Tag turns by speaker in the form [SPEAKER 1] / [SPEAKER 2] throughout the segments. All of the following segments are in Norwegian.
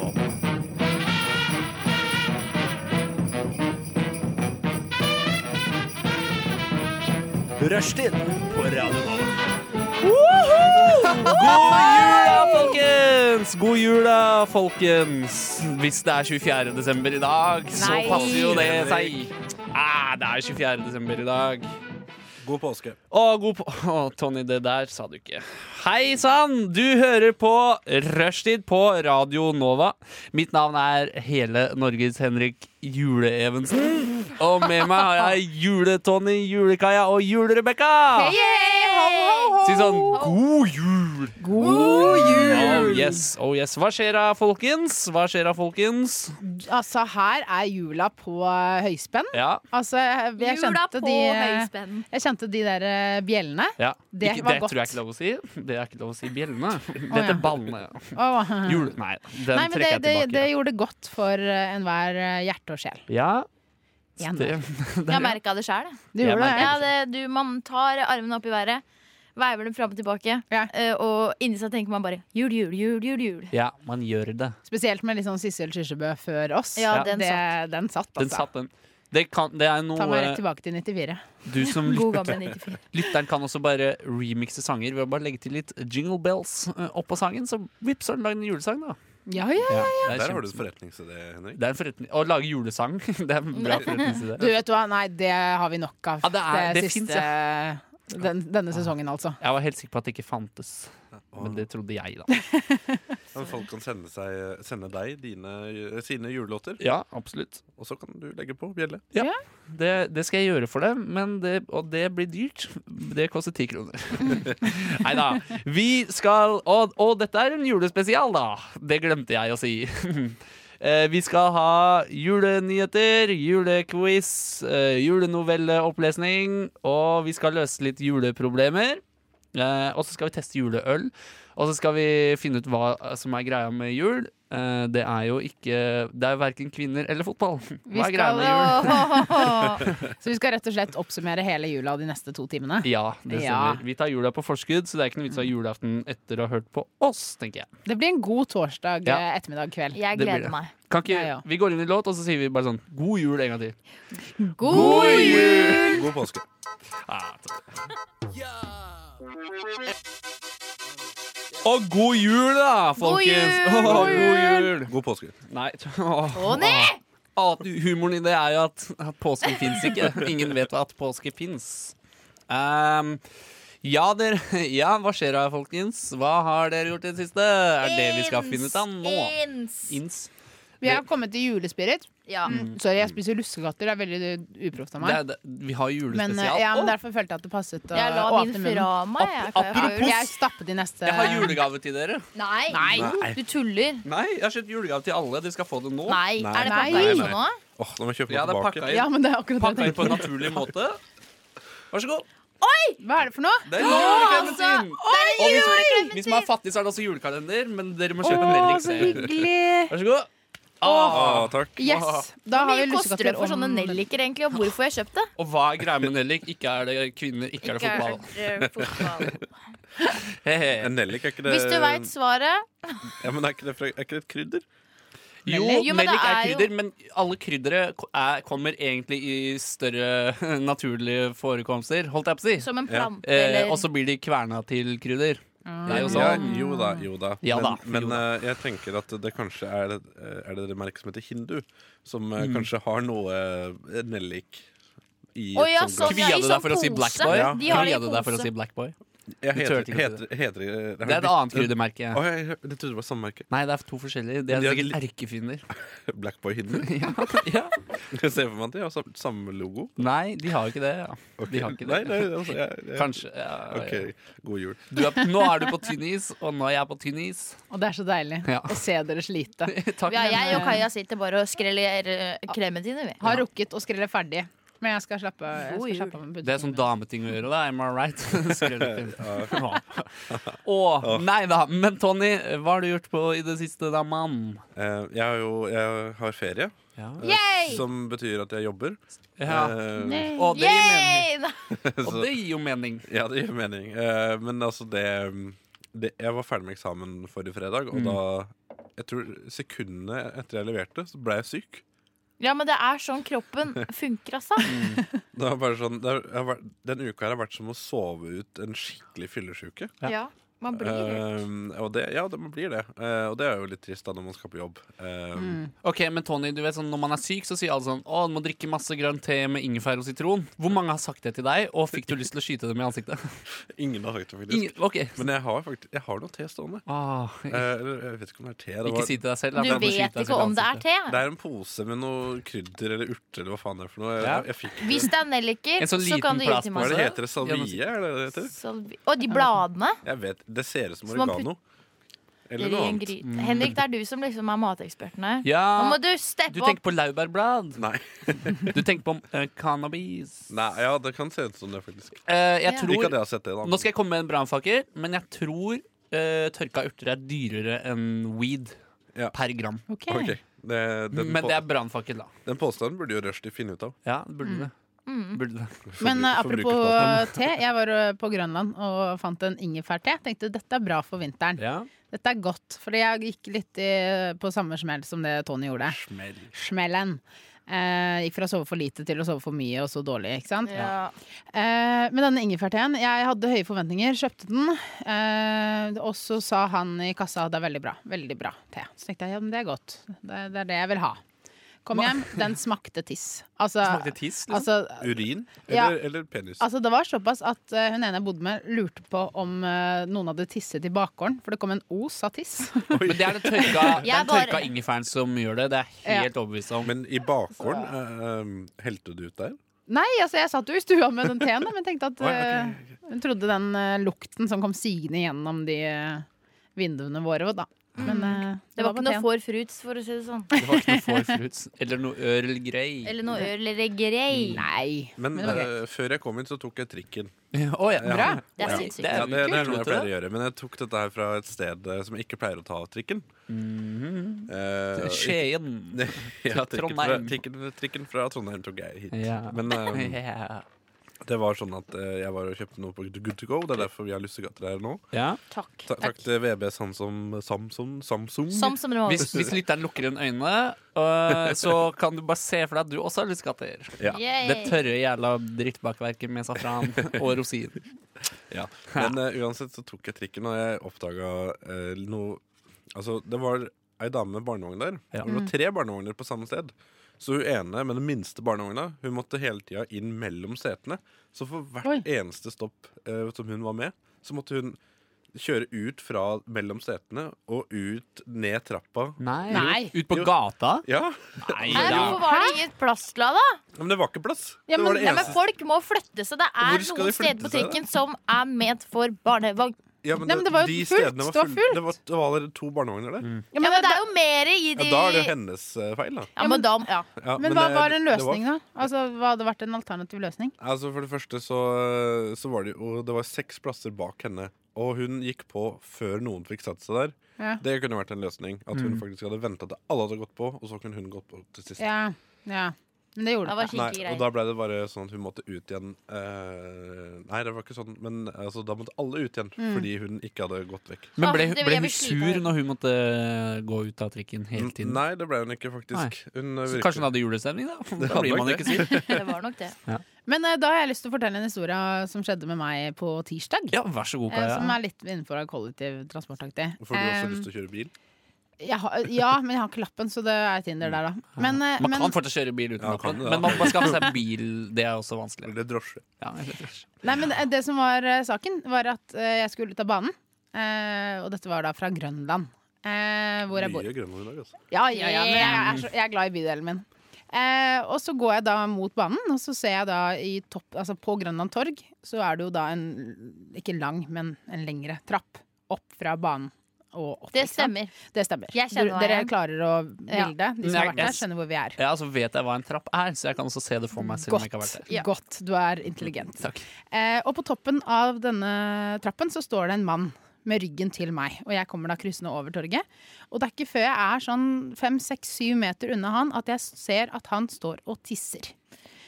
[SPEAKER 1] Radionormen. Rushtid på Radionormen.
[SPEAKER 2] God jul da, folkens! God jul da, folkens! Hvis det er 24. desember i dag, så
[SPEAKER 3] Nei.
[SPEAKER 2] passer jo det seg. Ah, det er 24. desember i dag.
[SPEAKER 1] God påske.
[SPEAKER 2] Å, god på... Å, Tony, det der sa du ikke. Hei sann! Du hører på Rushtid på Radio Nova. Mitt navn er hele Norges Henrik Jule-Evensen. Og med meg har jeg Jule-Tony, Julekaja og Jule-Rebekka. Si sånn God jul!
[SPEAKER 3] God
[SPEAKER 2] Oh yes, oh yes. Hva skjer da, folkens? Hva skjer da, folkens?
[SPEAKER 4] Altså, her er jula på eh, høyspenn.
[SPEAKER 2] Ja.
[SPEAKER 4] Altså, jeg, jeg
[SPEAKER 3] Jula
[SPEAKER 4] kjente
[SPEAKER 3] på
[SPEAKER 4] de,
[SPEAKER 3] høyspenn.
[SPEAKER 4] jeg kjente de der eh, bjellene.
[SPEAKER 2] ja.
[SPEAKER 4] Det
[SPEAKER 2] ikke,
[SPEAKER 4] var
[SPEAKER 2] det
[SPEAKER 4] godt.
[SPEAKER 2] tror jeg ikke er lov å si. Det er ikke lov å si bjellene. Det
[SPEAKER 4] ja.
[SPEAKER 2] heter ballene.
[SPEAKER 4] Åh.
[SPEAKER 2] Jul... Nei, den
[SPEAKER 4] Nei, men det,
[SPEAKER 2] trekker jeg
[SPEAKER 4] det,
[SPEAKER 2] tilbake.
[SPEAKER 4] det gjorde godt for eh, enhver eh, hjerte og sjel.
[SPEAKER 2] ja.
[SPEAKER 4] Igjen.
[SPEAKER 2] Det,
[SPEAKER 3] Jeg merka det sjøl.
[SPEAKER 4] Det
[SPEAKER 2] Jeg
[SPEAKER 4] gjorde det.
[SPEAKER 3] Ja, det- du- man tar armene opp i været, veiver dem fram og tilbake,
[SPEAKER 4] Ja.
[SPEAKER 3] eh, og inni seg tenker man bare jul, jul, jul, jul. jul.
[SPEAKER 2] ja, man gjør det.
[SPEAKER 4] Spesielt med litt sånn Sissel Kyrkjebø før oss.
[SPEAKER 3] Ja,
[SPEAKER 2] Ja.
[SPEAKER 3] den
[SPEAKER 4] det,
[SPEAKER 3] satt.
[SPEAKER 4] den satt, altså.
[SPEAKER 2] Den satt, den. Det, kan, det er
[SPEAKER 4] Ta
[SPEAKER 2] noe eh,
[SPEAKER 4] meg rett tilbake til 94.
[SPEAKER 2] du som
[SPEAKER 3] God
[SPEAKER 2] lytter,
[SPEAKER 3] gamle 94.
[SPEAKER 2] lytteren kan også bare remixe sanger ved å bare legge til litt jingle bells eh, oppå sangen, så vips, så har den lagd en julesang, da.
[SPEAKER 4] Ja, ja.
[SPEAKER 2] Det er
[SPEAKER 5] Der har du
[SPEAKER 2] kjempe-
[SPEAKER 5] en forretningsidé, Henrik.
[SPEAKER 2] Det er en forretning Å lage julesang, det er en bra forretningsidé.
[SPEAKER 4] Du vet hva, nei, det har vi nok av.
[SPEAKER 2] Ja, det er- det
[SPEAKER 4] siste
[SPEAKER 2] finnes,
[SPEAKER 4] den, Denne sesongen, altså.
[SPEAKER 2] Jeg var helt sikker på at det ikke fantes, men
[SPEAKER 5] Og-
[SPEAKER 2] det trodde jeg, da.
[SPEAKER 5] Men folk kan sende, seg, sende deg dine, sine julelåter,
[SPEAKER 2] Ja, absolutt.
[SPEAKER 5] og så kan du legge på bjelle.
[SPEAKER 2] Det, det skal jeg gjøre for det, men det, og det blir dyrt. Det koster ti kroner. Nei da. Vi skal og, og dette er en julespesial, da. Det glemte jeg å si. Eh, Vi skal ha julenyheter, julequiz, eh, julenovelleopplesning, og vi skal løse litt juleproblemer. Eh, og så skal vi teste juleøl. Og så skal vi finne ut hva som er greia med jul. Eh, det er jo ikke Det er verken kvinner eller fotball. Hva er greia
[SPEAKER 4] skal-
[SPEAKER 2] med jul?
[SPEAKER 4] Så vi skal rett og slett oppsummere hele jula de neste to timene.
[SPEAKER 2] Ja, det
[SPEAKER 4] Ja. Mm.
[SPEAKER 2] stemmer. Vi tar jula på forskudd, så det er ikke noe vits å ha julaften etter å ha hørt på oss, tenker jeg.
[SPEAKER 4] Det blir en god torsdag
[SPEAKER 2] Ja.
[SPEAKER 4] eh, ettermiddag kveld.
[SPEAKER 3] Jeg
[SPEAKER 2] Det blir det.
[SPEAKER 3] gleder meg.
[SPEAKER 2] Kan ikke,
[SPEAKER 4] Ja, ja.
[SPEAKER 2] Vi går inn i låt, og så sier vi bare sånn God jul en gang til.
[SPEAKER 3] God jul!
[SPEAKER 5] God påske.
[SPEAKER 2] Ah, og god jul, da, folkens!
[SPEAKER 3] jul!
[SPEAKER 2] Åh, god jul!
[SPEAKER 5] God påske.
[SPEAKER 2] Nei åh,
[SPEAKER 3] Tony!
[SPEAKER 2] åh, du, Humoren i det er jo at, at påsken fins ikke. Ingen vet at påske fins. Ehm, ja, dere, ja, hva skjer da, folkens? Hva har dere gjort i det siste? Er det vi skal finne ut av nå?
[SPEAKER 3] Ins.
[SPEAKER 2] Ins. Mm.
[SPEAKER 4] Vi har kommet til julespirit.
[SPEAKER 3] Ja.
[SPEAKER 4] Sorry, jeg spiser lussekatter. Det er veldig uproft av
[SPEAKER 2] Det,
[SPEAKER 4] meg.
[SPEAKER 2] er- det, vi har jo
[SPEAKER 4] Men,
[SPEAKER 2] julespesial.
[SPEAKER 4] eh, ja, men
[SPEAKER 2] Å,
[SPEAKER 4] derfor følte jeg at det passet å
[SPEAKER 3] Jeg la
[SPEAKER 4] åpne
[SPEAKER 3] min
[SPEAKER 4] munnen.
[SPEAKER 3] fra meg. jeg, for jeg har
[SPEAKER 2] apropos-
[SPEAKER 3] jo-
[SPEAKER 4] Jeg stapper de neste
[SPEAKER 2] jeg har julegave til dere.
[SPEAKER 3] Nei.
[SPEAKER 5] Nei.
[SPEAKER 3] Du tuller.
[SPEAKER 2] Nei, jeg har kjøpt julegave til alle. Dere skal få det nå.
[SPEAKER 3] Nei.
[SPEAKER 5] Nei.
[SPEAKER 3] Er det
[SPEAKER 4] Nei.
[SPEAKER 3] pakka inn sånn nå?
[SPEAKER 5] Åh, nå må jeg kjøpe noe
[SPEAKER 2] Ja, det er
[SPEAKER 5] tilbake.
[SPEAKER 2] pakka inn,
[SPEAKER 4] Ja, men det er akkurat
[SPEAKER 2] pakka
[SPEAKER 4] det jeg
[SPEAKER 2] inn på en
[SPEAKER 4] tenker.
[SPEAKER 2] naturlig måte. Vær så god.
[SPEAKER 4] Hva er det for noe?
[SPEAKER 2] Det er julekalender
[SPEAKER 3] altså,
[SPEAKER 2] sin. Og hvis- Hvis man er fattig, så er det også julekalender, men dere må kjøpe en
[SPEAKER 4] Å,
[SPEAKER 2] Nellik.
[SPEAKER 4] så
[SPEAKER 2] selv.
[SPEAKER 4] hyggelig!
[SPEAKER 2] Vær så god.
[SPEAKER 5] Ah, takk.
[SPEAKER 4] Yes! Da
[SPEAKER 3] Hvor
[SPEAKER 4] har vi
[SPEAKER 3] mye koster det
[SPEAKER 4] lussekatter
[SPEAKER 3] for sånne nelliker, egentlig, og hvorfor jeg kjøpte det?
[SPEAKER 2] Og hva er greia med Nellik? Ikke er det kvinner, ikke er det fotball. Hehe.
[SPEAKER 5] En nellik er ikke det
[SPEAKER 3] eh, Hvis du veit svaret
[SPEAKER 5] Ja, men er ikke det, fra- er ikke det et krydder?
[SPEAKER 2] Jo,
[SPEAKER 3] Nellik? Jo, men det
[SPEAKER 2] Nellik er
[SPEAKER 3] er jo-
[SPEAKER 2] krydder, men alle kryddere ko- er, kommer egentlig i større naturlige forekomster, holdt jeg på å si.
[SPEAKER 3] som en
[SPEAKER 5] Ja.
[SPEAKER 3] plante,
[SPEAKER 2] Eh,
[SPEAKER 3] eller Mm.
[SPEAKER 2] og så blir de kverna til krydder. Det er jo
[SPEAKER 5] Ja,
[SPEAKER 2] sånn.
[SPEAKER 5] jo da, jo da.
[SPEAKER 2] Ja
[SPEAKER 5] men
[SPEAKER 2] da,
[SPEAKER 5] men
[SPEAKER 2] jo da.
[SPEAKER 5] eh, jeg tenker at det kanskje er det, eh, er det det merket som heter hindu, som
[SPEAKER 2] Mm.
[SPEAKER 5] eh, kanskje har noe eh, nellik i
[SPEAKER 3] Å ja,
[SPEAKER 5] et sånt
[SPEAKER 3] sånn,
[SPEAKER 5] glass.
[SPEAKER 2] Kvia
[SPEAKER 3] ja. i
[SPEAKER 2] du
[SPEAKER 3] sånn
[SPEAKER 2] deg for å si
[SPEAKER 3] pose.
[SPEAKER 2] Black Boy?
[SPEAKER 5] Ja.
[SPEAKER 3] De har det i
[SPEAKER 2] Kvia du deg for å
[SPEAKER 3] pose.
[SPEAKER 2] si Black Boy?
[SPEAKER 5] Jeg
[SPEAKER 2] Du tørte
[SPEAKER 5] heter,
[SPEAKER 2] ikke å si
[SPEAKER 5] heter, heter, eh, heter
[SPEAKER 2] Det er et annet kryddermerke.
[SPEAKER 5] Å, jeg, jeg trodde det var samme merke.
[SPEAKER 2] Nei, det er to forskjellige. Det er
[SPEAKER 5] De har
[SPEAKER 2] sikkert
[SPEAKER 5] li-
[SPEAKER 2] erkefiender.
[SPEAKER 5] Blackboy Hindu.
[SPEAKER 2] Ja, ja.
[SPEAKER 5] Jeg ser for meg at de har sam- samme logo.
[SPEAKER 2] Nei, de har jo ikke det. Ja. De har ikke
[SPEAKER 5] Nei,
[SPEAKER 2] det.
[SPEAKER 5] nei, altså, jeg, jeg,
[SPEAKER 2] Kanskje. Ja, ja.
[SPEAKER 5] Ok, god jul.
[SPEAKER 2] Du er, nå er du på tynn is, og nå er jeg på tynn is.
[SPEAKER 4] Og det er så deilig
[SPEAKER 2] Ja.
[SPEAKER 4] å se dere slite.
[SPEAKER 2] Takk.
[SPEAKER 3] ja, Jeg og Kaja sitter bare og skreller eh, klementiner, vi.
[SPEAKER 4] Har rukket å skrelle ferdig. Men jeg skal slappe, jeg
[SPEAKER 3] God
[SPEAKER 4] skal
[SPEAKER 3] jul.
[SPEAKER 4] slappe av med
[SPEAKER 2] Det er sånn
[SPEAKER 4] bunnene.
[SPEAKER 2] dameting å gjøre, da. Am I right? Skrev du til. Å, nei da. Men Tony, hva har du gjort på i det siste, da, mann?
[SPEAKER 5] Eh, jeg har jo jeg har ferie,
[SPEAKER 2] Ja.
[SPEAKER 5] eh, som betyr at jeg jobber.
[SPEAKER 2] ja.
[SPEAKER 5] Eh,
[SPEAKER 2] Og det gir mening.
[SPEAKER 3] Yay! Nei,
[SPEAKER 2] Og det gir jo mening.
[SPEAKER 5] Ja, det gir mm,
[SPEAKER 2] Mm.
[SPEAKER 5] mening. Eh, men altså, det, det Jeg var ferdig med eksamen forrige fredag, og da jeg tror sekundene etter jeg leverte, så ble jeg syk.
[SPEAKER 3] Ja, men det er sånn kroppen funker, altså.
[SPEAKER 5] Det var bare sånn, det har vært, Den uka her har vært som å sove ut en skikkelig fyllesyke.
[SPEAKER 3] Ja, man blir rørt.
[SPEAKER 5] Eh, og det, ja, det man blir det. Eh, og det er jo litt trist da når man skal på jobb. Eh,
[SPEAKER 4] Mm,
[SPEAKER 2] Ok, men Tony, du vet sånn, Når man er syk, så sier alle sånn Å, du må drikke masse grønn te med ingefær og sitron. Hvor mange har sagt det til deg, og fikk du lyst til å skyte dem i ansiktet?
[SPEAKER 5] Ingen har sagt det, faktisk.
[SPEAKER 2] Ingen, ok
[SPEAKER 5] Men jeg har faktisk Jeg har noe te stående.
[SPEAKER 2] Åh,
[SPEAKER 5] Eh, eller jeg vet ikke om det er te. Det,
[SPEAKER 2] Ah, Ikke
[SPEAKER 5] var,
[SPEAKER 2] si til deg selv. da,
[SPEAKER 3] Du
[SPEAKER 2] for da må skyte
[SPEAKER 3] vet
[SPEAKER 2] deg
[SPEAKER 3] ikke
[SPEAKER 2] selv i
[SPEAKER 3] om det er
[SPEAKER 2] ansiktet.
[SPEAKER 3] te.
[SPEAKER 5] det er en pose med noe krydder eller urter eller hva faen det er for noe. Jeg,
[SPEAKER 2] Ja.
[SPEAKER 5] jeg fikk
[SPEAKER 3] Hvis det er nelliker,
[SPEAKER 2] En sånn
[SPEAKER 3] så
[SPEAKER 2] liten
[SPEAKER 3] kan du gi
[SPEAKER 5] Hva er
[SPEAKER 3] til meg.
[SPEAKER 5] det heter det?
[SPEAKER 2] Ja, men-
[SPEAKER 5] Salvie? Er det det det heter?
[SPEAKER 3] Salvi- Og de bladene.
[SPEAKER 5] Jeg vet, Det ser ut som
[SPEAKER 3] Så man
[SPEAKER 5] oregano. Eller noe
[SPEAKER 3] Gry-
[SPEAKER 5] annet.
[SPEAKER 3] gry- Henrik, det er du som liksom er mateksperten her. Nå må
[SPEAKER 2] Ja,
[SPEAKER 3] du steppe
[SPEAKER 2] du
[SPEAKER 3] opp.
[SPEAKER 2] tenker på laurbærblad.
[SPEAKER 5] Nei.
[SPEAKER 2] Du tenker på eh, cannabis.
[SPEAKER 5] Nei, ja, det kan se ut som det, faktisk.
[SPEAKER 2] Eh, jeg
[SPEAKER 3] Ja.
[SPEAKER 5] Ikke at
[SPEAKER 2] tror
[SPEAKER 5] jeg har sett det, da.
[SPEAKER 2] Nå skal jeg komme med en brannfakkel, men jeg tror eh, tørka urter er dyrere enn weed
[SPEAKER 5] Ja.
[SPEAKER 2] per gram.
[SPEAKER 4] Ok.
[SPEAKER 5] Ok, det, den,
[SPEAKER 2] men
[SPEAKER 5] på,
[SPEAKER 2] det er brannfakkel, da.
[SPEAKER 5] den påstanden burde jo Rushdie finne ut av.
[SPEAKER 2] Ja,
[SPEAKER 3] Mm.
[SPEAKER 2] burde det. Burde det.
[SPEAKER 4] Men eh,
[SPEAKER 5] Forbru-
[SPEAKER 4] apropos
[SPEAKER 5] forbrukerspørsmål.
[SPEAKER 4] te. Jeg var eh, på Grønland og fant en ingefærte. Tenkte dette er bra for vinteren.
[SPEAKER 2] Ja.
[SPEAKER 4] Dette er godt, fordi jeg gikk litt i, på samme smell som det Tony gjorde.
[SPEAKER 5] Smell.
[SPEAKER 4] Smellen. Eh, gikk fra å sove for lite til å sove for mye og så dårlig. ikke sant?
[SPEAKER 3] Ja.
[SPEAKER 4] Eh, men denne ingefærteen, jeg hadde høye forventninger, kjøpte den. Eh, og så sa han i kassa det er veldig bra, veldig bra te. Så tenkte jeg ja, men det er godt. Det, det er det jeg vil ha. Kom hjem, den smakte tiss. Altså,
[SPEAKER 2] Smakte tiss, liksom.
[SPEAKER 4] altså,
[SPEAKER 5] Urin
[SPEAKER 4] Ja.
[SPEAKER 5] eller, eller penis?
[SPEAKER 4] altså det var såpass at eh, hun ene jeg bodde med, lurte på om eh, noen hadde tisset i bakgården, for det kom en os av tiss.
[SPEAKER 2] Men det er den tørka,
[SPEAKER 3] Jeg
[SPEAKER 2] den
[SPEAKER 3] bare-
[SPEAKER 2] tørka ingefæren som gjør det. Det er jeg helt overbevist om.
[SPEAKER 5] Men i bakgården eh, eh, helte du det ut der?
[SPEAKER 4] Nei, altså jeg satt jo i stua med den teen, da, men tenkte at
[SPEAKER 5] Oi, ok,
[SPEAKER 4] eh, Hun trodde den eh, lukten som kom sigende gjennom de eh, vinduene våre, da. Men eh,
[SPEAKER 3] Mm. Det var ikke
[SPEAKER 4] bare
[SPEAKER 3] noe
[SPEAKER 4] teen.
[SPEAKER 3] for fruits, for å si det sånn.
[SPEAKER 2] Det var ikke noe for fruits. Eller noe Earl Grey.
[SPEAKER 3] Eller noe øl eller grei.
[SPEAKER 4] Nei.
[SPEAKER 5] Men
[SPEAKER 4] Men det var
[SPEAKER 5] eh, før jeg kom inn, så tok jeg trikken.
[SPEAKER 2] Å, ja.
[SPEAKER 5] Bra.
[SPEAKER 3] Det er
[SPEAKER 5] Ja.
[SPEAKER 3] sinnssykt.
[SPEAKER 5] Ja, det, det er noe jeg
[SPEAKER 2] Kult, vet
[SPEAKER 5] pleier
[SPEAKER 2] du
[SPEAKER 5] å
[SPEAKER 2] det?
[SPEAKER 5] gjøre, men jeg tok dette her fra et sted eh, som jeg ikke pleier å ta trikken.
[SPEAKER 2] Mhm.
[SPEAKER 5] Eh,
[SPEAKER 2] Skien.
[SPEAKER 5] ja, trikken,
[SPEAKER 2] Fra
[SPEAKER 5] fra,
[SPEAKER 2] Trondheim.
[SPEAKER 5] trikken, trikken fra Trondheim tok jeg hit.
[SPEAKER 2] Ja.
[SPEAKER 5] Men eh,
[SPEAKER 2] Ja.
[SPEAKER 5] det var sånn at eh, jeg var og kjøpte noe på Good to go. Det er derfor vi har lussegater her nå.
[SPEAKER 2] Ja.
[SPEAKER 3] Takk.
[SPEAKER 5] Ta takk til VB Samsom, Samsung, Samsung.
[SPEAKER 3] Som som det var.
[SPEAKER 2] Hvis, hvis lytteren lukker igjen øynene, øh, så kan du bare se for deg at du også har lystgater.
[SPEAKER 5] Ja.
[SPEAKER 3] Yay.
[SPEAKER 2] Det tørre jævla drittbakverket med safran og rosin.
[SPEAKER 5] Ja. Men eh, uansett så tok jeg trikken, og jeg oppdaga noe Altså, det var ei dame med barnevogn der.
[SPEAKER 2] Ja.
[SPEAKER 5] Det var
[SPEAKER 4] Mm.
[SPEAKER 5] tre barnevogner på samme sted. Så hun ene med den minste barnevogna Hun måtte hele tida inn mellom setene. Så for hvert
[SPEAKER 4] Oi.
[SPEAKER 5] eneste stopp eh, som hun var med, så måtte hun kjøre ut fra mellom setene og ut ned trappa.
[SPEAKER 2] Nei.
[SPEAKER 4] Nei.
[SPEAKER 2] Ut på
[SPEAKER 5] Jo.
[SPEAKER 2] gata?
[SPEAKER 5] Ja,
[SPEAKER 2] Nei,
[SPEAKER 3] Nei,
[SPEAKER 2] da.
[SPEAKER 3] hvorfor var det ingen plass til deg, da?
[SPEAKER 5] Men det var ikke plass!
[SPEAKER 4] Ja,
[SPEAKER 5] det var
[SPEAKER 4] men-
[SPEAKER 5] det
[SPEAKER 3] Nei, men
[SPEAKER 5] eneste.
[SPEAKER 3] Folk må flytte seg. Det
[SPEAKER 5] Hvor
[SPEAKER 3] er
[SPEAKER 5] skal de
[SPEAKER 3] noen steder
[SPEAKER 5] flytte
[SPEAKER 3] på
[SPEAKER 5] seg, da?
[SPEAKER 3] trikken som er ment for barnevogn.
[SPEAKER 5] Ja, men
[SPEAKER 4] Nei, men det var jo
[SPEAKER 5] de
[SPEAKER 4] fullt,
[SPEAKER 5] stedene
[SPEAKER 4] det var
[SPEAKER 5] full-
[SPEAKER 4] fullt.
[SPEAKER 5] Det var, det var allerede to barnevogner der.
[SPEAKER 2] Mm.
[SPEAKER 4] Ja,
[SPEAKER 3] Ja,
[SPEAKER 4] men,
[SPEAKER 3] men det
[SPEAKER 4] da-
[SPEAKER 3] er jo mer i
[SPEAKER 5] Ja,
[SPEAKER 3] de
[SPEAKER 5] da er det jo hennes eh, feil, da.
[SPEAKER 3] Ja, men da ja.
[SPEAKER 5] Ja,
[SPEAKER 4] men hva
[SPEAKER 5] det-
[SPEAKER 4] var en
[SPEAKER 5] eh, det
[SPEAKER 4] løsning, da? Altså, Hva hadde vært en alternativ løsning?
[SPEAKER 5] Altså For det første så, eh, så var det jo Det var seks plasser bak henne. Og hun gikk på før noen fikk satt seg der.
[SPEAKER 4] Ja.
[SPEAKER 5] Det kunne vært en løsning. At
[SPEAKER 2] Mm.
[SPEAKER 5] hun faktisk hadde venta til alle hadde gått på, og så kunne hun gått på til sist.
[SPEAKER 4] Ja, ja. Men det
[SPEAKER 3] Det
[SPEAKER 4] gjorde det
[SPEAKER 3] var
[SPEAKER 4] ikke.
[SPEAKER 5] Nei,
[SPEAKER 3] ikke
[SPEAKER 5] og
[SPEAKER 3] greit.
[SPEAKER 5] da ble det bare sånn at hun måtte ut igjen. Eh, nei, det var ikke sånn, men altså, da måtte alle ut igjen
[SPEAKER 4] Mm.
[SPEAKER 5] fordi hun ikke hadde gått vekk.
[SPEAKER 2] Men ble,
[SPEAKER 3] Ah, det-
[SPEAKER 2] ble
[SPEAKER 3] jeg
[SPEAKER 2] hun
[SPEAKER 3] blir sliten.
[SPEAKER 2] sur når hun måtte gå ut av trikken hele tiden?
[SPEAKER 5] Nei, det ble hun ikke, faktisk. Hun eh,
[SPEAKER 2] Så
[SPEAKER 5] virket-
[SPEAKER 2] kanskje hun hadde julestemning, da?
[SPEAKER 5] Det
[SPEAKER 2] Da
[SPEAKER 5] hadde
[SPEAKER 2] blir man
[SPEAKER 5] nok
[SPEAKER 2] ikke sur.
[SPEAKER 3] Det var nok det.
[SPEAKER 4] Men eh, da har jeg lyst til å fortelle en historie som skjedde med meg på tirsdag.
[SPEAKER 2] Ja, vær så god,
[SPEAKER 4] eh, Som
[SPEAKER 2] Kaja.
[SPEAKER 4] er litt innenfor kollektivtransportaktig.
[SPEAKER 5] For du har også
[SPEAKER 4] Eh,
[SPEAKER 5] lyst til å kjøre bil?
[SPEAKER 4] jeg har- Ja, men jeg har ikke lappen, så det er Tinder der, da. Men, eh,
[SPEAKER 2] Man
[SPEAKER 4] men,
[SPEAKER 2] kan fortsatt kjøre bil uten
[SPEAKER 5] Ja, kan
[SPEAKER 2] lappen,
[SPEAKER 5] det, da.
[SPEAKER 2] men man må skaffe seg bil. Det er også vanskelig.
[SPEAKER 5] Eller drosje?
[SPEAKER 2] Ja, eller-
[SPEAKER 4] nei, men eh, det som var eh, saken, var at eh, jeg skulle ta banen. eh, og dette var da fra Grønland, eh, hvor jeg bor.
[SPEAKER 5] Mye grønland i dag, altså.
[SPEAKER 4] Ja, ja, ja, men jeg er, så, jeg er glad i bydelen min. Eh, og så går jeg da mot banen, og så ser jeg da i topp, altså på Grønland torg så er det jo da en ikke lang, men en lengre trapp opp fra banen. Og opp,
[SPEAKER 3] Det
[SPEAKER 4] ikke sant?
[SPEAKER 3] stemmer.
[SPEAKER 4] Det stemmer.
[SPEAKER 3] Jeg kjenner
[SPEAKER 4] Du-
[SPEAKER 3] hva jeg
[SPEAKER 4] Dere
[SPEAKER 3] er.
[SPEAKER 4] klarer å bilde, de som
[SPEAKER 2] Nei,
[SPEAKER 4] har vært der,
[SPEAKER 2] yes.
[SPEAKER 4] skjønner hvor vi er.
[SPEAKER 2] ja, så vet jeg hva en trapp er, så jeg kan også se det for meg. Selv om jeg ikke har vært
[SPEAKER 4] Godt,
[SPEAKER 2] der
[SPEAKER 3] Ja.
[SPEAKER 4] godt. Du er intelligent.
[SPEAKER 2] Takk.
[SPEAKER 4] Eh, og på toppen av denne trappen så står det en mann med ryggen til meg. Og jeg kommer da kryssende over torget. Og det er ikke før jeg er sånn fem, seks, syv meter unna han at jeg ser at han står og tisser.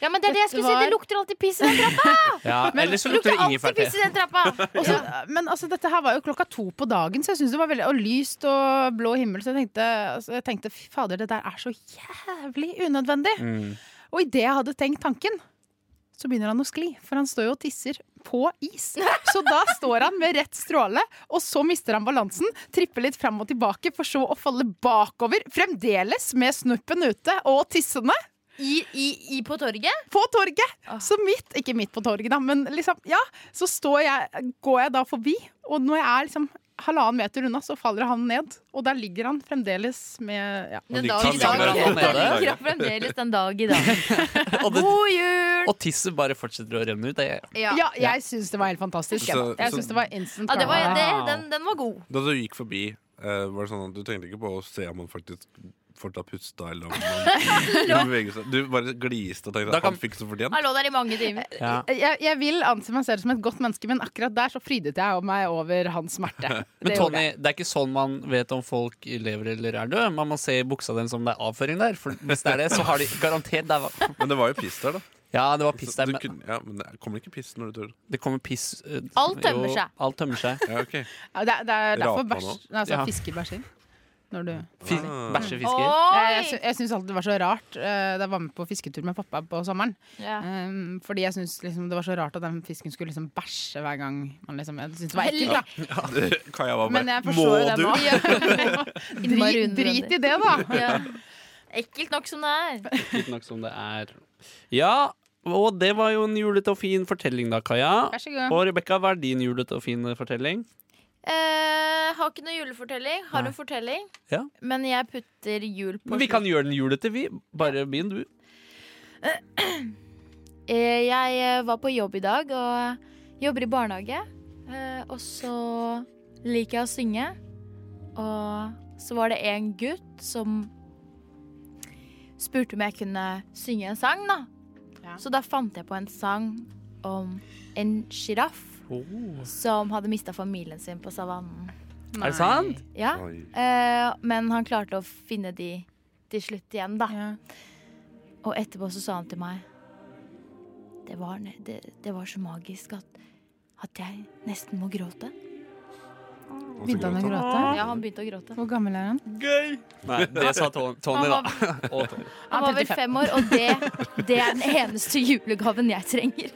[SPEAKER 3] Ja, men det er det jeg skulle si.
[SPEAKER 4] Dette var-
[SPEAKER 3] Det lukter alltid piss i den trappa!
[SPEAKER 2] Ja, Eller så
[SPEAKER 3] Det
[SPEAKER 2] lukter
[SPEAKER 3] lukter
[SPEAKER 2] det ingefær
[SPEAKER 3] alltid
[SPEAKER 2] til.
[SPEAKER 3] piss i den trappa!
[SPEAKER 4] Og så- Men altså, dette her var jo klokka to på dagen, så jeg synes det var veldig og lyst og blå himmel. Så jeg tenkte, altså, jeg tenkte fy fader, det der er så jævlig unødvendig.
[SPEAKER 5] Mm.
[SPEAKER 4] Og idet jeg hadde tenkt tanken, så begynner han å skli. For han står jo og tisser på is. Så da står han med rett stråle, og så mister han balansen. Tripper litt fram og tilbake, for så å falle bakover. Fremdeles med snuppen ute og tissende
[SPEAKER 3] I, i, i på torget?
[SPEAKER 4] på torget.
[SPEAKER 3] Ah.
[SPEAKER 4] Så midt, ikke midt på torget, da, men liksom, ja, så står jeg, går jeg da forbi, og når jeg er liksom halvannen meter unna, så faller han ned. Og der ligger han fremdeles med ja.
[SPEAKER 5] Men
[SPEAKER 3] Den
[SPEAKER 5] de
[SPEAKER 3] dag
[SPEAKER 5] kan
[SPEAKER 3] i
[SPEAKER 5] ikke
[SPEAKER 3] dag.
[SPEAKER 5] være
[SPEAKER 2] sånn nede.
[SPEAKER 3] Den ligger fremdeles den dag i dag.
[SPEAKER 2] Og, det,
[SPEAKER 3] God jul!
[SPEAKER 2] og tisset bare fortsetter å renne ut. Det,
[SPEAKER 3] Ja,
[SPEAKER 4] Ja, jeg syns det var helt fantastisk. jeg, da.
[SPEAKER 5] Så-
[SPEAKER 4] jeg
[SPEAKER 5] så-
[SPEAKER 4] synes det var instant
[SPEAKER 3] ja det var,
[SPEAKER 4] karma.
[SPEAKER 3] det, den, den var god.
[SPEAKER 5] Da du gikk forbi, eh, var det sånn at du tenkte ikke på å se om han faktisk fortsatt pusta, eller om han beveget seg. Du bare gliste og tenkte
[SPEAKER 2] Da
[SPEAKER 5] at
[SPEAKER 2] kan-
[SPEAKER 5] han fikk så fortjent.
[SPEAKER 3] Han lå der i mange timer.
[SPEAKER 2] ja.
[SPEAKER 4] jeg, jeg vil anse meg selv som et godt menneske, men akkurat der så frydet jeg meg over hans smerte.
[SPEAKER 2] Men
[SPEAKER 4] Det gjorde
[SPEAKER 2] Tony, det er ikke sånn man vet om folk lever eller er døde. Man må se i buksa deres om det er avføring der. For hvis det er det, så har de garantert det. er-
[SPEAKER 5] Men det var jo piss der, da.
[SPEAKER 2] Ja, det var piss
[SPEAKER 5] Så
[SPEAKER 2] der,
[SPEAKER 5] du
[SPEAKER 2] men
[SPEAKER 5] kunne, ja, men det kommer ikke piss når du tør.
[SPEAKER 2] det kommer piss eh,
[SPEAKER 3] Alt tømmer
[SPEAKER 2] jo,
[SPEAKER 3] seg.
[SPEAKER 2] Alt tømmer seg.
[SPEAKER 5] Ja, ok
[SPEAKER 4] jeg. Ja, Det, det er derfor
[SPEAKER 5] Rapa
[SPEAKER 4] bæsj,
[SPEAKER 5] nå?
[SPEAKER 4] nei, altså,
[SPEAKER 2] Ja.
[SPEAKER 4] fiskebæsj inn. Når du
[SPEAKER 2] Fi-
[SPEAKER 5] Ah.
[SPEAKER 2] Bæsjefisker.
[SPEAKER 4] Jeg, jeg, sy-
[SPEAKER 3] Oi!
[SPEAKER 4] jeg syns alltid det var så rart eh, da jeg var med på fisketur med pappa på sommeren.
[SPEAKER 3] Ja.
[SPEAKER 4] Um, fordi jeg syns liksom, det var så rart at den fisken skulle liksom bæsje hver gang man liksom Jeg syns det var ekkelt, da.
[SPEAKER 5] Kaja var
[SPEAKER 4] Men
[SPEAKER 5] bare
[SPEAKER 4] jeg
[SPEAKER 5] Må
[SPEAKER 4] forstår det
[SPEAKER 5] du?
[SPEAKER 4] nå.
[SPEAKER 3] Innmari
[SPEAKER 4] drit, drit i det, da.
[SPEAKER 3] Ja. Ekkelt nok som det er.
[SPEAKER 2] Litt nok som det er. Ja, og det var jo en julete og fin fortelling da, Kaja.
[SPEAKER 4] Vær så god.
[SPEAKER 2] Og Rebekka, hva er din julete og fin fortelling?
[SPEAKER 3] Eh, har ikke noe julefortelling. Har
[SPEAKER 2] Nei.
[SPEAKER 3] en fortelling.
[SPEAKER 2] Ja.
[SPEAKER 3] Men jeg putter jul på
[SPEAKER 2] Men vi kan gjøre den julete, vi. Bare begynn, du.
[SPEAKER 3] Eh, Jeg eh, var på jobb i dag og jobber i barnehage. Eh, Og så liker jeg å synge. Og så var det en gutt som spurte om jeg kunne synge en sang, da.
[SPEAKER 4] Ja.
[SPEAKER 3] Så da fant jeg på en sang om en sjiraff som hadde mista familien sin på savannen.
[SPEAKER 2] Er det sant?
[SPEAKER 3] Ja,
[SPEAKER 5] Oi.
[SPEAKER 3] eh, men han klarte å finne de til slutt igjen, da. Og etterpå så sa han til meg Det var, ne- det, det var så magisk at, at jeg nesten må gråte.
[SPEAKER 5] Og så
[SPEAKER 4] Begynte han å
[SPEAKER 5] gråt
[SPEAKER 4] gråte?
[SPEAKER 3] Ja, han begynte å gråte.
[SPEAKER 4] Hvor gammel er han?
[SPEAKER 2] Gøy! Nei, det sa Ton- Tony, da.
[SPEAKER 3] Han
[SPEAKER 2] Og Tony.
[SPEAKER 3] Han var vel fem år, og det, det er den eneste julegaven jeg trenger.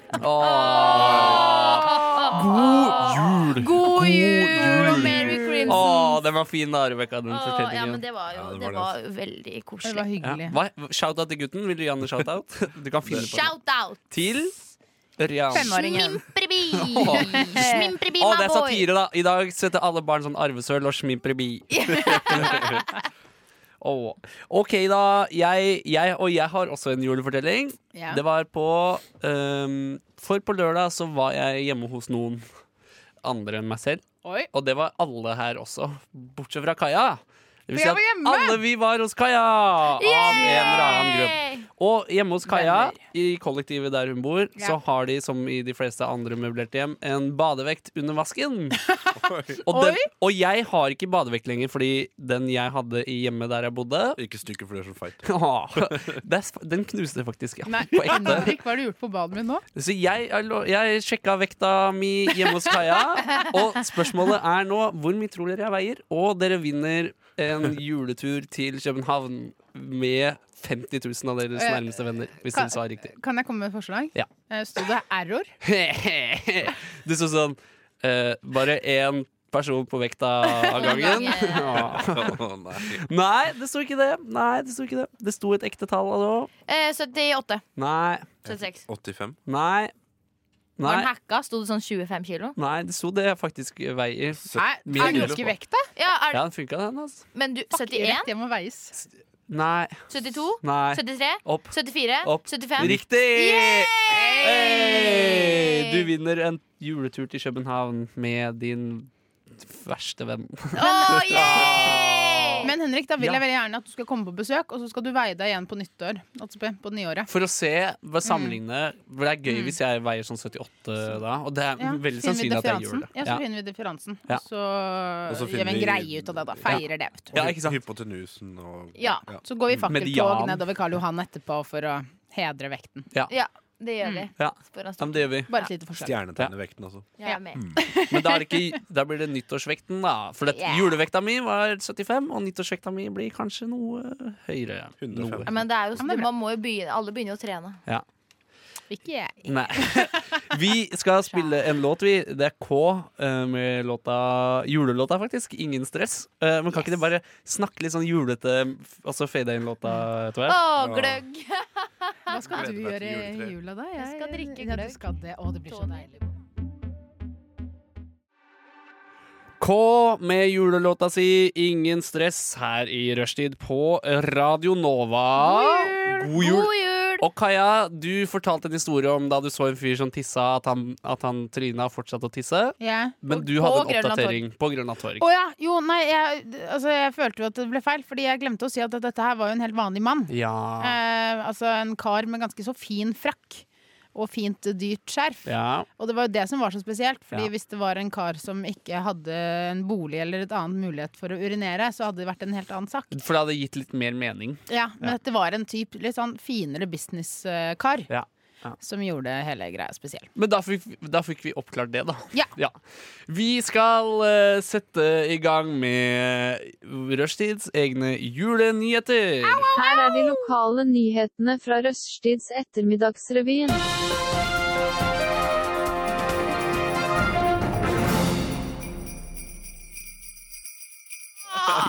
[SPEAKER 2] God jul!
[SPEAKER 3] God
[SPEAKER 2] jul!
[SPEAKER 3] jul og Merry
[SPEAKER 2] Å,
[SPEAKER 3] Christmas!
[SPEAKER 2] den var fin da, Rebekka, den
[SPEAKER 3] Åh, ja, men
[SPEAKER 2] fortellingen.
[SPEAKER 3] det var jo
[SPEAKER 5] Ja, det var
[SPEAKER 3] det
[SPEAKER 5] det,
[SPEAKER 3] var veldig
[SPEAKER 4] Det
[SPEAKER 3] koselig.
[SPEAKER 4] var hyggelig.
[SPEAKER 2] Ja. Hva- Shout-out til gutten. Vil du gi han en shout-out? Du kan finne på det.
[SPEAKER 3] Shout out!
[SPEAKER 2] Til Rian.
[SPEAKER 4] Femåringen.
[SPEAKER 3] Smimprebi!
[SPEAKER 2] Åh.
[SPEAKER 3] Smimprebi,
[SPEAKER 2] Å,
[SPEAKER 3] my
[SPEAKER 2] det er
[SPEAKER 3] boy!
[SPEAKER 2] satire, da. I dag setter alle barn sånn arvesøl og schmimprebi. Åh. OK, da. Jeg, jeg og jeg har også en julefortelling.
[SPEAKER 4] Ja.
[SPEAKER 2] Det var på ehm, For på lørdag så var jeg hjemme hos noen andre enn meg selv.
[SPEAKER 4] Oi.
[SPEAKER 2] Og det var alle her også, bortsett fra Kaja. Det vil si
[SPEAKER 4] For jeg
[SPEAKER 2] at
[SPEAKER 4] var hjemme!
[SPEAKER 2] alle vi var hos Kaja! Av en eller annen grunn.
[SPEAKER 3] Yay!
[SPEAKER 2] Og hjemme hos Kaja, i kollektivet der hun bor, så har de, som i de fleste andre møblerte hjem, en badevekt under vasken. og, den, og jeg har ikke badevekt lenger, fordi den jeg hadde i hjemmet der jeg bodde
[SPEAKER 5] Ikke stykket, for det er så feit.
[SPEAKER 2] Åh, det er, sp- Den knuste faktisk. Ja.
[SPEAKER 4] Nei,
[SPEAKER 2] På ekte.
[SPEAKER 4] Henrik, hva har du gjort på badet mitt nå?
[SPEAKER 2] Så jeg, er lo- jeg sjekka vekta mi hjemme hos Kaja, og spørsmålet er nå hvor mye tror dere jeg veier? Og dere vinner en juletur til København med 50 000 av deres nærmeste venner, hvis dere svarer riktig.
[SPEAKER 4] Kan jeg komme med et forslag?
[SPEAKER 2] Ja.
[SPEAKER 4] Eh, Sto det error?
[SPEAKER 2] Du så sånn eh, Bare én person på vekta av gangen. Ja.
[SPEAKER 5] Å, nei.
[SPEAKER 2] Nei, det sto ikke det. Nei, Det sto ikke det Det sto et ekte tall altså.
[SPEAKER 3] Eh, 78.
[SPEAKER 2] Nei.
[SPEAKER 3] 76.
[SPEAKER 5] 85?
[SPEAKER 2] Nei.
[SPEAKER 3] Var
[SPEAKER 2] Nei.
[SPEAKER 3] den hacka? Sto det sånn 25 kilo?
[SPEAKER 2] Nei, det sto det jeg faktisk veier.
[SPEAKER 4] Nei,
[SPEAKER 2] Min
[SPEAKER 4] er du
[SPEAKER 2] lurer
[SPEAKER 4] ikke
[SPEAKER 5] på.
[SPEAKER 4] vekta?
[SPEAKER 3] Ja, er,
[SPEAKER 2] Ja, den funka, den. altså
[SPEAKER 3] Men du
[SPEAKER 4] Fuck,
[SPEAKER 3] 71?
[SPEAKER 4] rett, Jeg må veies.
[SPEAKER 2] Nei.
[SPEAKER 3] 72?
[SPEAKER 2] Nei.
[SPEAKER 3] 73?
[SPEAKER 2] Opp.
[SPEAKER 3] 74?
[SPEAKER 2] Opp.
[SPEAKER 3] 75?
[SPEAKER 2] Riktig! Hey! Du vinner en juletur til København med din verste venn.
[SPEAKER 3] Åh, yay!
[SPEAKER 4] Men Henrik, da vil
[SPEAKER 2] Ja.
[SPEAKER 4] jeg veldig gjerne at du skal komme på besøk, og så skal du veie deg igjen på nyttår. Altså på, på nyåret.
[SPEAKER 2] For å se, bare
[SPEAKER 4] Mm.
[SPEAKER 2] sammenligne For det er gøy hvis jeg veier sånn 78 da. Og det er
[SPEAKER 4] Ja,
[SPEAKER 2] veldig
[SPEAKER 4] finner vi
[SPEAKER 2] sannsynlig at jeg gjør
[SPEAKER 4] differansen?
[SPEAKER 2] det.
[SPEAKER 4] Ja, så
[SPEAKER 2] Ja.
[SPEAKER 4] finner vi differansen.
[SPEAKER 2] Ja.
[SPEAKER 4] Og så,
[SPEAKER 5] Og så
[SPEAKER 4] gjør
[SPEAKER 5] finner
[SPEAKER 4] vi en
[SPEAKER 5] vi-
[SPEAKER 4] greie ut av det, da. Feirer det, vet du.
[SPEAKER 2] Ja, ikke sant?
[SPEAKER 5] Hypotenusen og
[SPEAKER 4] Ja. Så går vi fakkeltog
[SPEAKER 2] Median.
[SPEAKER 4] nedover Karl Johan etterpå for å hedre vekten.
[SPEAKER 3] Ja, det gjør vi.
[SPEAKER 4] Mm.
[SPEAKER 2] Ja.
[SPEAKER 3] Spør han
[SPEAKER 2] Ja, men det gjør vi.
[SPEAKER 4] Bare et lite forslag.
[SPEAKER 5] Stjernetegnevekten, altså.
[SPEAKER 3] Jeg er med.
[SPEAKER 2] Men da, er det ikke, da blir det nyttårsvekten, da. For det,
[SPEAKER 3] Yeah.
[SPEAKER 2] julevekta mi var 75, og nyttårsvekta mi blir kanskje noe høyere.
[SPEAKER 5] 105.
[SPEAKER 2] Noe.
[SPEAKER 3] Ja, men det er jo
[SPEAKER 4] men det er bra.
[SPEAKER 3] man må jo begynne, alle begynner jo å trene.
[SPEAKER 4] Ikke jeg.
[SPEAKER 2] Nei. Vi skal spille en låt, vi. Det er K eh, med låta Julelåta, faktisk. Ingen stress. Eh, Men kan ikke
[SPEAKER 4] Yes.
[SPEAKER 2] dere bare snakke litt sånn julete, f- altså fade inn låta,
[SPEAKER 3] Å,
[SPEAKER 2] Tove?
[SPEAKER 3] gløgg!
[SPEAKER 4] Hva skal
[SPEAKER 5] Gleder
[SPEAKER 4] du
[SPEAKER 5] meg til
[SPEAKER 4] gjøre i
[SPEAKER 5] juletreet.
[SPEAKER 4] jula, da?
[SPEAKER 3] Jeg skal drikke
[SPEAKER 4] ja, du
[SPEAKER 3] gløgg.
[SPEAKER 4] skal det. Å, det blir så
[SPEAKER 3] Tony.
[SPEAKER 4] deilig.
[SPEAKER 2] K med julelåta si Ingen stress her i rushtid på Radio Nova. God jul!
[SPEAKER 3] God jul!
[SPEAKER 2] Og Kaja, du fortalte en historie om da du så en fyr som tissa, at han, at han tryna og fortsatte å tisse.
[SPEAKER 4] Ja.
[SPEAKER 2] Men du
[SPEAKER 3] På
[SPEAKER 2] hadde en
[SPEAKER 3] Grønland
[SPEAKER 2] oppdatering på Grønland Torg.
[SPEAKER 4] Å ja, jo, nei, jeg, altså, jeg følte jo at det ble feil, fordi jeg glemte å si at dette her var jo en helt vanlig mann.
[SPEAKER 2] Ja.
[SPEAKER 4] Eh, altså en kar med ganske så fin frakk. Og fint, dyrt skjerf.
[SPEAKER 2] ja.
[SPEAKER 4] Og det var jo det som var så spesielt. Fordi
[SPEAKER 2] Ja.
[SPEAKER 4] hvis det var en kar som ikke hadde en bolig eller et annet mulighet for å urinere, så hadde det vært en helt annen sak.
[SPEAKER 2] For det hadde gitt litt mer mening.
[SPEAKER 4] Ja, Men dette var en typ litt sånn finere businesskar
[SPEAKER 2] Ja. Ja.
[SPEAKER 4] som gjorde hele greia spesiell.
[SPEAKER 2] Men da fikk, da fikk vi oppklart det, da.
[SPEAKER 4] Ja.
[SPEAKER 2] Vi skal eh, sette i gang med Rushtids egne julenyheter.
[SPEAKER 6] Her er de lokale nyhetene fra Røststids ettermiddagsrevyen.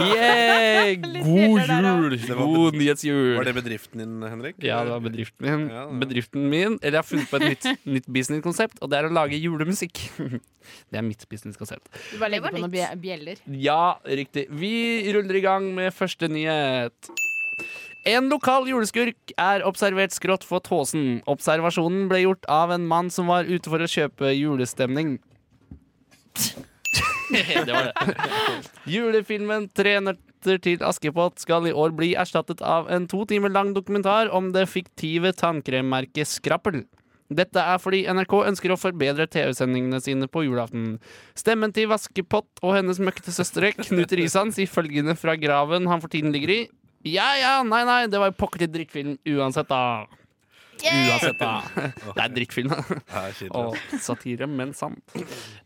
[SPEAKER 2] Yeah! God jul!
[SPEAKER 5] Det var
[SPEAKER 2] God
[SPEAKER 5] bed-
[SPEAKER 2] nyhetsjul.
[SPEAKER 5] Var det bedriften din, Henrik?
[SPEAKER 2] Ja, det var bedriften min.
[SPEAKER 5] Ja, det-
[SPEAKER 2] Bedriften min Eller jeg har funnet på et nytt, nytt businesskonsept, og det er å lage julemusikk. Det er mitt businesskonsept.
[SPEAKER 4] Du bare
[SPEAKER 3] Det
[SPEAKER 4] legger
[SPEAKER 3] var
[SPEAKER 4] på noen
[SPEAKER 3] nytt.
[SPEAKER 4] bje- bjeller.
[SPEAKER 2] Ja, riktig. Vi ruller i gang med første nyhet. En lokal juleskurk er observert skrått for tåsen. Observasjonen ble gjort av en mann som var ute for å kjøpe julestemning. det var det. Julefilmen 'Tre nøtter til Askepott' skal i år bli erstattet av en to timer lang dokumentar om det fiktive tannkremmerket Skrappel. Dette er fordi NRK ønsker å forbedre TV-sendingene sine på julaften. Stemmen til Vaskepott og hennes møkkete søstre, Knut Risan, sier følgende fra graven han for tiden ligger i. Ja ja, nei nei, det var jo pokker til drittfilm uansett, da. Uansett, da. Det er drittfilm, da.
[SPEAKER 5] Her sitter
[SPEAKER 2] Og
[SPEAKER 5] det.
[SPEAKER 2] satire, men sant.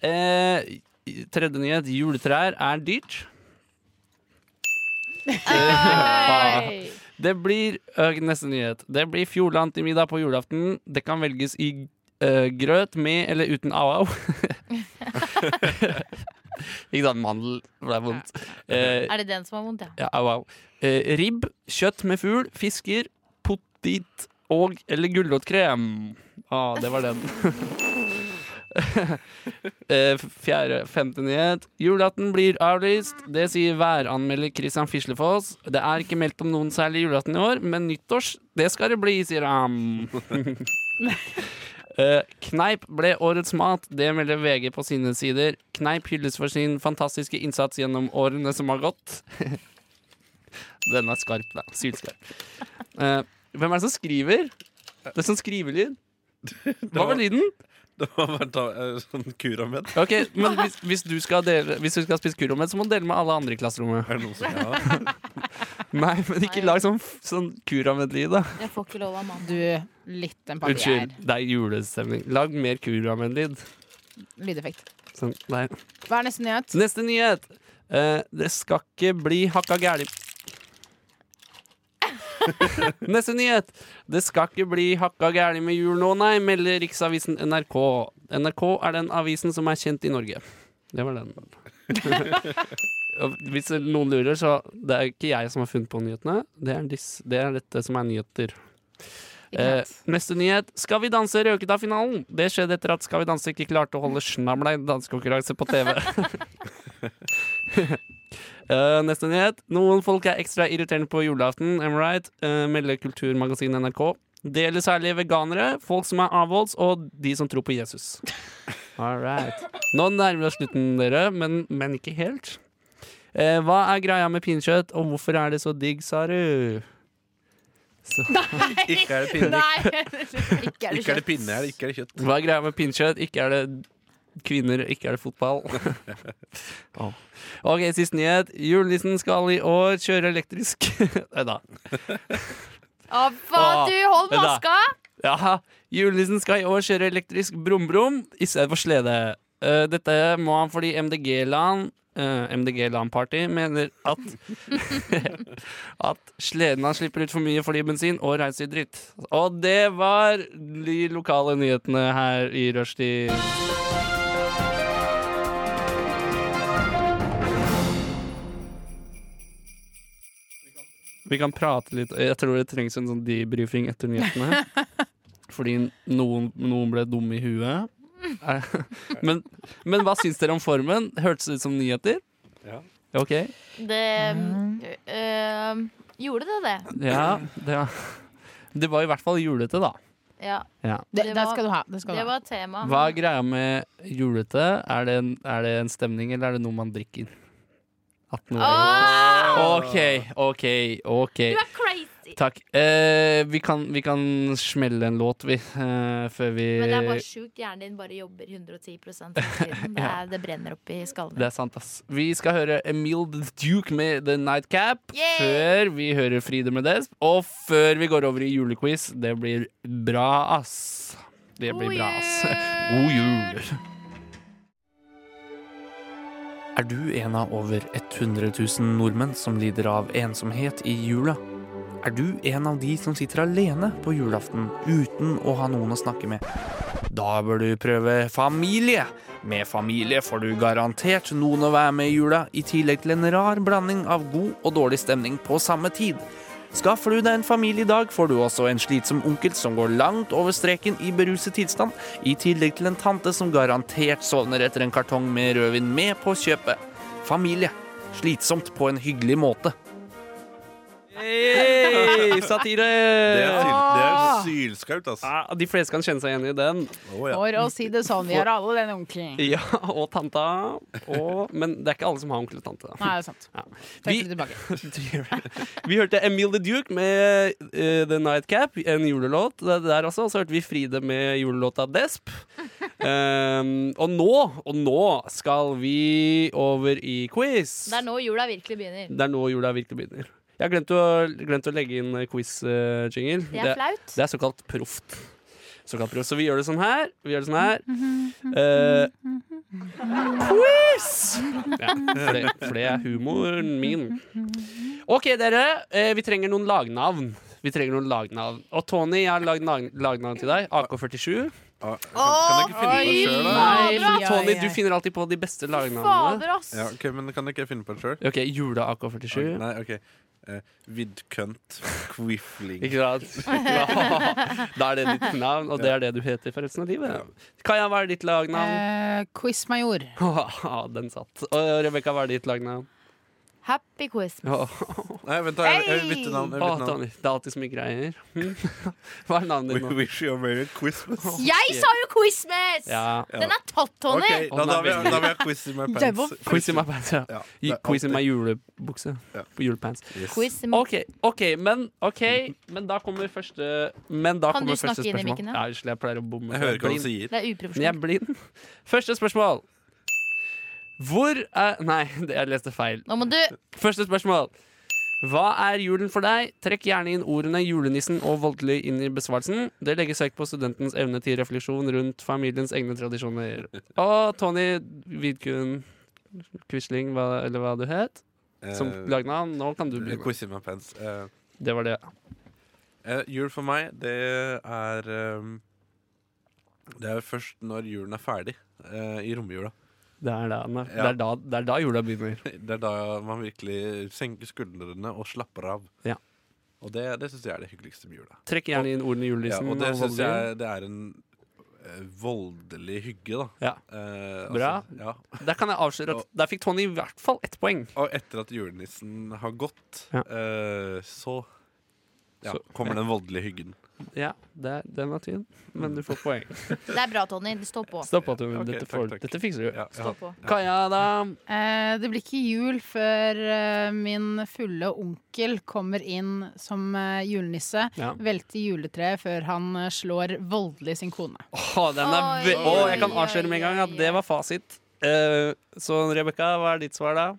[SPEAKER 2] Eh, tredje nyhet. Juletrær er dyrt.
[SPEAKER 3] Hey.
[SPEAKER 2] Det blir ø, Neste nyhet. Det blir fjordland til middag på julaften. Det kan velges i ø, grøt med eller uten au-au. Ikke sant? Mandel for det er vondt. Eh,
[SPEAKER 3] Er det den som har vondt, ja?
[SPEAKER 2] ja, au-au. Eh, ribb, kjøtt med fugl, fisker, potet og eller gulrotkrem. Ah, det var den. Eh, Fjerde, femte nyhet. Julaften blir avlyst. Det sier væranmelder Christian Fislefoss. Det er ikke meldt om noen særlig julaften i år, men nyttårs, det skal det bli, sier han. Eh, Kneip ble årets mat, det melder VG på sine sider. Kneip hylles for sin fantastiske innsats gjennom årene som har gått. Den er skarp, da. Sylskarp. Eh, hvem er det som skriver? Det er sånn skrivelyd. Hva var lyden?
[SPEAKER 5] Det var bare ta, eh, sånn kurament.
[SPEAKER 2] Ok, men hvis, hvis, du skal dele, hvis du skal spise kurommet, så må du dele med alle andre i klasserommet.
[SPEAKER 5] Er det noen som ja.
[SPEAKER 2] Nei, men ikke lag sånn, f- sånn kurommet-lyd, da.
[SPEAKER 3] Jeg får ikke lov av mannen.
[SPEAKER 4] Du, litt en papier.
[SPEAKER 2] Unnskyld, det er julestemning. Lag mer kurommet-lyd.
[SPEAKER 4] Lydeffekt.
[SPEAKER 2] Sånn, nei.
[SPEAKER 4] Hva er neste nyhet?
[SPEAKER 2] Neste nyhet. Eh, det skal ikke bli hakka gæli... Neste nyhet. Det skal ikke bli hakka gæli med jul nå, nei, melder riksavisen NRK. NRK er den avisen som er kjent i Norge. Det var den. Og Hvis noen lurer, så det er ikke jeg som har funnet på nyhetene. Det er, disse, det er dette som er nyheter. Eh, neste nyhet. Skal vi danse røket av finalen? Det skjedde etter at Skal vi danse ikke klarte å holde snabla i en dansekonkurranse på TV. Eh, neste nyhet. Noen folk er ekstra irriterende på julaften, am I right? Eh, melder kulturmagasinet NRK. Det gjelder særlig veganere, folk som er avholds, og de som tror på Jesus. All right. Nå nærmer vi oss slutten, dere, men, men ikke helt. Eh, hva er greia med pinnekjøtt, og hvorfor er det så digg, sa du? Så.
[SPEAKER 5] Ikke er det pinne,
[SPEAKER 3] Ikke er det
[SPEAKER 5] ikke er det
[SPEAKER 3] kjøtt.
[SPEAKER 5] pinne her, ikke er det kjøtt.
[SPEAKER 2] Hva er greia med pinnekjøtt? Ikke er det kvinner, ikke er det fotball. Åh. Ok, siste nyhet. Julenissen skal i år kjøre elektrisk. Nei da.
[SPEAKER 3] Å, faen, du,
[SPEAKER 2] Vent
[SPEAKER 3] hold
[SPEAKER 2] da.
[SPEAKER 3] maska!
[SPEAKER 2] Ja, julenissen skal i år kjøre elektrisk brum-brum i stedet for slede. Eh, dette må han fordi MDG-land eh, MDG-land-party mener at At sleden hans slipper ut for mye fordi bensin og reinsdyrdritt. Og det var de lokale nyhetene her i rushtid. Vi kan prate litt Jeg tror det trengs en sånn debriefing etter nyhetene. Fordi noen, noen ble dumme i huet. Eh, Men, men hva syns dere om formen? Hørtes det ut som nyheter?
[SPEAKER 5] Ja.
[SPEAKER 2] Ok.
[SPEAKER 3] Det
[SPEAKER 2] Mm.
[SPEAKER 3] øh, Gjorde det det?
[SPEAKER 2] Ja, det, det var i hvert fall julete, da.
[SPEAKER 3] Ja.
[SPEAKER 2] Ja.
[SPEAKER 4] Det,
[SPEAKER 3] Det
[SPEAKER 4] det
[SPEAKER 3] var-
[SPEAKER 4] skal du ha. Det skal
[SPEAKER 3] Det
[SPEAKER 4] du ha.
[SPEAKER 3] var tema.
[SPEAKER 2] Hva er greia med julete? Er det, en, er det en stemning, eller er det noe man drikker? At noe
[SPEAKER 3] Åh!
[SPEAKER 2] OK, OK, OK.
[SPEAKER 3] Du er crazy!
[SPEAKER 2] Takk. Eh, vi, kan, vi kan smelle en låt, vi, eh, før vi
[SPEAKER 3] Men det er bare sjukt. Hjernen din bare jobber 110 hele tiden. Det, er, det brenner opp i skallen.
[SPEAKER 2] Det er sant, ass. Vi skal høre Emil the Duke med The Nightcap.
[SPEAKER 3] Yay!
[SPEAKER 2] Før vi hører Fride med Desp, og før vi går over i julequiz. Det blir bra, ass. Det blir
[SPEAKER 3] God
[SPEAKER 2] bra, ass.
[SPEAKER 3] jul!
[SPEAKER 2] God jul!
[SPEAKER 7] Er du en av over 100 000 nordmenn som lider av ensomhet i jula? Er du en av de som sitter alene på julaften uten å ha noen å snakke med? Da bør du prøve familie. Med familie får du garantert noen å være med i jula, i tillegg til en rar blanding av god og dårlig stemning på samme tid. Skaffer du deg en familie i dag, får du også en slitsom onkel som går langt over streken i beruset tilstand, i tillegg til en tante som garantert sovner etter en kartong med rødvin med på kjøpet. Familie. Slitsomt på en hyggelig måte.
[SPEAKER 2] Hey, satire!
[SPEAKER 5] Det er, syl, det er sylskarpt, altså.
[SPEAKER 2] Ah, de fleste kan kjenne seg igjen i den.
[SPEAKER 5] Å, ja.
[SPEAKER 4] For å si det sånn, vi har alle den onkelen. Nei,
[SPEAKER 2] Ja, Og tanta. Og, men det er ikke alle som har onkel og tante. Da.
[SPEAKER 4] det er sant.
[SPEAKER 2] Ja.
[SPEAKER 4] Trekker det tilbake.
[SPEAKER 2] Vi hørte Emil the Duke med eh, The Nightcap, en julelåt det er der også. Og så hørte vi Fride med julelåta Desp. Ehm, og nå, og nå skal vi over i quiz.
[SPEAKER 3] Det er nå jula virkelig begynner.
[SPEAKER 2] Det er nå jula virkelig begynner. Jeg har glemt å, glemt å legge inn quiz-jingle.
[SPEAKER 3] Det er flaut.
[SPEAKER 2] Det er såkalt proft. Såkalt proft. Så vi gjør det sånn her. Vi gjør det sånn her. Eh, quiz! Ja, for, det, for det er humoren min. OK, dere. eh, vi trenger noen lagnavn. Vi trenger noen lagnavn. Og Tony, jeg har lagd nag- lagnavn til deg. AK47.
[SPEAKER 5] Ah, Kan, kan jeg ikke finne på det sjøl, da?
[SPEAKER 2] Nei,
[SPEAKER 4] Fader,
[SPEAKER 2] men
[SPEAKER 4] ass!
[SPEAKER 2] Tony,
[SPEAKER 4] Ai, ai,
[SPEAKER 2] du
[SPEAKER 4] ai.
[SPEAKER 2] finner alltid på de beste lagnavnene.
[SPEAKER 3] Fader, ass!
[SPEAKER 5] Ja, ok, men kan jeg ikke finne på det sjøl?
[SPEAKER 2] OK, jule-AK47.
[SPEAKER 5] Nei, ok Eh, Vidkønt Quifling
[SPEAKER 2] Ikke sant? Da er det ditt navn, og det er det du heter for resten av livet. Kaja, hva er ditt lagnavn?
[SPEAKER 4] Eh, Quizmajor.
[SPEAKER 2] Haha, Den satt. Og Rebekka, hva er ditt lagnavn?
[SPEAKER 3] Happy quiz.
[SPEAKER 2] Åh,
[SPEAKER 5] Nei, vent da, jeg, jeg vil bytte navn, jeg vil
[SPEAKER 2] åh,
[SPEAKER 5] bytte navn.
[SPEAKER 2] Tony, det er alltid så mye greier. Hm? Hva er navnet ditt
[SPEAKER 5] We
[SPEAKER 2] nå?
[SPEAKER 5] wish you a merry Christmas
[SPEAKER 3] Jeg sa jo quizmas!
[SPEAKER 2] Ja.
[SPEAKER 5] Ja.
[SPEAKER 3] Den er tatt, Tony.
[SPEAKER 5] Ok, da, da, vil jeg, da vil jeg quiz in my
[SPEAKER 4] Devil.
[SPEAKER 5] pants
[SPEAKER 2] Quiz in my pants, ja.
[SPEAKER 5] Ja, det
[SPEAKER 2] Ju-
[SPEAKER 5] er
[SPEAKER 2] Quiz in my
[SPEAKER 5] alltid-
[SPEAKER 2] julebukse.
[SPEAKER 5] Ja.
[SPEAKER 2] Julepants.
[SPEAKER 5] yes.
[SPEAKER 3] Quiz i morgen.
[SPEAKER 2] OK, ok, men, ok, men da kommer første Men da
[SPEAKER 3] Kan du
[SPEAKER 2] kommer første
[SPEAKER 3] snakke inn i
[SPEAKER 2] spørsmål.
[SPEAKER 3] mikken da?
[SPEAKER 2] Ja, unnskyld, jeg pleier å bomme.
[SPEAKER 5] Jeg hører ikke hva han
[SPEAKER 2] Blind.
[SPEAKER 5] sier
[SPEAKER 3] Det
[SPEAKER 2] Men
[SPEAKER 3] er
[SPEAKER 2] jeg er
[SPEAKER 3] uprofesjonelt.
[SPEAKER 2] blind. Første spørsmål. Hvor er Nei, det- jeg leste feil.
[SPEAKER 3] Nå må du
[SPEAKER 2] Første spørsmål. Hva er julen for deg? Trekk gjerne inn ordene 'julenissen' og 'voldelig' inn i besvarelsen. Det legges vekt på studentens evne til refleksjon rundt familiens egne tradisjoner. Og Tony Vidkun Quisling, hva, eller hva du het, som
[SPEAKER 5] Eh,
[SPEAKER 2] lagnavn. Nå kan du bli med.
[SPEAKER 5] Quiz in my pants Eh,
[SPEAKER 2] Det var det.
[SPEAKER 5] eh, Jul for meg, det er ehm, Det er først når julen er ferdig eh, I romjula
[SPEAKER 2] Det er da, den er- det
[SPEAKER 5] Ja.
[SPEAKER 2] er da, det er da jula begynner.
[SPEAKER 5] Det er da man virkelig senker skuldrene og slapper av
[SPEAKER 2] Ja.
[SPEAKER 5] Og det, det synes jeg er det hyggeligste med jula
[SPEAKER 2] Trekk gjerne inn ordene 'julenissen'
[SPEAKER 5] ja, Og
[SPEAKER 2] og,
[SPEAKER 5] det synes
[SPEAKER 2] voldelig.
[SPEAKER 5] jeg det er en eh, voldelig hygge da
[SPEAKER 2] Ja.
[SPEAKER 5] Eh,
[SPEAKER 2] Bra.
[SPEAKER 5] Altså, ja.
[SPEAKER 2] Der kan jeg avsløre at der fikk Tony i hvert fall ett poeng.
[SPEAKER 5] Og etter at julenissen har gått,
[SPEAKER 2] Ja.
[SPEAKER 5] eh, så ja,
[SPEAKER 2] Så-
[SPEAKER 5] kommer den voldelige hyggen.
[SPEAKER 2] Ja, det, er- den var tynn, men du får poeng.
[SPEAKER 3] Det er bra, Tony. Stå på.
[SPEAKER 2] Stopp at du
[SPEAKER 5] Ok,
[SPEAKER 2] dette,
[SPEAKER 5] takk,
[SPEAKER 2] får,
[SPEAKER 5] takk.
[SPEAKER 2] dette fikser du.
[SPEAKER 5] Ja,
[SPEAKER 3] Stå
[SPEAKER 5] ja.
[SPEAKER 3] på.
[SPEAKER 2] Kaja, da?
[SPEAKER 4] Eh, det blir ikke jul før eh, min fulle onkel kommer inn som eh, julenisse.
[SPEAKER 2] Ja.
[SPEAKER 4] Velter juletreet før han eh, slår voldelig sin kone.
[SPEAKER 2] Å, den er
[SPEAKER 3] Oi,
[SPEAKER 2] ve Å, jeg kan
[SPEAKER 3] oi,
[SPEAKER 2] avsløre med en gang at
[SPEAKER 3] oi,
[SPEAKER 2] det
[SPEAKER 3] oi.
[SPEAKER 2] var fasit. Eh, så Rebekka, hva er ditt svar, da?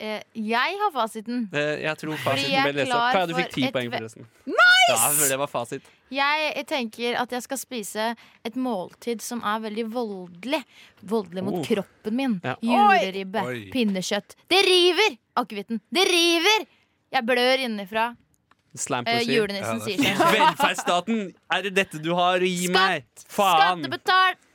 [SPEAKER 3] Eh, jeg har fasiten.
[SPEAKER 2] Eh, jeg tror fasiten
[SPEAKER 3] jeg
[SPEAKER 2] ble lest opp.
[SPEAKER 3] klar
[SPEAKER 2] Kaja, du fikk
[SPEAKER 3] for
[SPEAKER 2] ti
[SPEAKER 3] et
[SPEAKER 2] poeng,
[SPEAKER 3] ve-
[SPEAKER 2] forresten. Ja, for det var fasit.
[SPEAKER 3] Jeg tenker at jeg skal spise et måltid som er veldig voldelig. Voldelig mot
[SPEAKER 2] Oh.
[SPEAKER 3] kroppen min.
[SPEAKER 2] Ja.
[SPEAKER 3] Juleribbe,
[SPEAKER 5] Oi.
[SPEAKER 3] pinnekjøtt. Det river! Akevitten. Det river! Jeg blør innenfra.
[SPEAKER 2] Slam
[SPEAKER 3] Eh,
[SPEAKER 2] pussy.
[SPEAKER 3] julenissen sier seg.
[SPEAKER 2] Velferdsstaten, er det dette du har? Gi
[SPEAKER 3] Skatt!
[SPEAKER 2] meg! Faen!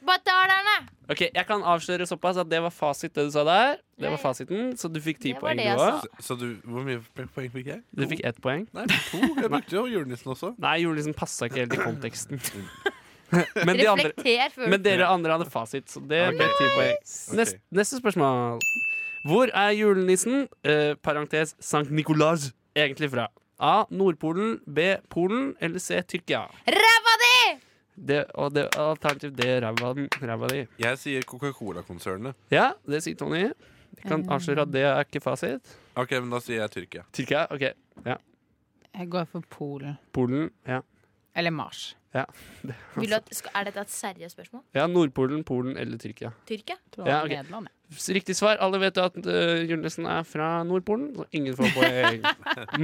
[SPEAKER 3] Skattebetalerne!
[SPEAKER 2] Ok, Jeg kan avsløre såpass at det var fasit, det du sa der. Det var fasiten, Så du fikk ti
[SPEAKER 3] Eh, Det var
[SPEAKER 2] poeng,
[SPEAKER 3] det
[SPEAKER 2] du
[SPEAKER 3] jeg
[SPEAKER 2] òg.
[SPEAKER 5] Så, så du, hvor mye poeng fikk jeg?
[SPEAKER 2] Du fikk ett poeng.
[SPEAKER 5] Nei, to. Jeg brukte jo julenissen også.
[SPEAKER 2] Nei, julenissen passa ikke helt i konteksten. Men, de andre,
[SPEAKER 3] Reflekter før
[SPEAKER 2] men dere andre hadde fasit, så det ble ti poeng. Neste, neste spørsmål. Hvor er julenissen, eh, parentes Sankt Nicolas, egentlig fra? A. Nordpolen. B. Polen. Eller C. Tyrkia.
[SPEAKER 3] Ræva di!
[SPEAKER 2] Det, og det, alternativ D. Ræva ræva di.
[SPEAKER 5] Jeg sier Coca-Cola-konsernet.
[SPEAKER 2] Ja, det sier Tony. Jeg kan avsløre at det er ikke fasit.
[SPEAKER 5] Ok, men da sier jeg Tyrkia.
[SPEAKER 2] Tyrkia, ok.
[SPEAKER 4] Jeg går for Polen.
[SPEAKER 2] Polen, ja.
[SPEAKER 4] Eller Mars.
[SPEAKER 3] Vil du at, skal- er dette et seriøst spørsmål?
[SPEAKER 2] Ja, Nordpolen, Polen eller Tyrkia.
[SPEAKER 3] Tyrkia?
[SPEAKER 4] Tror
[SPEAKER 2] Ja,
[SPEAKER 4] det var
[SPEAKER 2] ok.
[SPEAKER 4] Nederland, ja.
[SPEAKER 2] S- Riktig svar. Alle vet jo at uh, julenissen er fra Nordpolen, så ingen får poeng.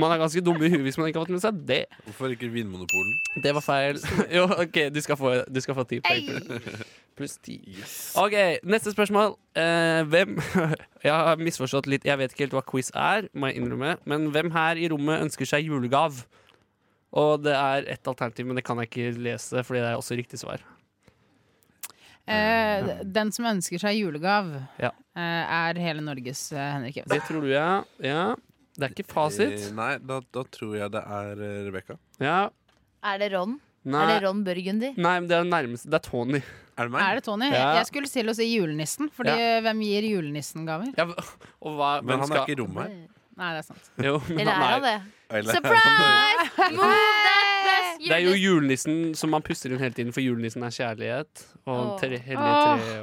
[SPEAKER 2] Man er ganske dum i huet hvis man ikke har fått med seg det.
[SPEAKER 5] Hvorfor ikke Vinmonopolen?
[SPEAKER 2] Det var feil. jo, OK, du skal få, du skal få ti poeng. for det. Pluss ti. OK, neste spørsmål. Eh, hvem Jeg har misforstått litt. Jeg vet ikke helt hva quiz er, må jeg innrømme. Men hvem her i rommet ønsker seg julegav? Og det er ett alternativ, men det kan jeg ikke lese, fordi det er også riktig svar.
[SPEAKER 4] Eh, den som ønsker seg julegav,
[SPEAKER 2] Mm. Ja.
[SPEAKER 4] eh, er hele Norges eh, Henrik
[SPEAKER 2] Det
[SPEAKER 4] Evensen.
[SPEAKER 2] tror du, ja. ja. Det er ikke fasit.
[SPEAKER 5] Eh, Nei, da, da tror jeg det er eh, Rebekka.
[SPEAKER 2] Ja.
[SPEAKER 3] Er det Ron?
[SPEAKER 2] Nei.
[SPEAKER 3] Er det Ron Burgundy?
[SPEAKER 2] Nei, men det er nærmest Det er Tony.
[SPEAKER 5] Er det meg?
[SPEAKER 4] Er det Tony?
[SPEAKER 2] Ja.
[SPEAKER 4] Jeg skulle til å si julenissen, Fordi hvem gir julenissen gaver?
[SPEAKER 2] Ja, og hva,
[SPEAKER 5] Men
[SPEAKER 2] hvem
[SPEAKER 5] han er
[SPEAKER 2] skal-
[SPEAKER 5] ikke i rommet her.
[SPEAKER 4] Nei, det er sant.
[SPEAKER 2] Jo, men
[SPEAKER 3] Eller er
[SPEAKER 2] han
[SPEAKER 3] han
[SPEAKER 2] er,
[SPEAKER 3] det?
[SPEAKER 5] Eller-
[SPEAKER 3] Surprise! Move that bus!
[SPEAKER 2] det er jo julenissen som man puster inn hele tiden, for julenissen er kjærlighet. Og
[SPEAKER 3] Åh.
[SPEAKER 2] tre, hellige
[SPEAKER 4] Åh.
[SPEAKER 2] tre.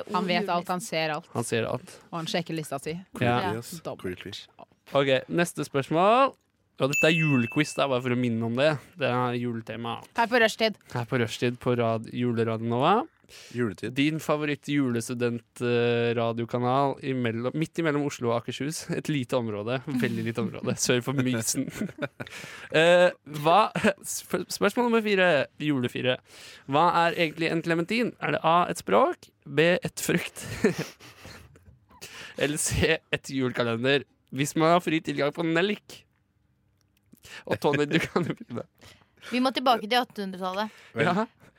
[SPEAKER 2] Og
[SPEAKER 4] Han vet alt, han ser alt,
[SPEAKER 2] han ser alt.
[SPEAKER 4] og han sjekker lista si.
[SPEAKER 2] Ja.
[SPEAKER 5] Yes,
[SPEAKER 4] Dobbelt.
[SPEAKER 5] creepy.
[SPEAKER 2] Ok, neste spørsmål. Og dette er julequiz, det er bare for å minne om det. Det er juletema
[SPEAKER 4] Her på rushtid.
[SPEAKER 2] her på rushtid på rad, Juleradio Nova.
[SPEAKER 5] Juletid.
[SPEAKER 2] Din favoritt julestudentradiokanal imellom- midt imellom Oslo og Akershus. Et lite område, veldig lite område, sør for Mysen. Eh, hva, sp- spørsmål nummer fire, julefire. Hva er egentlig en klementin? Er det A, et språk, B, et frukt, eller C, et julekalender? Hvis man har fri tilgang på Nellik. Og Tony, du kan jo begynne.
[SPEAKER 3] Vi må tilbake til 1800-tallet.
[SPEAKER 2] Ja.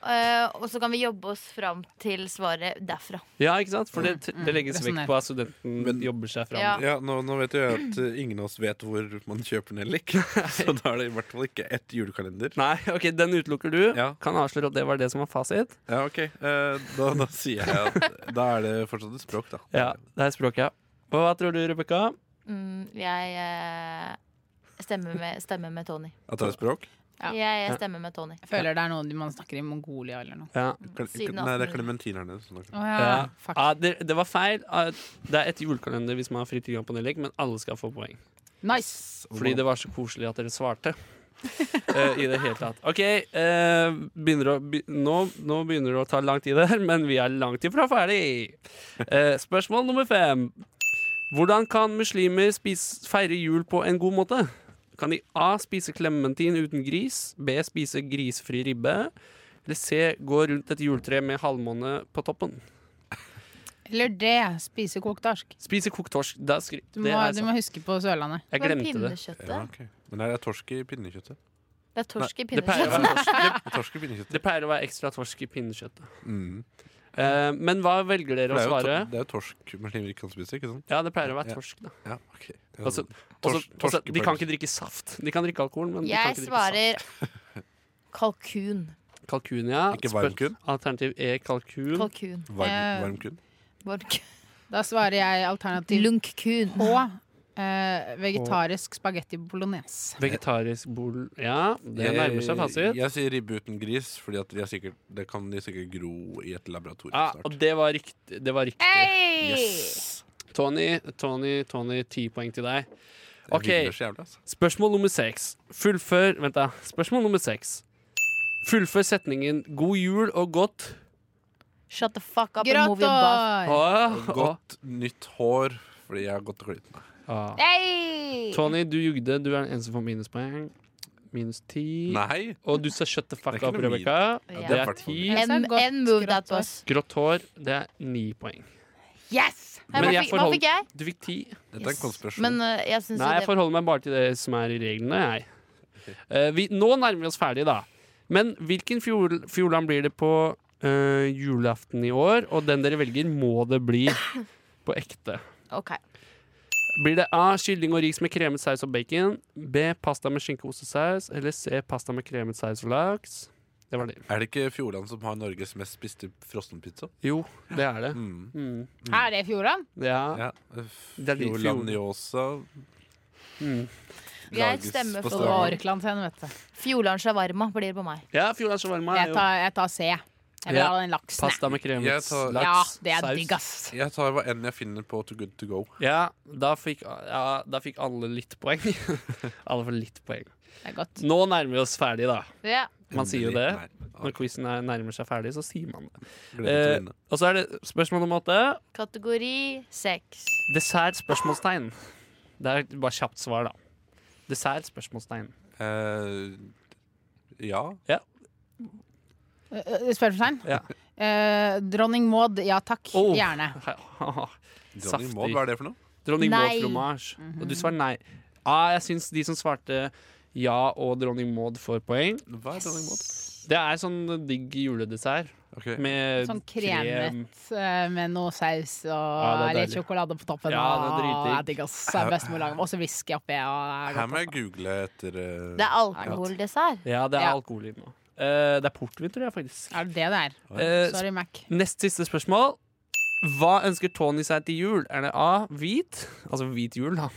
[SPEAKER 3] eh, og så kan vi jobbe oss fram til svaret derfra.
[SPEAKER 2] ja, ikke sant? For det, det legges vekk
[SPEAKER 4] resonner.
[SPEAKER 2] på at studenten
[SPEAKER 5] Men-
[SPEAKER 2] jobber seg fram.
[SPEAKER 3] Ja.
[SPEAKER 5] Ja, nå, nå vet jo jeg at eh, ingen av oss vet hvor man kjøper nellik, så da er det i hvert fall ikke ett julekalender.
[SPEAKER 2] Nei, ok, den utelukker du.
[SPEAKER 5] Ja.
[SPEAKER 2] Kan avsløre at det var det som var fasit.
[SPEAKER 5] Ja, ok. Eh, Da, da sier jeg at da er det fortsatt et språk, da.
[SPEAKER 2] Ja, det er språket, ja. Og hva tror du, Rebekka?
[SPEAKER 3] Mm, jeg eh, stemmer, med, stemmer med Tony.
[SPEAKER 5] At det er et språk?
[SPEAKER 4] Ja.
[SPEAKER 3] Jeg eh, stemmer med Tony.
[SPEAKER 4] Jeg føler det er noe man snakker i Mongolia eller noe.
[SPEAKER 2] Ja.
[SPEAKER 5] Kal-
[SPEAKER 3] Siden
[SPEAKER 5] Nei, det
[SPEAKER 3] 1800.
[SPEAKER 5] er klementin her nede. som snakker.
[SPEAKER 4] Å ja.
[SPEAKER 2] Ja.
[SPEAKER 4] Fuck.
[SPEAKER 2] Ah, det, det var feil. Ah, Det er et julekalender hvis man har fri tilgang på Nellik, men alle skal få poeng.
[SPEAKER 4] Nice!
[SPEAKER 2] Fordi det var så koselig at dere svarte. Eh, I det hele tatt. OK, eh, begynner å, be, nå, nå begynner det å ta lang tid her, men vi er langt ifra ferdig. Eh, spørsmål nummer fem. Hvordan kan muslimer spise, feire jul på en god måte? Kan de A. spise klementin uten gris? B. spise grisfri ribbe? Eller C. gå rundt et juletre med halvmåne på toppen?
[SPEAKER 4] Eller det. Spise kokt arsk.
[SPEAKER 2] Spise kokt torsk. Da skri,
[SPEAKER 4] Du
[SPEAKER 2] det
[SPEAKER 4] må,
[SPEAKER 2] er
[SPEAKER 4] du må
[SPEAKER 2] sant.
[SPEAKER 4] huske på Sørlandet.
[SPEAKER 2] Jeg
[SPEAKER 3] Men
[SPEAKER 2] glemte det.
[SPEAKER 3] pinnekjøttet?
[SPEAKER 5] Ja, ok. Men er det torsk i pinnekjøttet?
[SPEAKER 3] Det er torsk i
[SPEAKER 2] Det pleier, å
[SPEAKER 3] pinnekjøttet.
[SPEAKER 2] være torsk, det,
[SPEAKER 5] Torsk i pinnekjøttet.
[SPEAKER 2] det pleier å være ekstra torsk i pinnekjøttet.
[SPEAKER 5] Mm.
[SPEAKER 2] Eh, men hva velger
[SPEAKER 5] For Det,
[SPEAKER 2] dere å
[SPEAKER 5] er jo to,
[SPEAKER 2] svare?
[SPEAKER 5] det er jo torsk muslimer ikke kan spise, ikke sant?
[SPEAKER 2] Ja, det pleier å være
[SPEAKER 5] Ja.
[SPEAKER 2] torsk, da.
[SPEAKER 5] Ja, ok. Ja,
[SPEAKER 2] Altså,
[SPEAKER 5] tors-
[SPEAKER 2] Også, også, de kan
[SPEAKER 5] torskepølse.
[SPEAKER 2] ikke drikke saft. De kan drikke alkohol, men sånn, de kan
[SPEAKER 3] Jeg
[SPEAKER 2] ikke drikke saft.
[SPEAKER 3] svarer kalkun.
[SPEAKER 2] Kalkun, ja.
[SPEAKER 5] Ikke
[SPEAKER 2] Spør-
[SPEAKER 5] varmkun?
[SPEAKER 2] Alternativ E, kalkun.
[SPEAKER 3] Kalkun.
[SPEAKER 5] Varm,
[SPEAKER 4] Eh,
[SPEAKER 5] varm kun.
[SPEAKER 3] Bork.
[SPEAKER 4] Da svarer jeg alternativ
[SPEAKER 3] Lunkkun.
[SPEAKER 4] H. eh, vegetarisk spagetti bolognese.
[SPEAKER 2] Vegetarisk bol... Ja, det nærmer seg
[SPEAKER 5] Jeg,
[SPEAKER 2] fasit.
[SPEAKER 5] jeg sier ribbe uten gris, Fordi at de er sikkert, det kan de sikkert gro i et laboratorium
[SPEAKER 2] Ja, Ah, og
[SPEAKER 5] snart.
[SPEAKER 2] det var riktig. Det var riktig.
[SPEAKER 5] Yes.
[SPEAKER 2] Tony, Tony, Tony, ti poeng til deg.
[SPEAKER 5] Jeg
[SPEAKER 2] Ok.
[SPEAKER 5] hyller så jævlig, altså.
[SPEAKER 2] Spørsmål nummer seks. Fullfør Vent, da. Spørsmål nummer seks. Fullfør setningen 'God jul og godt'
[SPEAKER 3] Shut the fuck up and move your butt.
[SPEAKER 4] Gratulerer!
[SPEAKER 2] Åh, åh.
[SPEAKER 5] Godt nytt hår, fordi jeg har gått og klippet meg.
[SPEAKER 2] Tony, du jugde. Du er den eneste som får minuspoeng. minus ti.
[SPEAKER 5] Nei!
[SPEAKER 2] Og du sa 'shut the fuck
[SPEAKER 5] Det er ikke
[SPEAKER 2] up',
[SPEAKER 5] noe min.
[SPEAKER 2] Rebekka.
[SPEAKER 5] Ja,
[SPEAKER 2] Det
[SPEAKER 5] er
[SPEAKER 2] er
[SPEAKER 5] faktisk-
[SPEAKER 2] ti.
[SPEAKER 4] Jeg sa
[SPEAKER 3] En,
[SPEAKER 4] godt
[SPEAKER 3] en move that
[SPEAKER 4] grått hår.
[SPEAKER 3] was.
[SPEAKER 2] Grått hår, det er ni poeng.
[SPEAKER 3] Yes! Hva
[SPEAKER 2] Men jeg
[SPEAKER 3] fikk, hva
[SPEAKER 2] forhold-
[SPEAKER 3] fikk jeg?
[SPEAKER 2] Du fikk ti.
[SPEAKER 5] Dette er en
[SPEAKER 3] Yes.
[SPEAKER 5] konspirasjon.
[SPEAKER 3] Men eh, jeg syns jo
[SPEAKER 2] Nei, jeg
[SPEAKER 3] det
[SPEAKER 2] forholder meg bare til det som er i reglene, jeg. Eh, vi, nå nærmer vi oss ferdig, da. Men hvilken fjol, fjordland blir det på eh, julaften i år? Og den dere velger, må det bli på ekte.
[SPEAKER 3] OK.
[SPEAKER 2] Blir det A. Kylling og ris med kremet saus og bacon. B. Pasta med skinke og ostesaus. Eller C. Pasta med kremet saus og laks. Det var det.
[SPEAKER 5] Er det ikke Fjordland som har Norges mest spiste frossenpizza?
[SPEAKER 2] Jo, det er det.
[SPEAKER 5] Mm.
[SPEAKER 2] Mm.
[SPEAKER 4] Er det Fjordland?
[SPEAKER 2] Ja.
[SPEAKER 5] Ja.
[SPEAKER 2] Det er litt
[SPEAKER 5] Fjordland Njåsa
[SPEAKER 2] Mm.
[SPEAKER 3] Jeg
[SPEAKER 5] lages
[SPEAKER 3] stemmer
[SPEAKER 5] på
[SPEAKER 3] for
[SPEAKER 5] Stavanger.
[SPEAKER 3] Fjordland.
[SPEAKER 4] Orkland sen, vet du.
[SPEAKER 3] Fjordland shawarma blir det på meg.
[SPEAKER 2] ja Fjordland shawarma er
[SPEAKER 4] Jeg
[SPEAKER 2] jo
[SPEAKER 4] tar, jeg tar C. Jeg vil
[SPEAKER 2] Ja.
[SPEAKER 4] ha den laksen. jeg.
[SPEAKER 2] pasta med
[SPEAKER 5] Jeg
[SPEAKER 2] kremet
[SPEAKER 5] tar-
[SPEAKER 4] Ja,
[SPEAKER 2] laks,
[SPEAKER 4] det er
[SPEAKER 2] saus.
[SPEAKER 4] digg, ass.
[SPEAKER 5] Jeg tar hva enn jeg finner på Too Good To Go.
[SPEAKER 2] Ja, da fikk, ja, da fikk alle litt poeng. alle får litt poeng.
[SPEAKER 4] Det er godt.
[SPEAKER 2] Nå nærmer vi oss ferdig, da.
[SPEAKER 3] Ja.
[SPEAKER 2] Man sier jo
[SPEAKER 5] Endelig.
[SPEAKER 2] det. Når quizen nærmer seg ferdig, så sier man det.
[SPEAKER 5] Nei, gleder meg til å
[SPEAKER 2] Eh,
[SPEAKER 5] vinne.
[SPEAKER 2] Og så er det spørsmål nummer åtte.
[SPEAKER 3] Kategori seks.
[SPEAKER 2] Dessert spørsmålstegn. Det er bare kjapt svar, da. Dessert spørsmålstegn.
[SPEAKER 5] Eh, ja.
[SPEAKER 4] Øh, øh, Spørsmålstegn?
[SPEAKER 2] Ja.
[SPEAKER 4] Eh, dronning Maud, ja takk.
[SPEAKER 2] Oh.
[SPEAKER 4] Gjerne.
[SPEAKER 5] Johnny
[SPEAKER 2] Saftig.
[SPEAKER 5] Maud, hva er det for noe?
[SPEAKER 2] Dronning Maud
[SPEAKER 3] Nei.
[SPEAKER 2] fromage. Og
[SPEAKER 4] Mhm.
[SPEAKER 2] du svarer nei. Ah, jeg syns de som svarte ja og dronning Maud, får poeng.
[SPEAKER 5] Hva er Dronning Maud?
[SPEAKER 2] Det er sånn digg juledessert
[SPEAKER 5] Ok.
[SPEAKER 2] med
[SPEAKER 4] Sånn
[SPEAKER 2] krem.
[SPEAKER 4] kremet eh, med noe saus og
[SPEAKER 2] Ja, det er
[SPEAKER 4] litt
[SPEAKER 2] deilig.
[SPEAKER 4] sjokolade på toppen.
[SPEAKER 2] Ja, det er
[SPEAKER 4] og-
[SPEAKER 2] dritdigg.
[SPEAKER 4] ja, digg, ass. Det er bestemor lager. Og så whisky oppi. Ja, det er
[SPEAKER 5] Her må
[SPEAKER 4] godt,
[SPEAKER 5] jeg google etter eh,
[SPEAKER 3] Det er alkoholdessert.
[SPEAKER 2] Ja, det er
[SPEAKER 4] Ja.
[SPEAKER 2] alkohol i den nå. Eh, det er portvin, tror jeg faktisk.
[SPEAKER 4] ass. Er det det det er?
[SPEAKER 2] Eh,
[SPEAKER 4] Sorry, Mac.
[SPEAKER 2] Nest siste spørsmål. Hva ønsker Tony seg til jul? Er det A. Hvit? Altså hvit jul, da.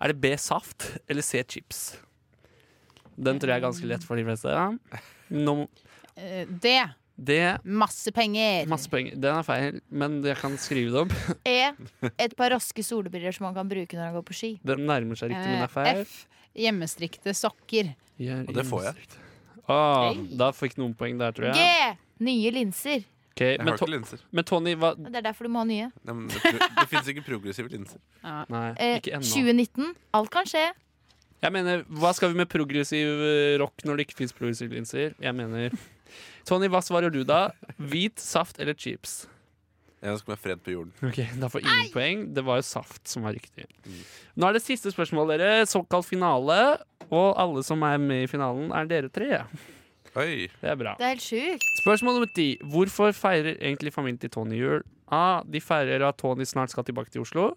[SPEAKER 2] Er det B. Saft? Eller C. Chips? Den tror jeg er ganske lett for de fleste. Ja. Nå-
[SPEAKER 4] Eh, Det.
[SPEAKER 2] det
[SPEAKER 4] Masse penger.
[SPEAKER 2] Masse poeng. Den er feil, men jeg kan skrive det opp.
[SPEAKER 3] E. Et par raske solbriller som man kan bruke når han går på ski.
[SPEAKER 2] Den nærmer seg riktig, men
[SPEAKER 4] Eh,
[SPEAKER 2] er feil.
[SPEAKER 4] F. Hjemmestrikte sokker.
[SPEAKER 2] Gjør
[SPEAKER 5] Og det får jeg.
[SPEAKER 2] innsikt. Ah,
[SPEAKER 4] Hey.
[SPEAKER 2] da fikk noen poeng der, tror
[SPEAKER 3] G.
[SPEAKER 2] jeg.
[SPEAKER 3] Nye linser.
[SPEAKER 2] Ok,
[SPEAKER 5] Jeg
[SPEAKER 2] men,
[SPEAKER 5] har
[SPEAKER 2] to
[SPEAKER 5] ikke linser.
[SPEAKER 2] men Tony, hva
[SPEAKER 3] Det er derfor du må ha nye.
[SPEAKER 5] Nei, men det det fins ikke progressive linser.
[SPEAKER 2] Nei,
[SPEAKER 3] Eh,
[SPEAKER 2] ikke ennå.
[SPEAKER 3] 2019. Alt kan skje.
[SPEAKER 2] Jeg mener, Hva skal vi med progressiv eh, rock når det ikke fins progressiv linser? Jeg mener Tony, hva svarer du da? Hvit, saft eller chips?
[SPEAKER 5] Jeg ønsker meg fred på jorden.
[SPEAKER 2] Ok, Da får ingen poeng. Det var jo saft som var riktig.
[SPEAKER 5] Mm.
[SPEAKER 2] Nå er det siste spørsmål, dere. Såkalt finale. Og alle som er med i finalen, er dere tre.
[SPEAKER 5] Oi.
[SPEAKER 2] Det er bra.
[SPEAKER 3] Det er helt sjukt.
[SPEAKER 2] Spørsmål nummer ti. Hvorfor feirer egentlig familien til Tony jul? A. De feirer at Tony snart skal tilbake til Oslo.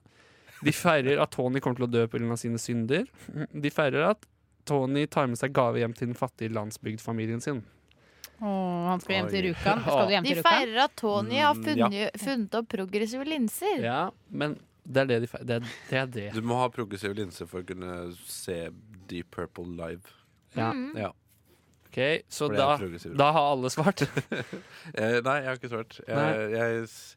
[SPEAKER 2] De feirer at Tony kommer til å dø pga. sine synder. De feirer at Tony tar med seg gave hjem til den fattige landsbygdfamilien sin.
[SPEAKER 4] Åh, han skal hjem til
[SPEAKER 5] Oi.
[SPEAKER 4] Rjukan. Skal du hjem
[SPEAKER 3] De
[SPEAKER 4] til Rjukan?
[SPEAKER 3] feirer at Tony har
[SPEAKER 5] Mm, ja.
[SPEAKER 3] funnet, funnet opp progressive linser.
[SPEAKER 2] Ja, men det er det de feirer. Det er det. Er det.
[SPEAKER 5] Du må ha progressive linser for å kunne se Deep Purple live.
[SPEAKER 2] Ja.
[SPEAKER 5] Ja.
[SPEAKER 2] Ok, Så
[SPEAKER 5] For det er
[SPEAKER 2] da,
[SPEAKER 5] progressiv rock.
[SPEAKER 2] da har alle svart.
[SPEAKER 5] Eh, nei, jeg har ikke svart. Jeg,
[SPEAKER 2] Nei.
[SPEAKER 5] jeg, s-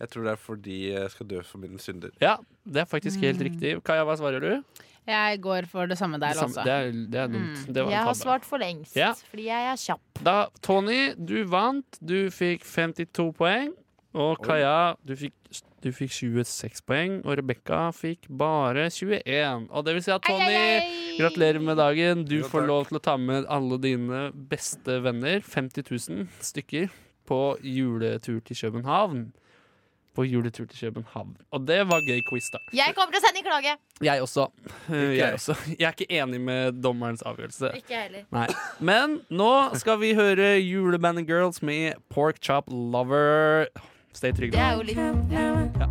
[SPEAKER 5] jeg tror det er fordi jeg skal dø for mine synder.
[SPEAKER 2] Ja, det er faktisk helt riktig. Kaja, hva svarer du?
[SPEAKER 4] Jeg går for det samme der,
[SPEAKER 2] det, samme-
[SPEAKER 4] altså.
[SPEAKER 2] det, er, det er dumt. Det var
[SPEAKER 3] Jeg
[SPEAKER 2] en
[SPEAKER 3] har
[SPEAKER 2] tabbe.
[SPEAKER 3] svart for lengst,
[SPEAKER 2] Ja.
[SPEAKER 3] fordi jeg er kjapp.
[SPEAKER 2] Da, Tony, du vant. Du fikk 52 poeng. Og
[SPEAKER 5] Oi.
[SPEAKER 2] Kaja, du fikk, du fikk 26 poeng. Og Rebekka fikk bare 21. Og det vil si at Tony, gratulerer med dagen. Du
[SPEAKER 5] Jo,
[SPEAKER 2] får
[SPEAKER 5] takk.
[SPEAKER 2] lov til å ta med alle dine beste venner, 50 000 stykker, på juletur til København. På juletur til København. Og det var gøy quiz, da.
[SPEAKER 3] Jeg kommer til å sende en klage!
[SPEAKER 2] Jeg også. Jeg, også. jeg er ikke enig med dommerens avgjørelse.
[SPEAKER 3] Ikke jeg heller.
[SPEAKER 2] Nei. Men nå skal vi høre Julebandet Girls med Pork Chop Lover. Stay trygge.
[SPEAKER 3] Det er jo litt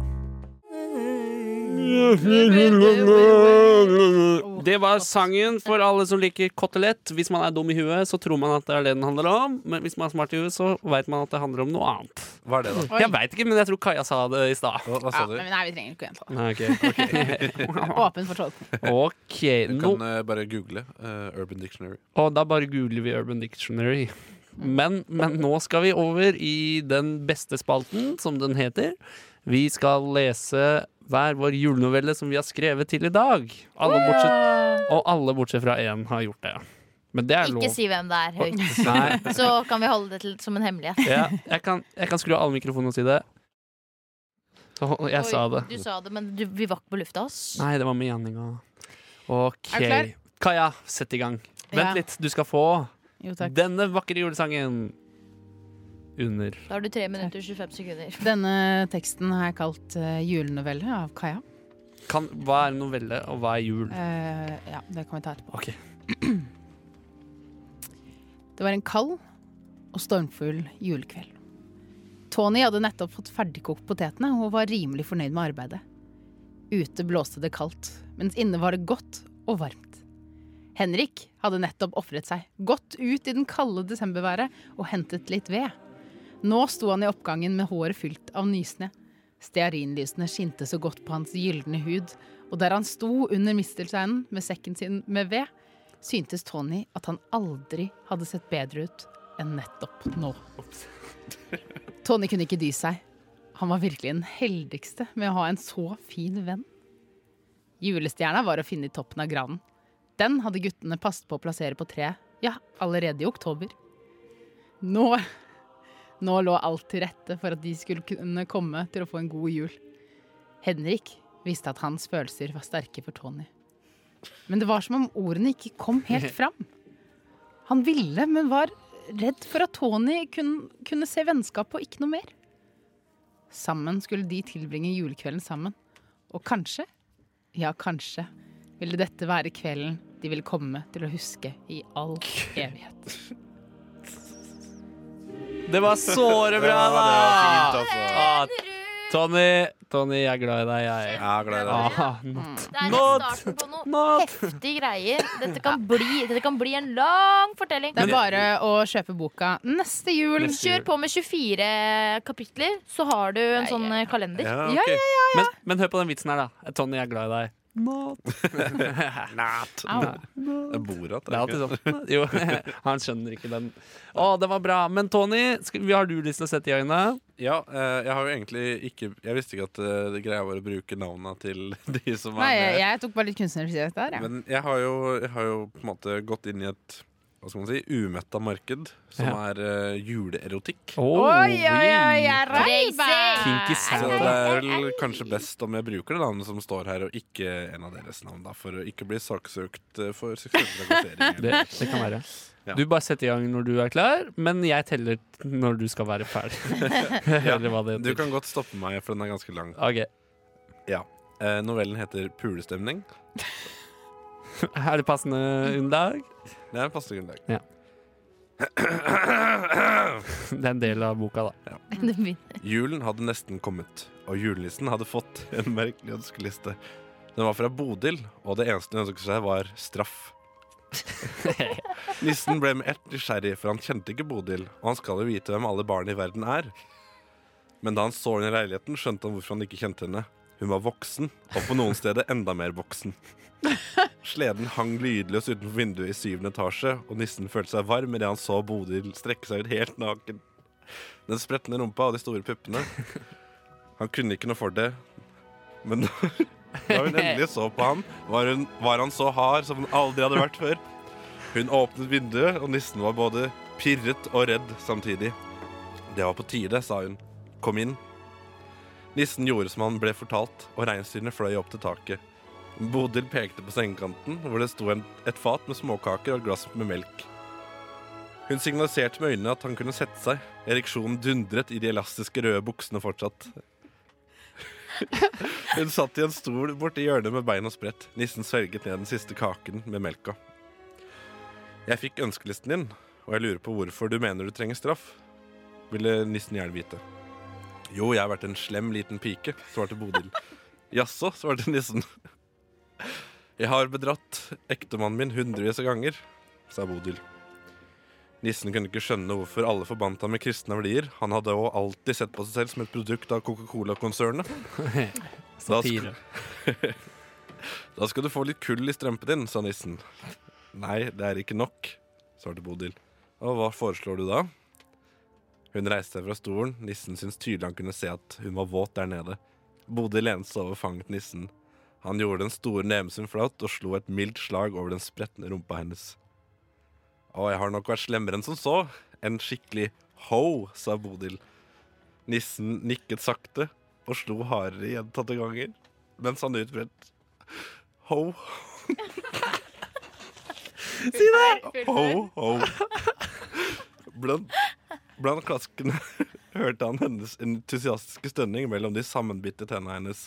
[SPEAKER 2] Det var sangen for alle som liker kotelett. Hvis man er dum i huet, så tror man at det er det den handler om. Men hvis man er smart i huet, så veit man at det handler om noe annet.
[SPEAKER 5] Hva er det, da?
[SPEAKER 2] Jeg veit ikke, men jeg tror Kaja sa det i stad.
[SPEAKER 5] Hva, hva
[SPEAKER 4] Ja,
[SPEAKER 5] sa du?
[SPEAKER 4] men nei, vi trenger ikke å gjenta det.
[SPEAKER 2] Nei, Ok,
[SPEAKER 4] Åpen for tolkning.
[SPEAKER 2] Ok,
[SPEAKER 5] Du
[SPEAKER 2] nå
[SPEAKER 5] kan eh, bare google eh, Urban Dictionary.
[SPEAKER 2] Og da bare googler vi Urban Dictionary. Men, men nå skal vi over i den beste spalten, som den heter. Vi skal lese hver vår julenovelle som vi har skrevet til i dag. Alle bortsett, og alle bortsett fra én har gjort det. Men det er lov.
[SPEAKER 3] Ikke si hvem det er høyt.
[SPEAKER 2] Nei,
[SPEAKER 3] Så kan vi holde det til, som en hemmelighet.
[SPEAKER 2] ja, jeg, kan, jeg kan skru av alle mikrofonene og si det. Så hold- jeg sa det.
[SPEAKER 3] Du sa det, men du, vi var ikke på lufta, ass.
[SPEAKER 2] Nei, det var meninga. OK.
[SPEAKER 4] Er du klar?
[SPEAKER 2] Kaja, sett i gang.
[SPEAKER 4] Ja.
[SPEAKER 2] Vent litt, du skal få
[SPEAKER 4] Jo, takk.
[SPEAKER 2] denne vakre julesangen under
[SPEAKER 3] Da har du 3 minutter og 25 sekunder.
[SPEAKER 4] Denne teksten har jeg kalt eh, julenovelle av Kaja.
[SPEAKER 2] kan, Hva er en novelle, og hva er jul?
[SPEAKER 4] Eh, ja, det kan vi ta etterpå.
[SPEAKER 2] Ok.
[SPEAKER 4] Det var en kald og stormfull julekveld. Tony hadde nettopp fått ferdigkokt potetene og var rimelig fornøyd med arbeidet. Ute blåste det kaldt, mens inne var det godt og varmt. Henrik hadde nettopp ofret seg, gått ut i den kalde desemberværet og hentet litt ved. Nå sto han i oppgangen med håret fylt av nysnø. Stearinlysene skinte så godt på hans gylne hud, og der han sto under mistelteinen med sekken sin med ved, syntes Tony at han aldri hadde sett bedre ut enn nettopp nå. Tony kunne ikke dy seg. Han var virkelig den heldigste med å ha en så fin venn. Julestjerna var å finne i toppen av granen. Den hadde guttene passet på å plassere på treet, ja, allerede i oktober. Nå Nå lå alt til rette for at de skulle kunne komme til å få en god jul. Henrik visste at hans følelser var sterke for Tony. Men det var som om ordene ikke kom helt fram. Han ville, men var redd for at Tony kun, kunne se vennskap og ikke noe mer. Sammen skulle de tilbringe julekvelden sammen. Og kanskje, ja kanskje, ville dette være kvelden de ville komme til å huske i all evighet.
[SPEAKER 2] Det var såre bra,
[SPEAKER 5] Ja, det var
[SPEAKER 2] da!
[SPEAKER 5] fint, altså.
[SPEAKER 2] Ah, Tony, Tony, jeg er glad i deg, jeg.
[SPEAKER 5] Jeg er glad i deg.
[SPEAKER 2] Ah,
[SPEAKER 3] Det er
[SPEAKER 2] Not-
[SPEAKER 3] starten på noe
[SPEAKER 2] not.
[SPEAKER 3] heftig greier. Dette kan bli, dette kan bli en lang fortelling.
[SPEAKER 4] Det er bare å kjøpe boka neste jul.
[SPEAKER 2] Neste jul.
[SPEAKER 3] Kjør på med 24 kapitler, så har du en sånn eh, kalender.
[SPEAKER 5] Ja,
[SPEAKER 4] Ja, ja,
[SPEAKER 2] Men, men hør på den vitsen her, da. Tony, jeg er glad i deg.
[SPEAKER 5] Nat.
[SPEAKER 4] Au.
[SPEAKER 5] Borat.
[SPEAKER 2] Det er alltid sånn. Jo, han skjønner ikke den. Å, det var bra. Men Tony, skal, har du lyst til å sette i øynene?
[SPEAKER 5] Ja, eh, jeg har jo egentlig ikke Jeg visste ikke at eh, det greia var å bruke navna til de som
[SPEAKER 4] Nei,
[SPEAKER 5] er med.
[SPEAKER 4] jeg tok bare litt kunstnerisk der, jeg.
[SPEAKER 5] Men jeg har, jo, jeg har jo på en måte gått inn i et hva skal man si, umetta marked, som
[SPEAKER 2] Ja.
[SPEAKER 5] er eh, juleerotikk.
[SPEAKER 2] Oh,
[SPEAKER 4] Oi, oi, oi, jeg er
[SPEAKER 2] wee.
[SPEAKER 4] reiser!
[SPEAKER 2] Kinky
[SPEAKER 5] Så
[SPEAKER 2] Santa.
[SPEAKER 5] det er vel kanskje best om jeg bruker det navnet som står her, og ikke en av deres navn, da, for å ikke bli saksøkt eh, for seksuell trakassering.
[SPEAKER 2] Det, det kan være.
[SPEAKER 5] Ja.
[SPEAKER 2] Du bare setter i gang når du er klar, men jeg teller når du skal være ferdig. Eller hva det
[SPEAKER 5] Du
[SPEAKER 2] heter.
[SPEAKER 5] kan godt stoppe meg, for den er ganske lang.
[SPEAKER 2] Ok.
[SPEAKER 5] Eh, novellen heter 'Pulestemning'.
[SPEAKER 2] Er det passende underlag?
[SPEAKER 5] Det er passe grunnlag.
[SPEAKER 2] Det er en del av boka, da.
[SPEAKER 3] Det begynner-
[SPEAKER 5] Julen hadde nesten kommet, og julenissen hadde fått en merkelig ønskeliste. Den var fra Bodil, og det eneste hun ønsket seg, var straff. Nissen ble med ett nysgjerrig, for han kjente ikke Bodil, og han skal jo vite hvem alle barn i verden er. Men da han så henne i leiligheten, skjønte han hvorfor han ikke kjente henne. Hun var voksen, og på noen steder enda mer voksen. Sleden hang lydløs utenfor vinduet i syvende etasje, og nissen følte seg varm idet han så Bodil strekke seg ut helt naken. Den spretne rumpa og de store puppene. Han kunne ikke noe for det, men da hun endelig så på ham, var, hun, var han så hard som han aldri hadde vært før. Hun åpnet vinduet, og nissen var både pirret og redd samtidig. Det var på tide, sa hun. Kom inn. Nissen gjorde som han ble fortalt, og reinsdyrene fløy opp til taket. Bodil pekte på sengekanten, hvor det sto en, et fat med småkaker og et glass med melk. Hun signaliserte med øynene at han kunne sette seg. Ereksjonen dundret i de elastiske røde buksene fortsatt. Hun satt i en stol borti hjørnet med beina spredt. Nissen svelget ned den siste kaken med melka. Jeg fikk ønskelisten din, og jeg lurer på hvorfor du mener du trenger straff. Ville nissen gjerne vite. Jo, jeg har vært en slem liten pike, svarte Bodil. Jaså, svarte nissen. Jeg har bedratt ektemannen min hundrevis av ganger, sa Bodil. Nissen kunne ikke skjønne hvorfor alle forbandt ham med kristne verdier. Han hadde òg alltid sett på seg selv som et produkt av Coca-Cola-konsernet. Da sk-
[SPEAKER 2] Satire.
[SPEAKER 5] Da skal du få litt kull i strømpen din, sa nissen. Nei, det er ikke nok, svarte Bodil. Og hva foreslår du da? Hun reiste seg fra stolen. Nissen syntes tydelig han kunne se at hun var våt der nede. Bodil lente seg over fanget til nissen. Han gjorde den store neven sin flaut og slo et mildt slag over den spretne rumpa hennes. Å, jeg har nok vært slemmere enn som så. En skikkelig ho, sa Bodil. Nissen nikket sakte og slo hardere gjentatte ganger mens han utbredt ho.
[SPEAKER 2] Si det!
[SPEAKER 5] Ho, ho. Blant, blant klaskene hørte han hennes entusiastiske stønning mellom de sammenbitte tennene hennes.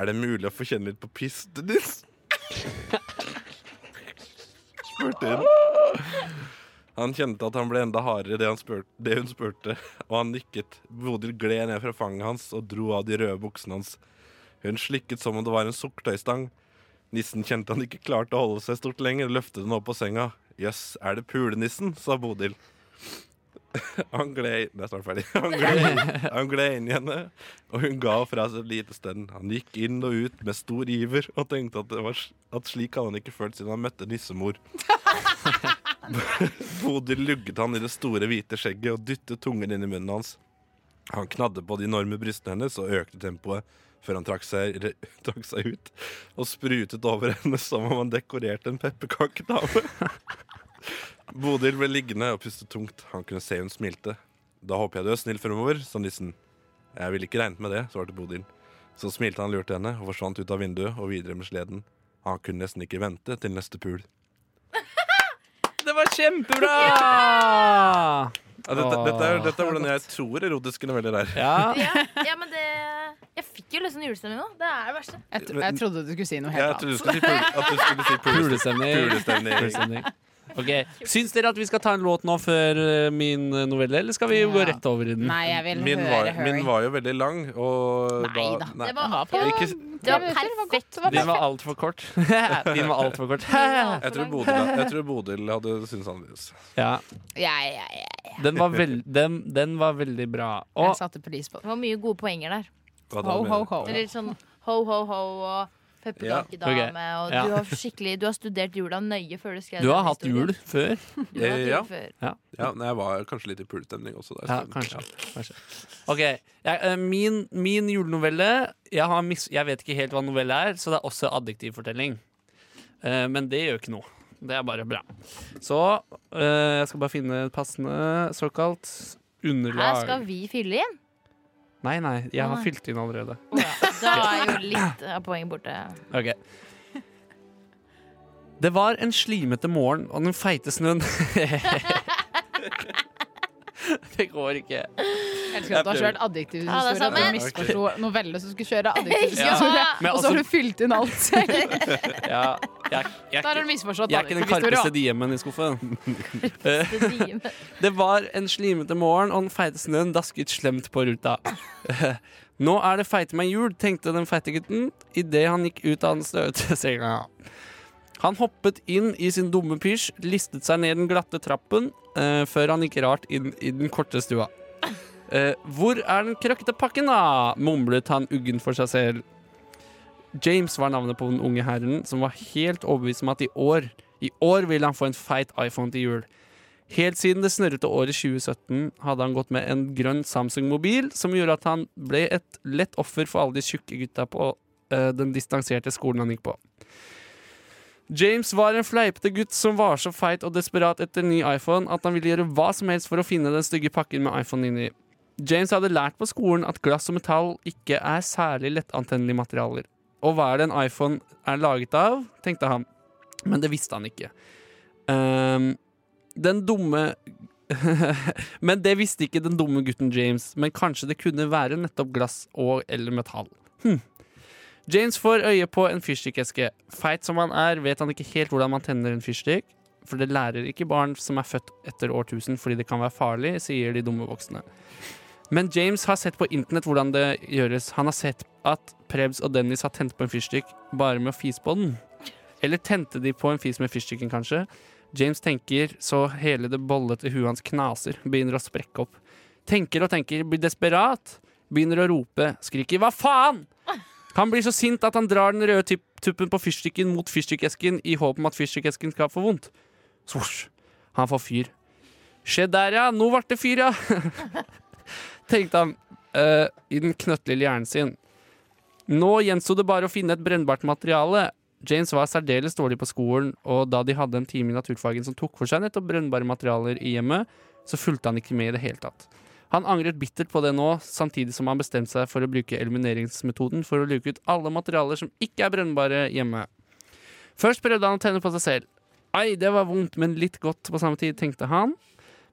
[SPEAKER 5] Er det mulig å få kjenne litt på pisten din? spurte hun. Han kjente at han ble enda hardere det, han spurte, det hun spurte, og han nikket. Bodil gled ned fra fanget hans og dro av de røde buksene hans. Hun slikket som om det var en sukkertøystang. Nissen kjente han ikke klarte å holde seg stort lenger, og løftet den opp på senga. Jøss, er det pulenissen? sa Bodil. Han gled Det er snart ferdig. Han gled, han gled inn i henne, og hun ga fra seg et lite stønn. Han gikk inn og ut med stor iver og tenkte at, det var, s- at slik hadde han ikke følt siden han møtte nissemor. Bodil lugget han i det store, hvite skjegget og dyttet tungen inn i munnen hans. Han knadde på de enorme brystene hennes og økte tempoet før han trakk seg, re, trakk seg ut og sprutet over henne som om han dekorerte en pepperkakedame. Bodil ble liggende og puste tungt. Han kunne se hun smilte. Da håper jeg du er snill fremover, sa nissen. Jeg ville ikke regnet med det, svarte Bodil. Så smilte han lurt til henne og forsvant ut av vinduet og videre med sleden. Han kunne nesten ikke vente til neste pul.
[SPEAKER 2] Det var kjempebra!
[SPEAKER 5] Ja, dette,
[SPEAKER 2] Åh.
[SPEAKER 5] dette, er, dette er hvordan jeg tror erotiske noveller er.
[SPEAKER 2] Ja.
[SPEAKER 3] Ja, ja, men det Jeg fikk jo liksom julestemning nå. Det er det verste.
[SPEAKER 4] Jeg, tro- jeg trodde du skulle si noe
[SPEAKER 5] Jeg
[SPEAKER 4] helt
[SPEAKER 5] trodde du
[SPEAKER 4] annet.
[SPEAKER 5] skulle si, pul, at du skulle si pul,
[SPEAKER 2] Pulestemning.
[SPEAKER 5] pulestemning.
[SPEAKER 2] Pulestemning. Ok, Syns dere at vi skal ta en låt nå før eh, min novelle, eller skal vi jo gå
[SPEAKER 4] Ja.
[SPEAKER 2] rett over i den?
[SPEAKER 4] Nei, jeg vil
[SPEAKER 5] Min var,
[SPEAKER 4] høre Harry.
[SPEAKER 5] min var jo veldig lang, og
[SPEAKER 4] Nei da.
[SPEAKER 5] nei.
[SPEAKER 3] Det var,
[SPEAKER 4] på
[SPEAKER 5] Ikke,
[SPEAKER 3] det var
[SPEAKER 4] minutter, det var
[SPEAKER 3] perfekt.
[SPEAKER 4] godt, det var
[SPEAKER 2] Din var altfor kort. Din var alt for kort.
[SPEAKER 5] jeg, tror Bodil, jeg tror Bodil hadde syntes annerledes.
[SPEAKER 2] Ja,
[SPEAKER 4] Ja, ja, ja.
[SPEAKER 2] den var, veld, den, den var veldig bra.
[SPEAKER 4] Jeg
[SPEAKER 2] Og
[SPEAKER 4] satte pris på det.
[SPEAKER 3] Det var mye gode poenger der.
[SPEAKER 5] Hva hadde
[SPEAKER 4] Ho,
[SPEAKER 5] du
[SPEAKER 4] ho,
[SPEAKER 5] med?
[SPEAKER 4] ho.
[SPEAKER 3] Eller sånn ho, ho, ho og pepperkakedame.
[SPEAKER 2] Ja.
[SPEAKER 3] Og
[SPEAKER 2] Ja.
[SPEAKER 3] du har, skikkelig- du har studert jula nøye før du skrev
[SPEAKER 2] du har
[SPEAKER 3] denne
[SPEAKER 2] hatt
[SPEAKER 3] historien.
[SPEAKER 2] jul før.
[SPEAKER 3] Du har hatt
[SPEAKER 5] Eh,
[SPEAKER 3] jul
[SPEAKER 5] ja.
[SPEAKER 3] før.
[SPEAKER 5] Ja, nei, jeg var kanskje litt i pulestemning også. Der,
[SPEAKER 2] Ja,
[SPEAKER 5] så-
[SPEAKER 2] kanskje.
[SPEAKER 5] Ja.
[SPEAKER 2] kanskje. Ok, jeg, eh, min, min julenovelle jeg, har mis, jeg vet ikke helt hva novelle er, så det er også adjektivfortelling. Eh, men det gjør ikke noe. Det er bare bra. Så eh, jeg skal bare finne et passende såkalt
[SPEAKER 3] Her
[SPEAKER 2] underlag.
[SPEAKER 3] skal vi fylle igjen.
[SPEAKER 2] Nei, nei, jeg
[SPEAKER 3] Å,
[SPEAKER 2] har
[SPEAKER 3] nei.
[SPEAKER 2] fylt inn allerede.
[SPEAKER 3] Å ja. Da er jo litt av poenget borte.
[SPEAKER 2] Ok Det var en slimete morgen Og den feite snøen Det går ikke
[SPEAKER 4] Jeg elsker at du har kjørt
[SPEAKER 3] Ja, det er
[SPEAKER 4] adjektivhistorie.
[SPEAKER 3] sant.
[SPEAKER 4] Du misforsto novelle som skulle kjøre adjektivhistorie,
[SPEAKER 3] Ja.
[SPEAKER 2] Men
[SPEAKER 4] og så
[SPEAKER 2] altså-
[SPEAKER 4] har du fylt inn alt selv.
[SPEAKER 2] ja, jeg, jeg, er
[SPEAKER 4] Da har du
[SPEAKER 2] ikke-
[SPEAKER 4] misforstått
[SPEAKER 2] jeg er ikke den karpeste diemen i skuffen Det var en slimete morgen Og den feite snøen dasket slemt på ruta Nå er det feite meg jul Tenkte den feite gutten I det han gikk ut av den støte senga Han hoppet inn i sin dumme pysj Listet seg ned den glatte trappen eh, Før han gikk rart inn i den korte stua Eh, hvor er den krøkte pakken da? Mumlet han uggen for seg selv. James var navnet på den unge herren, som var helt overbevist om at i år, i år ville han få en feit iPhone til jul. Helt siden det snørrete året 2017 hadde han gått med en grønn Samsung-mobil, som gjorde at han ble et lett offer for alle de tjukke gutta på eh, den distanserte skolen han gikk på. James var en fleipete gutt som var så feit og desperat etter ny iPhone at han ville gjøre hva som helst for å finne den stygge pakken med iPhone inni. James hadde lært på skolen at glass og metall ikke er særlig lettantennelige materialer. Og hva er det en iPhone er laget av, tenkte han. Men det visste han ikke. Ehm, den dumme Men det visste ikke den dumme gutten James, men kanskje det kunne være nettopp glass og eller metall. Hm. James får øye på en fyrstikkeske. Feit som han er, vet han ikke helt hvordan man tenner en fyrstikk. For det lærer ikke barn som er født etter årtusen fordi det kan være farlig, sier de dumme voksne. Men James har sett på internett hvordan det gjøres. Han har sett at Prebz og Dennis har tent på en fyrstikk bare med å fise på den. Eller tente de på en fis med fyrstikken, kanskje? James tenker så hele det bollete huet hans knaser, begynner å sprekke opp. Tenker og tenker, blir desperat, begynner å rope, skriker 'hva faen'? Han blir så sint at han drar den røde tupp- tuppen på fyrstikken mot fyrstikkesken i håp om at fyrstikkesken skal få vondt. Svosj. Han får fyr. Se der, ja. Nå ble det fyr, ja. Tenkte han eh, i den knøttlille hjernen sin. Nå gjensto det bare å finne et brennbart materiale. James var særdeles dårlig på skolen, og da de hadde en time i naturfagen som tok for seg nettopp brennbare materialer i hjemmet, så fulgte han ikke med i det hele tatt. Han angret bittert på det nå, samtidig som han bestemte seg for å bruke elimineringsmetoden for å luke ut alle materialer som ikke er brennbare hjemme. Først prøvde han å tenne på seg selv. Ai, det var vondt, men litt godt på samme tid, tenkte han.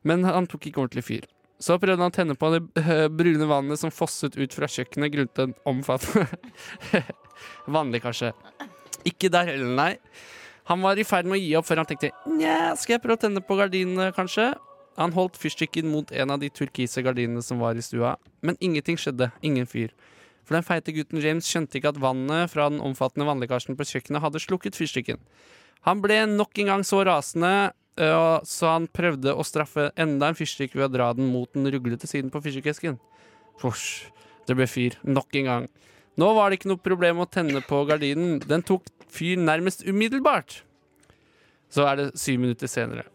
[SPEAKER 2] Men han tok ikke ordentlig fyr. Så prøvde han å tenne på det eh, brune vannet som fosset ut fra kjøkkenet grunnet en omfattende vannlekkasje. Ikke der heller, nei. Han var i ferd med å gi opp før han tenkte Nja, skal jeg prøve å tenne på gardinene, kanskje? Han holdt fyrstikken mot en av de turkise gardinene som var i stua, men ingenting skjedde. Ingen fyr. For den feite gutten James skjønte ikke at vannet fra den omfattende vannlekkasjen på kjøkkenet hadde slukket fyrstikken. Han ble nok en gang så rasende, øh, så han prøvde å straffe enda en fyrstikk ved å dra den mot den ruglete siden på fyrstikkesken. Fosj, det ble fyr. Nok en gang. Nå var det ikke noe problem å tenne på gardinen. Den tok fyr nærmest umiddelbart. Så er det syv minutter senere.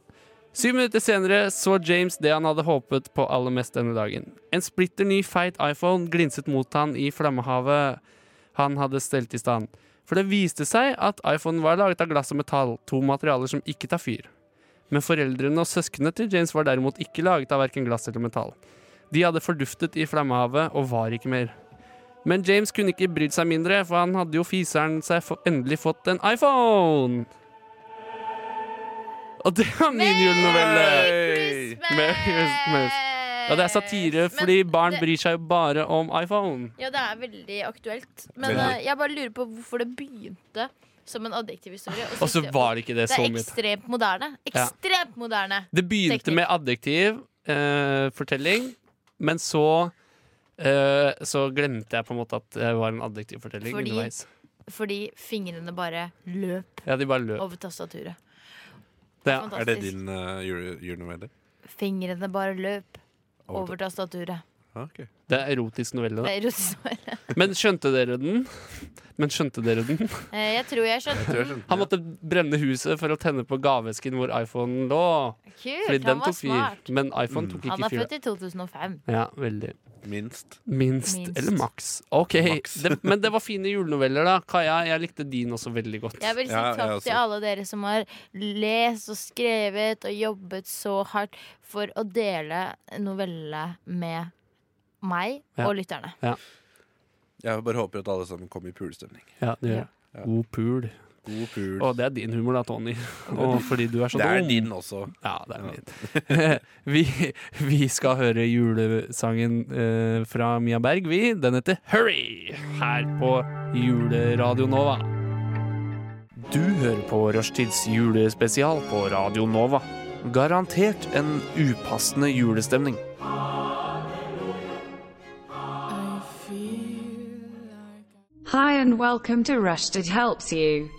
[SPEAKER 2] Syv minutter senere så James det han hadde håpet på aller mest denne dagen. En splitter ny feit iPhone glinset mot han i flammehavet han hadde stelt i stand. For det viste seg at iPhonen var laget av glass og metall, to materialer som ikke tar fyr. Men foreldrene og søsknene til James var derimot ikke laget av verken glass eller metall. De hadde forduftet i flammehavet og var ikke mer. Men James kunne ikke brydd seg mindre, for han hadde jo fiseren seg få- endelig fått en iPhone! Og det var min julenovelle! Merry Christmas. Ja, det er satire,
[SPEAKER 3] Men
[SPEAKER 2] fordi barn
[SPEAKER 3] det-
[SPEAKER 2] bryr seg jo bare om iPhone.
[SPEAKER 3] Ja, det er veldig aktuelt. Men
[SPEAKER 5] Veldig.
[SPEAKER 3] eh, jeg bare lurer på hvorfor det begynte som en adjektivhistorie.
[SPEAKER 2] Og så var det ikke det
[SPEAKER 3] det
[SPEAKER 2] så
[SPEAKER 3] er
[SPEAKER 2] mye.
[SPEAKER 3] ekstremt moderne. Ekstremt moderne.
[SPEAKER 2] Det begynte
[SPEAKER 3] Teknikk.
[SPEAKER 2] med adjektiv, eh, fortelling, men så eh, så glemte jeg på en måte at det var en adjektivfortelling
[SPEAKER 3] Fordi-
[SPEAKER 2] underveis.
[SPEAKER 3] Fordi fingrene bare løp
[SPEAKER 2] Ja, de bare løp.
[SPEAKER 3] over tastaturet.
[SPEAKER 2] Det, ja.
[SPEAKER 5] Er det
[SPEAKER 3] Fantastisk.
[SPEAKER 5] din uh, julenovelle?
[SPEAKER 3] Fingrene bare løp
[SPEAKER 5] Over
[SPEAKER 3] over tastaturet.
[SPEAKER 5] Ah, ok.
[SPEAKER 2] det er erotisk novelle.
[SPEAKER 3] Det
[SPEAKER 2] Da.
[SPEAKER 3] er erotisk svar.
[SPEAKER 2] Men skjønte dere den? Men skjønte dere den?
[SPEAKER 3] Eh, Jeg tror jeg skjønte
[SPEAKER 5] Tror jeg
[SPEAKER 3] den.
[SPEAKER 5] skjønte
[SPEAKER 2] Han
[SPEAKER 5] det.
[SPEAKER 2] måtte brenne huset for å tenne på gavesken hvor iPhonen lå. Fordi
[SPEAKER 3] Kult, han
[SPEAKER 2] den
[SPEAKER 3] var
[SPEAKER 2] tok fyr.
[SPEAKER 3] smart.
[SPEAKER 2] Men iPhone tok
[SPEAKER 3] Han
[SPEAKER 2] ikke
[SPEAKER 3] er
[SPEAKER 2] fyr.
[SPEAKER 3] født i 2005.
[SPEAKER 2] Ja, veldig.
[SPEAKER 5] Minst.
[SPEAKER 2] Minst,
[SPEAKER 3] Minst.
[SPEAKER 2] eller maks. Ok,
[SPEAKER 5] Maks.
[SPEAKER 2] det, Men det var fine julenoveller, da. Kaja, jeg likte din også veldig godt.
[SPEAKER 3] Jeg vil si
[SPEAKER 5] Ja, jeg
[SPEAKER 3] takk
[SPEAKER 5] også.
[SPEAKER 3] til alle dere som har lest og skrevet og jobbet så hardt for å dele novelle med meg
[SPEAKER 2] Ja.
[SPEAKER 3] og lytterne.
[SPEAKER 5] Jeg bare håper at alle sammen kommer i pulestemning.
[SPEAKER 2] Ja, det gjør jeg.
[SPEAKER 5] Ja.
[SPEAKER 2] God pul.
[SPEAKER 5] God pul.
[SPEAKER 2] Og det er din humor, da, Tony. Og fordi du er så
[SPEAKER 5] det er
[SPEAKER 2] dum.
[SPEAKER 5] din også.
[SPEAKER 2] Ja, det er
[SPEAKER 5] Ja.
[SPEAKER 2] min. vi, vi skal høre julesangen eh, fra Mia Berg, vi. Den heter 'Hurry' her på Juleradio Nova.
[SPEAKER 7] Du hører på Rushtids julespesial på Radio Nova. Garantert en upassende julestemning.
[SPEAKER 8] Hi and welcome to Rushdid Helps You.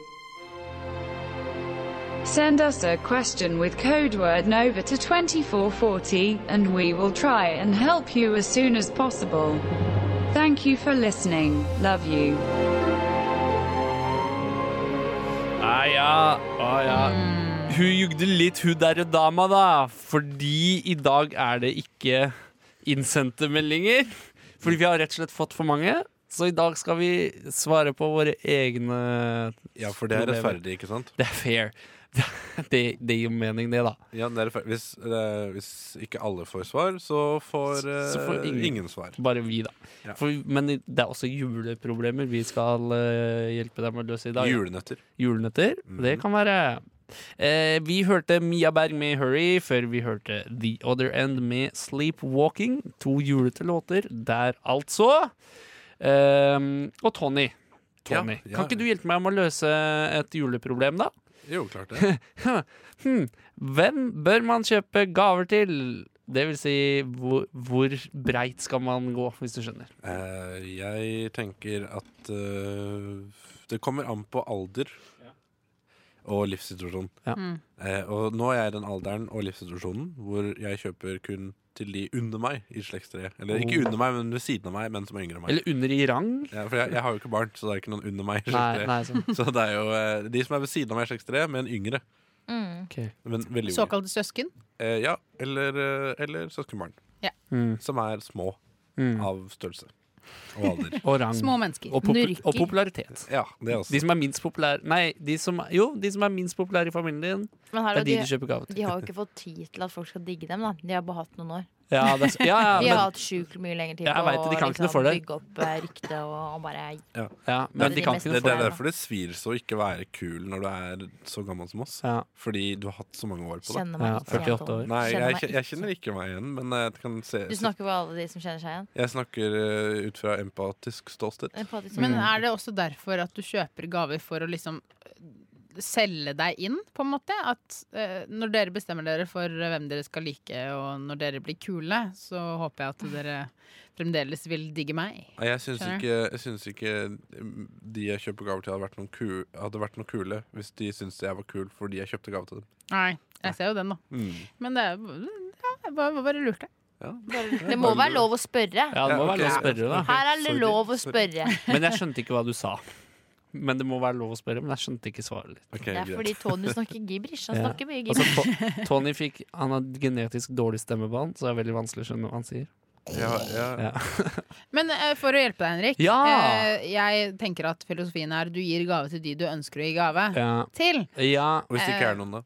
[SPEAKER 8] Send us a question with code word NOVA to 2440 and we will try and help you as soon as possible. Thank you for listening. Love you.
[SPEAKER 2] Ah, ja. Ah, ja. Hun jugde litt, hun derre dama, da. Fordi i dag er det ikke innsendte meldinger. Fordi vi har rett og slett fått for mange. Så i dag skal vi svare på våre egne
[SPEAKER 5] Ja, for det er
[SPEAKER 2] problemer.
[SPEAKER 5] rettferdig, ikke sant?
[SPEAKER 2] Det er fair. Det, det gir jo mening, det, da.
[SPEAKER 5] Ja, det er rettferdig. hvis, eh, hvis ikke alle får svar, så får, eh,
[SPEAKER 2] Så får ingen.
[SPEAKER 5] ingen. svar.
[SPEAKER 2] Bare vi, da.
[SPEAKER 5] Ja.
[SPEAKER 2] For, men det er også juleproblemer vi skal eh, hjelpe deg med å løse i dag.
[SPEAKER 5] Julenøtter.
[SPEAKER 2] Julenøtter.
[SPEAKER 5] Mhm.
[SPEAKER 2] Det kan være. Eh, vi hørte Mia Berg med 'Hurry', før vi hørte The Other End med 'Sleepwalking'. To julete låter der, altså. Ehm, og Tony. Tony.
[SPEAKER 5] Ja, ja.
[SPEAKER 2] Kan ikke du hjelpe meg med å løse et juleproblem, da?
[SPEAKER 5] Jo, klart det.
[SPEAKER 2] Hm. Hvem bør man kjøpe gaver til? Det vil si, hvor, hvor breit skal man gå, hvis du skjønner?
[SPEAKER 5] Eh, jeg tenker at eh, det kommer an på alder og livssituasjon.
[SPEAKER 2] Ja.
[SPEAKER 4] Mm.
[SPEAKER 5] Eh, og nå er jeg i den alderen og livssituasjonen hvor jeg kjøper kun til de under meg i slektstreet. Eller ikke
[SPEAKER 2] Oh.
[SPEAKER 5] under meg, men ved siden av meg, men som er yngre enn meg.
[SPEAKER 2] Eller under i rang?
[SPEAKER 5] Ja, for jeg, jeg har jo ikke barn, så det er ikke noen under meg. i
[SPEAKER 2] Nei,
[SPEAKER 5] slektstreet.
[SPEAKER 2] nei sånn.
[SPEAKER 5] Så det er jo eh, de som er ved siden av meg i slektstreet, men yngre.
[SPEAKER 3] Mm.
[SPEAKER 2] Ok.
[SPEAKER 5] Men veldig unge.
[SPEAKER 4] Såkalte søsken.
[SPEAKER 5] Eh, ja, eller, eh, eller søskenbarn.
[SPEAKER 2] Mm,
[SPEAKER 5] Som er små
[SPEAKER 2] mm.
[SPEAKER 5] av størrelse og alder.
[SPEAKER 2] Og rang.
[SPEAKER 4] Små mennesker.
[SPEAKER 2] Mm. Og, popu
[SPEAKER 4] Nurker.
[SPEAKER 2] og popularitet.
[SPEAKER 5] Ja, det er
[SPEAKER 2] De
[SPEAKER 5] også.
[SPEAKER 2] som er minst populære Nei, de som, jo, de som er minst populære i familien,
[SPEAKER 3] Men her,
[SPEAKER 2] det er
[SPEAKER 3] er
[SPEAKER 2] de
[SPEAKER 3] de,
[SPEAKER 2] du kjøper gave til.
[SPEAKER 3] de har jo ikke fått tid til at folk skal digge dem. Da. De har bare hatt noen år.
[SPEAKER 2] Ja, det er, s- ja,
[SPEAKER 3] Vi
[SPEAKER 2] ja,
[SPEAKER 3] har
[SPEAKER 2] men,
[SPEAKER 3] hatt sjukt mye lengre tid
[SPEAKER 2] Jeg
[SPEAKER 3] på
[SPEAKER 2] vet det, de kan
[SPEAKER 3] å
[SPEAKER 2] ikke noe for det.
[SPEAKER 3] bygge opp eh, rykte og, og bare
[SPEAKER 2] ja,
[SPEAKER 3] Bare
[SPEAKER 2] men de
[SPEAKER 3] de
[SPEAKER 2] kan
[SPEAKER 3] mest
[SPEAKER 2] ikke
[SPEAKER 5] Det, det
[SPEAKER 2] det.
[SPEAKER 5] er
[SPEAKER 3] det, da.
[SPEAKER 5] derfor det svir så ikke være kul når du er så gammel som oss.
[SPEAKER 2] Ja.
[SPEAKER 5] Fordi du har hatt så mange år på det.
[SPEAKER 3] kjenne meg
[SPEAKER 2] Ja,
[SPEAKER 3] ikke igjen.
[SPEAKER 2] 48 år.
[SPEAKER 5] Nei,
[SPEAKER 3] Kjenner
[SPEAKER 5] jeg,
[SPEAKER 3] meg
[SPEAKER 5] kje- jeg kjenner ikke meg igjen, men jeg kan se
[SPEAKER 3] Du snakker for alle de som kjenner seg igjen?
[SPEAKER 5] Jeg snakker eh, ut fra empatisk ståsted.
[SPEAKER 3] Eh, på de som-
[SPEAKER 4] Men er det også derfor at du kjøper gaver for å liksom øh, selge deg inn, på en måte? At øh, når dere bestemmer dere for eh, hvem dere skal like, og når dere blir kule, så håper jeg at dere fremdeles vil digge meg.
[SPEAKER 5] Nei, Jeg syns
[SPEAKER 4] Skjønner.
[SPEAKER 5] ikke, jeg syns ikke mm, de jeg kjøper gaver til, hadde vært, noen ku, hadde vært noe kule hvis de syntes jeg var kul fordi jeg kjøpte gave til dem.
[SPEAKER 4] Nei, jeg ser jo den, da.
[SPEAKER 2] Mm.
[SPEAKER 4] Men det er ja, jeg bare, bare lurte.
[SPEAKER 5] Ja.
[SPEAKER 3] Det må være lov å spørre.
[SPEAKER 2] Ja, det må
[SPEAKER 5] Ja,
[SPEAKER 2] være lov å
[SPEAKER 5] ok.
[SPEAKER 2] spørre, da.
[SPEAKER 3] Her er det
[SPEAKER 5] Sorry.
[SPEAKER 3] lov å
[SPEAKER 5] Sorry.
[SPEAKER 3] spørre.
[SPEAKER 2] Men jeg skjønte ikke hva du sa. Men det må være lov å spørre, men jeg skjønte ikke svaret litt.
[SPEAKER 5] Ok,
[SPEAKER 3] Det er
[SPEAKER 5] greit.
[SPEAKER 3] fordi Tony snakker gibrish. Han
[SPEAKER 2] Ja.
[SPEAKER 3] snakker mye
[SPEAKER 2] Altså,
[SPEAKER 3] gibrish.
[SPEAKER 2] To- Tony fikk, han har genetisk dårlig stemmebånd, så det er veldig vanskelig å skjønne hva han sier.
[SPEAKER 5] ja, ja.
[SPEAKER 2] Ja.
[SPEAKER 4] Men eh, for å hjelpe deg, Henrik.
[SPEAKER 2] Ja!
[SPEAKER 4] eh, jeg tenker at filosofien er du gir gave til de du ønsker å gi gave
[SPEAKER 2] Ja,
[SPEAKER 4] til.
[SPEAKER 2] ja.
[SPEAKER 5] Og hvis det
[SPEAKER 3] Eh,
[SPEAKER 5] ikke er noen, da?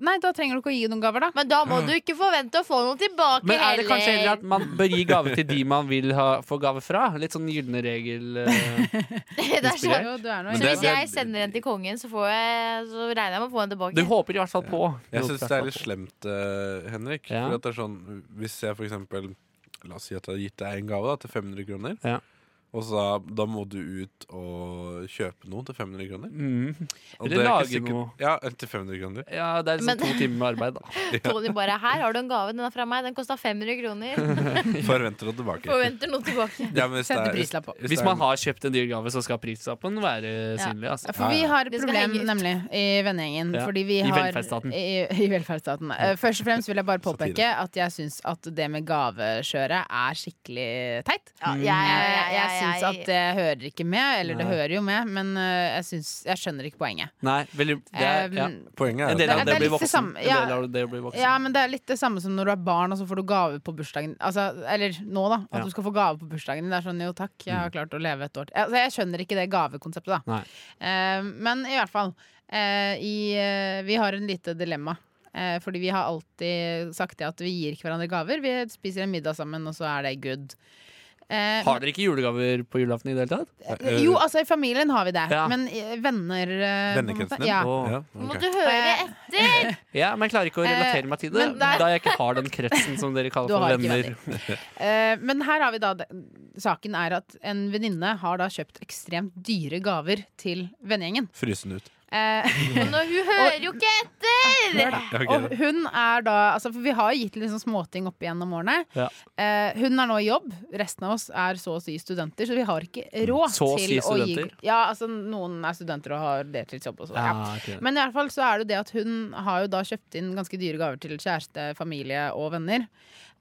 [SPEAKER 4] Nei, da trenger du ikke å gi noen gaver, da.
[SPEAKER 3] Men da må du ikke forvente å få noe tilbake
[SPEAKER 2] Men er det kanskje heller at
[SPEAKER 3] heller.
[SPEAKER 2] man bør gi gave til de man vil ha, få gave fra? Litt sånn gylne regel. eh.
[SPEAKER 3] Det er
[SPEAKER 2] inspirert.
[SPEAKER 3] sånn.
[SPEAKER 4] Jo, du er noe
[SPEAKER 5] Men
[SPEAKER 3] Så
[SPEAKER 5] det-
[SPEAKER 3] hvis jeg sender en til kongen, så, får jeg, så regner jeg med å få en
[SPEAKER 2] Du
[SPEAKER 3] tilbake.
[SPEAKER 2] håper i hvert fall på.
[SPEAKER 5] Jeg syns det er litt slemt, eh, Henrik.
[SPEAKER 2] Ja.
[SPEAKER 5] For at det er sånn, hvis jeg for eksempel La oss si at jeg har gitt deg en gave da, til 500 kroner.
[SPEAKER 2] Ja.
[SPEAKER 5] Og så da, da må du ut og kjøpe noe til 500 kroner.
[SPEAKER 2] Mm.
[SPEAKER 5] Og
[SPEAKER 2] Eller
[SPEAKER 5] det er ikke
[SPEAKER 2] lage noe.
[SPEAKER 5] Ja, eller til 500 kroner.
[SPEAKER 2] Ja, det er liksom
[SPEAKER 3] Men-
[SPEAKER 2] to timer med arbeid, da.
[SPEAKER 3] Tony bare 'Her har du en gave. Den er fra meg. Den kosta 500 kroner.'
[SPEAKER 5] Forventer å tilbake.
[SPEAKER 3] Forventer noe tilbake.
[SPEAKER 5] Ja, men hvis det er-
[SPEAKER 4] Sette prislapp på.
[SPEAKER 5] hvis det
[SPEAKER 2] Hvis
[SPEAKER 5] er-
[SPEAKER 2] man har kjøpt en dyr gave, så skal prislappen være synlig.
[SPEAKER 4] Ja,
[SPEAKER 2] Altså.
[SPEAKER 4] For vi har et
[SPEAKER 3] Det skal
[SPEAKER 4] problem
[SPEAKER 3] henge ut.
[SPEAKER 4] nemlig i vennegjengen.
[SPEAKER 2] Ja,
[SPEAKER 4] Fordi vi
[SPEAKER 2] i
[SPEAKER 4] har
[SPEAKER 2] velferdsstaten.
[SPEAKER 4] I, i velferdsstaten. Eh, Først og fremst vil jeg bare påpeke
[SPEAKER 5] Satire.
[SPEAKER 4] at jeg syns at det med gaveskjøret er skikkelig teit.
[SPEAKER 3] Ja, jeg,
[SPEAKER 4] Jeg,
[SPEAKER 3] jeg,
[SPEAKER 4] jeg syns at det hører ikke med, eller det
[SPEAKER 2] Nei.
[SPEAKER 4] hører jo med, men eh, jeg, syns, jeg skjønner ikke poenget.
[SPEAKER 2] Nei, veldig det er, ja.
[SPEAKER 4] Eh,
[SPEAKER 5] Poenget er at
[SPEAKER 2] En del av
[SPEAKER 4] det
[SPEAKER 2] det å bli
[SPEAKER 4] er litt det
[SPEAKER 2] voksen.
[SPEAKER 4] samme,
[SPEAKER 2] En
[SPEAKER 4] ja.
[SPEAKER 2] del av det å bli voksen.
[SPEAKER 4] Ja, men det er litt det samme som når du er barn, og så får du gave på bursdagen. Altså, eller nå, da. At
[SPEAKER 2] Ja. Mm.
[SPEAKER 4] du skal få gave på bursdagen din. Det er sånn, jo takk, jeg har klart å leve et år til. Altså, jeg skjønner ikke det gavekonseptet, da.
[SPEAKER 2] Nei.
[SPEAKER 4] Eh, men i hvert fall. eh, i, eh, vi har en lite dilemma. Eh, fordi vi har alltid sagt det at vi gir ikke hverandre gaver. Vi spiser en middag sammen, og så er det good. Eh,
[SPEAKER 2] Har dere ikke julegaver på julaften i det hele tatt?
[SPEAKER 5] eh,
[SPEAKER 4] jo, altså i familien har vi det,
[SPEAKER 2] Ja.
[SPEAKER 4] men i venner eh, på en måte-
[SPEAKER 5] Vennekretsen din?
[SPEAKER 4] Ja.
[SPEAKER 2] Åh.
[SPEAKER 5] Ja,
[SPEAKER 3] Må
[SPEAKER 5] ok.
[SPEAKER 3] du høre etter!
[SPEAKER 2] Ja, men jeg klarer ikke å
[SPEAKER 4] Eh,
[SPEAKER 2] relatere meg til det,
[SPEAKER 4] men der-
[SPEAKER 2] da jeg ikke har den kretsen som dere kaller
[SPEAKER 4] Du
[SPEAKER 2] for
[SPEAKER 4] har ikke
[SPEAKER 2] venner.
[SPEAKER 4] Eh, men her har vi da Saken er at en venninne har da kjøpt ekstremt dyre gaver til vennegjengen.
[SPEAKER 5] Fryse den ut.
[SPEAKER 4] Eh,
[SPEAKER 3] Men når hun hører jo ikke etter!
[SPEAKER 5] Ja, ok,
[SPEAKER 4] og
[SPEAKER 5] da.
[SPEAKER 4] hun er da altså, For vi har jo gitt liksom småting opp igjennom årene.
[SPEAKER 2] Ja.
[SPEAKER 4] Eh, hun er nå i jobb. Resten av oss er så å si studenter, så vi har ikke råd
[SPEAKER 2] Så å
[SPEAKER 4] til
[SPEAKER 2] si
[SPEAKER 4] å gi
[SPEAKER 2] studenter?
[SPEAKER 4] Ja, altså noen er studenter og har deltidsjobb og sånn. Ja.
[SPEAKER 2] Ah, ok.
[SPEAKER 4] Men i alle fall så er det jo det at hun har jo da kjøpt inn ganske dyre gaver til kjæreste, familie og venner.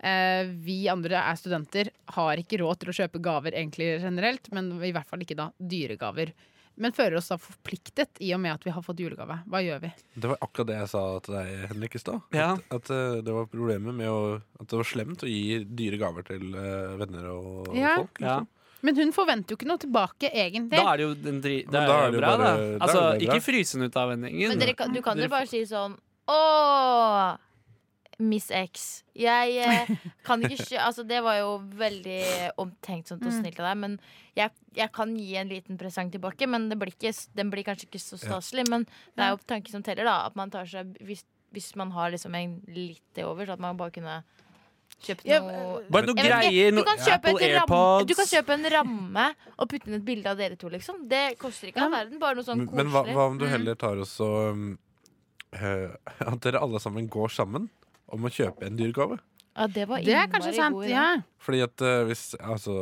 [SPEAKER 4] Eh, vi andre er studenter, har ikke råd til å kjøpe gaver egentlig generelt, men i hvert fall ikke da dyre gaver. Men føler oss da forpliktet i og med at vi har fått julegave. Hva gjør vi?
[SPEAKER 5] Det var akkurat det jeg sa til deg, Henrik, i stad.
[SPEAKER 2] Ja.
[SPEAKER 5] At, at eh, det var problemet med å At det var slemt å gi dyre gaver til eh, venner og
[SPEAKER 4] Ja.
[SPEAKER 5] folk.
[SPEAKER 2] Ja.
[SPEAKER 5] Liksom.
[SPEAKER 4] Men hun forventer jo ikke noe tilbake, egentlig.
[SPEAKER 2] Da er det jo, den dri det
[SPEAKER 5] Men
[SPEAKER 2] er
[SPEAKER 5] da er
[SPEAKER 2] jo
[SPEAKER 5] det jo
[SPEAKER 2] bra,
[SPEAKER 5] bare- da er
[SPEAKER 2] da. Altså,
[SPEAKER 5] det bra.
[SPEAKER 2] ikke fryse den ut av vendingen.
[SPEAKER 3] Men dere, kan- du kan jo
[SPEAKER 2] Dere
[SPEAKER 3] bare si sånn Åh, Miss X. Jeg eh, kan ikke skjø... Altså, det var jo veldig omtenksomt og snilt av deg, men jeg, jeg kan gi en liten presang tilbake. Men det blir ikke, s- den blir kanskje ikke så staselig, men det er jo tanken som teller, da. At man tar seg Hvis, hvis man har liksom en litt til over, så at man bare kunne kjøpt
[SPEAKER 4] Ja, eh,
[SPEAKER 3] noe
[SPEAKER 2] Bare noe
[SPEAKER 3] Jeg vet ikke,
[SPEAKER 2] greier.
[SPEAKER 3] du, kan
[SPEAKER 2] Noe
[SPEAKER 3] kjøpe
[SPEAKER 2] Apple
[SPEAKER 3] en ramme, du kan
[SPEAKER 2] AirPods.
[SPEAKER 3] kjøpe en ramme og putte inn et bilde av dere to, liksom. Det koster ikke all verden. Bare noe sånn
[SPEAKER 5] Men,
[SPEAKER 3] koselig.
[SPEAKER 5] men hva, hva om du heller tar og så um, eh, At dere alle sammen går sammen om å kjøpe en dyr gave?
[SPEAKER 3] Ja, det var
[SPEAKER 4] Det er
[SPEAKER 3] innmari
[SPEAKER 4] kanskje
[SPEAKER 3] god
[SPEAKER 4] sant.
[SPEAKER 3] idé.
[SPEAKER 4] Ja.
[SPEAKER 5] Fordi at eh, hvis Altså,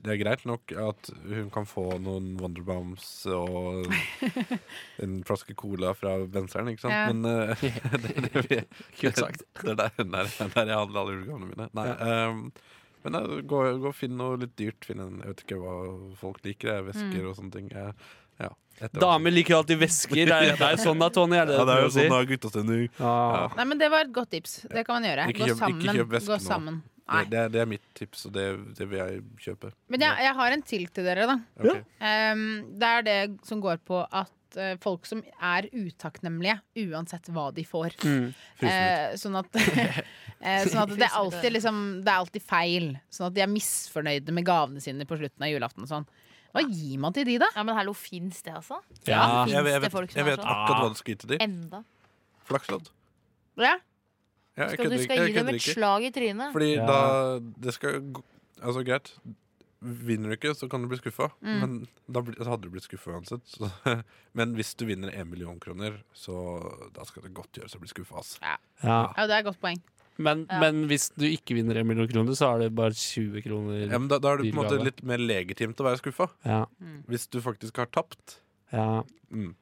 [SPEAKER 5] det er greit nok at hun kan få noen Wonderbombs og en flaske cola fra Benseren, ikke sant?
[SPEAKER 4] Ja.
[SPEAKER 5] Men eh, det, det, det,
[SPEAKER 2] Kult sagt.
[SPEAKER 5] Det er der, der, der jeg handler alle julegavene mine. Nei, ehm, men eh, gå, gå og finn noe litt dyrt. Finn en, jeg vet ikke hva folk liker. jeg,
[SPEAKER 3] Mm.
[SPEAKER 5] Vesker og sånne ting. Jeg, ja, et eller annet.
[SPEAKER 2] Damer liker alltid vesker. Det er, det er jo sånn da, Tony. Er det,
[SPEAKER 5] ja, det er jo sånn
[SPEAKER 2] da.
[SPEAKER 5] da, guttastemning.
[SPEAKER 4] Nei, men det var et godt tips. Det kan man gjøre.
[SPEAKER 5] Ikke
[SPEAKER 4] Gå
[SPEAKER 5] kjøp- ikke
[SPEAKER 4] sammen.
[SPEAKER 5] kjøp veske
[SPEAKER 4] Gå
[SPEAKER 5] nå.
[SPEAKER 4] sammen.
[SPEAKER 5] Det,
[SPEAKER 4] Nei.
[SPEAKER 5] det, er, det er mitt tips, og det, det vil jeg kjøpe.
[SPEAKER 4] Men jeg, jeg har en til til dere, da.
[SPEAKER 5] Ok.
[SPEAKER 4] Um, det er det som går på at at eh, folk som er utakknemlige, uansett hva de får. Eh, sånn at, eh, sånn at det, er alltid, liksom, det er alltid feil. Sånn at de er misfornøyde med gavene sine på slutten av julaften. Og sånn. Hva gir man til de, da?
[SPEAKER 3] Ja, men hallo, fins det, altså?
[SPEAKER 2] Ja.
[SPEAKER 5] Jeg, jeg,
[SPEAKER 3] Finnes det
[SPEAKER 5] vet,
[SPEAKER 3] folk som
[SPEAKER 5] jeg
[SPEAKER 3] er
[SPEAKER 5] vet
[SPEAKER 3] sånn?
[SPEAKER 5] akkurat hva du skal gi til dem.
[SPEAKER 3] Enda.
[SPEAKER 5] Flakslodd.
[SPEAKER 4] Ja.
[SPEAKER 5] Ja, jeg
[SPEAKER 3] Skal du
[SPEAKER 5] kødder ikke-
[SPEAKER 3] skal
[SPEAKER 5] jeg
[SPEAKER 3] gi dem
[SPEAKER 5] kødder
[SPEAKER 3] et
[SPEAKER 5] ikke.
[SPEAKER 3] slag i trynet?
[SPEAKER 5] Fordi
[SPEAKER 2] Ja.
[SPEAKER 5] da Det skal gå- Altså, greit. Vinner du ikke, så kan du bli skuffa. Men da bli, så hadde du blitt skuffa uansett. Så, men hvis du vinner én million kroner, så da skal det godt gjøres å bli skuffa. Altså.
[SPEAKER 4] ja, det er et godt poeng.
[SPEAKER 7] Men, men hvis du ikke vinner en million kroner, så er det bare 20 kroner.
[SPEAKER 5] Ja, men da, da er det på en måte
[SPEAKER 7] Bilgave.
[SPEAKER 5] litt mer legitimt å være skuffa.
[SPEAKER 7] Ja,
[SPEAKER 5] Hvis du faktisk har tapt.
[SPEAKER 7] ja.
[SPEAKER 5] Mm.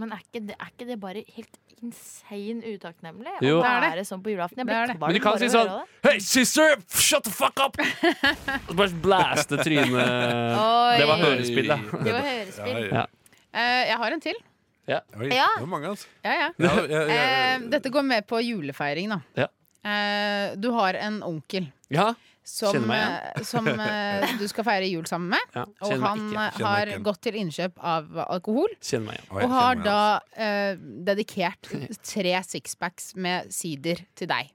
[SPEAKER 3] Men er ikke, det, er ikke det bare helt insane utakknemlig?
[SPEAKER 7] Jo.
[SPEAKER 3] Å
[SPEAKER 4] Det er det.
[SPEAKER 3] være sånn på julaften? Jeg
[SPEAKER 4] Det er
[SPEAKER 3] blir
[SPEAKER 4] det.
[SPEAKER 7] Men
[SPEAKER 3] kvalm
[SPEAKER 7] du kan
[SPEAKER 3] bare
[SPEAKER 7] si
[SPEAKER 3] av å
[SPEAKER 7] sånn
[SPEAKER 3] høre det.
[SPEAKER 7] Hei, sister! Shut the fuck up! Og bare blaste trynet.
[SPEAKER 3] Oi.
[SPEAKER 7] Det var hørespill, da.
[SPEAKER 3] Det var hørespill.
[SPEAKER 5] ja.
[SPEAKER 4] Eh, jeg har en til.
[SPEAKER 5] Oi,
[SPEAKER 3] Ja.
[SPEAKER 5] Det var mange, altså.
[SPEAKER 4] Ja, ja.
[SPEAKER 5] Ja, jeg, jeg,
[SPEAKER 4] Eh, dette går med på julefeiring, da.
[SPEAKER 7] Ja.
[SPEAKER 4] Eh, du har en onkel
[SPEAKER 7] Ja,
[SPEAKER 4] som,
[SPEAKER 7] Kjenner meg
[SPEAKER 4] eh, som eh, du skal feire jul sammen med.
[SPEAKER 7] ja.
[SPEAKER 4] Og
[SPEAKER 7] Kjenner meg
[SPEAKER 4] han
[SPEAKER 7] ikke.
[SPEAKER 4] eh,
[SPEAKER 5] Kjenner
[SPEAKER 4] har
[SPEAKER 5] meg ikke.
[SPEAKER 4] gått til innkjøp av alkohol.
[SPEAKER 7] Kjenner meg igjen.
[SPEAKER 5] Oi, altså.
[SPEAKER 4] Og
[SPEAKER 5] jeg
[SPEAKER 4] har
[SPEAKER 5] kjenner meg,
[SPEAKER 4] da eh, dedikert tre sixpacks med sider til deg.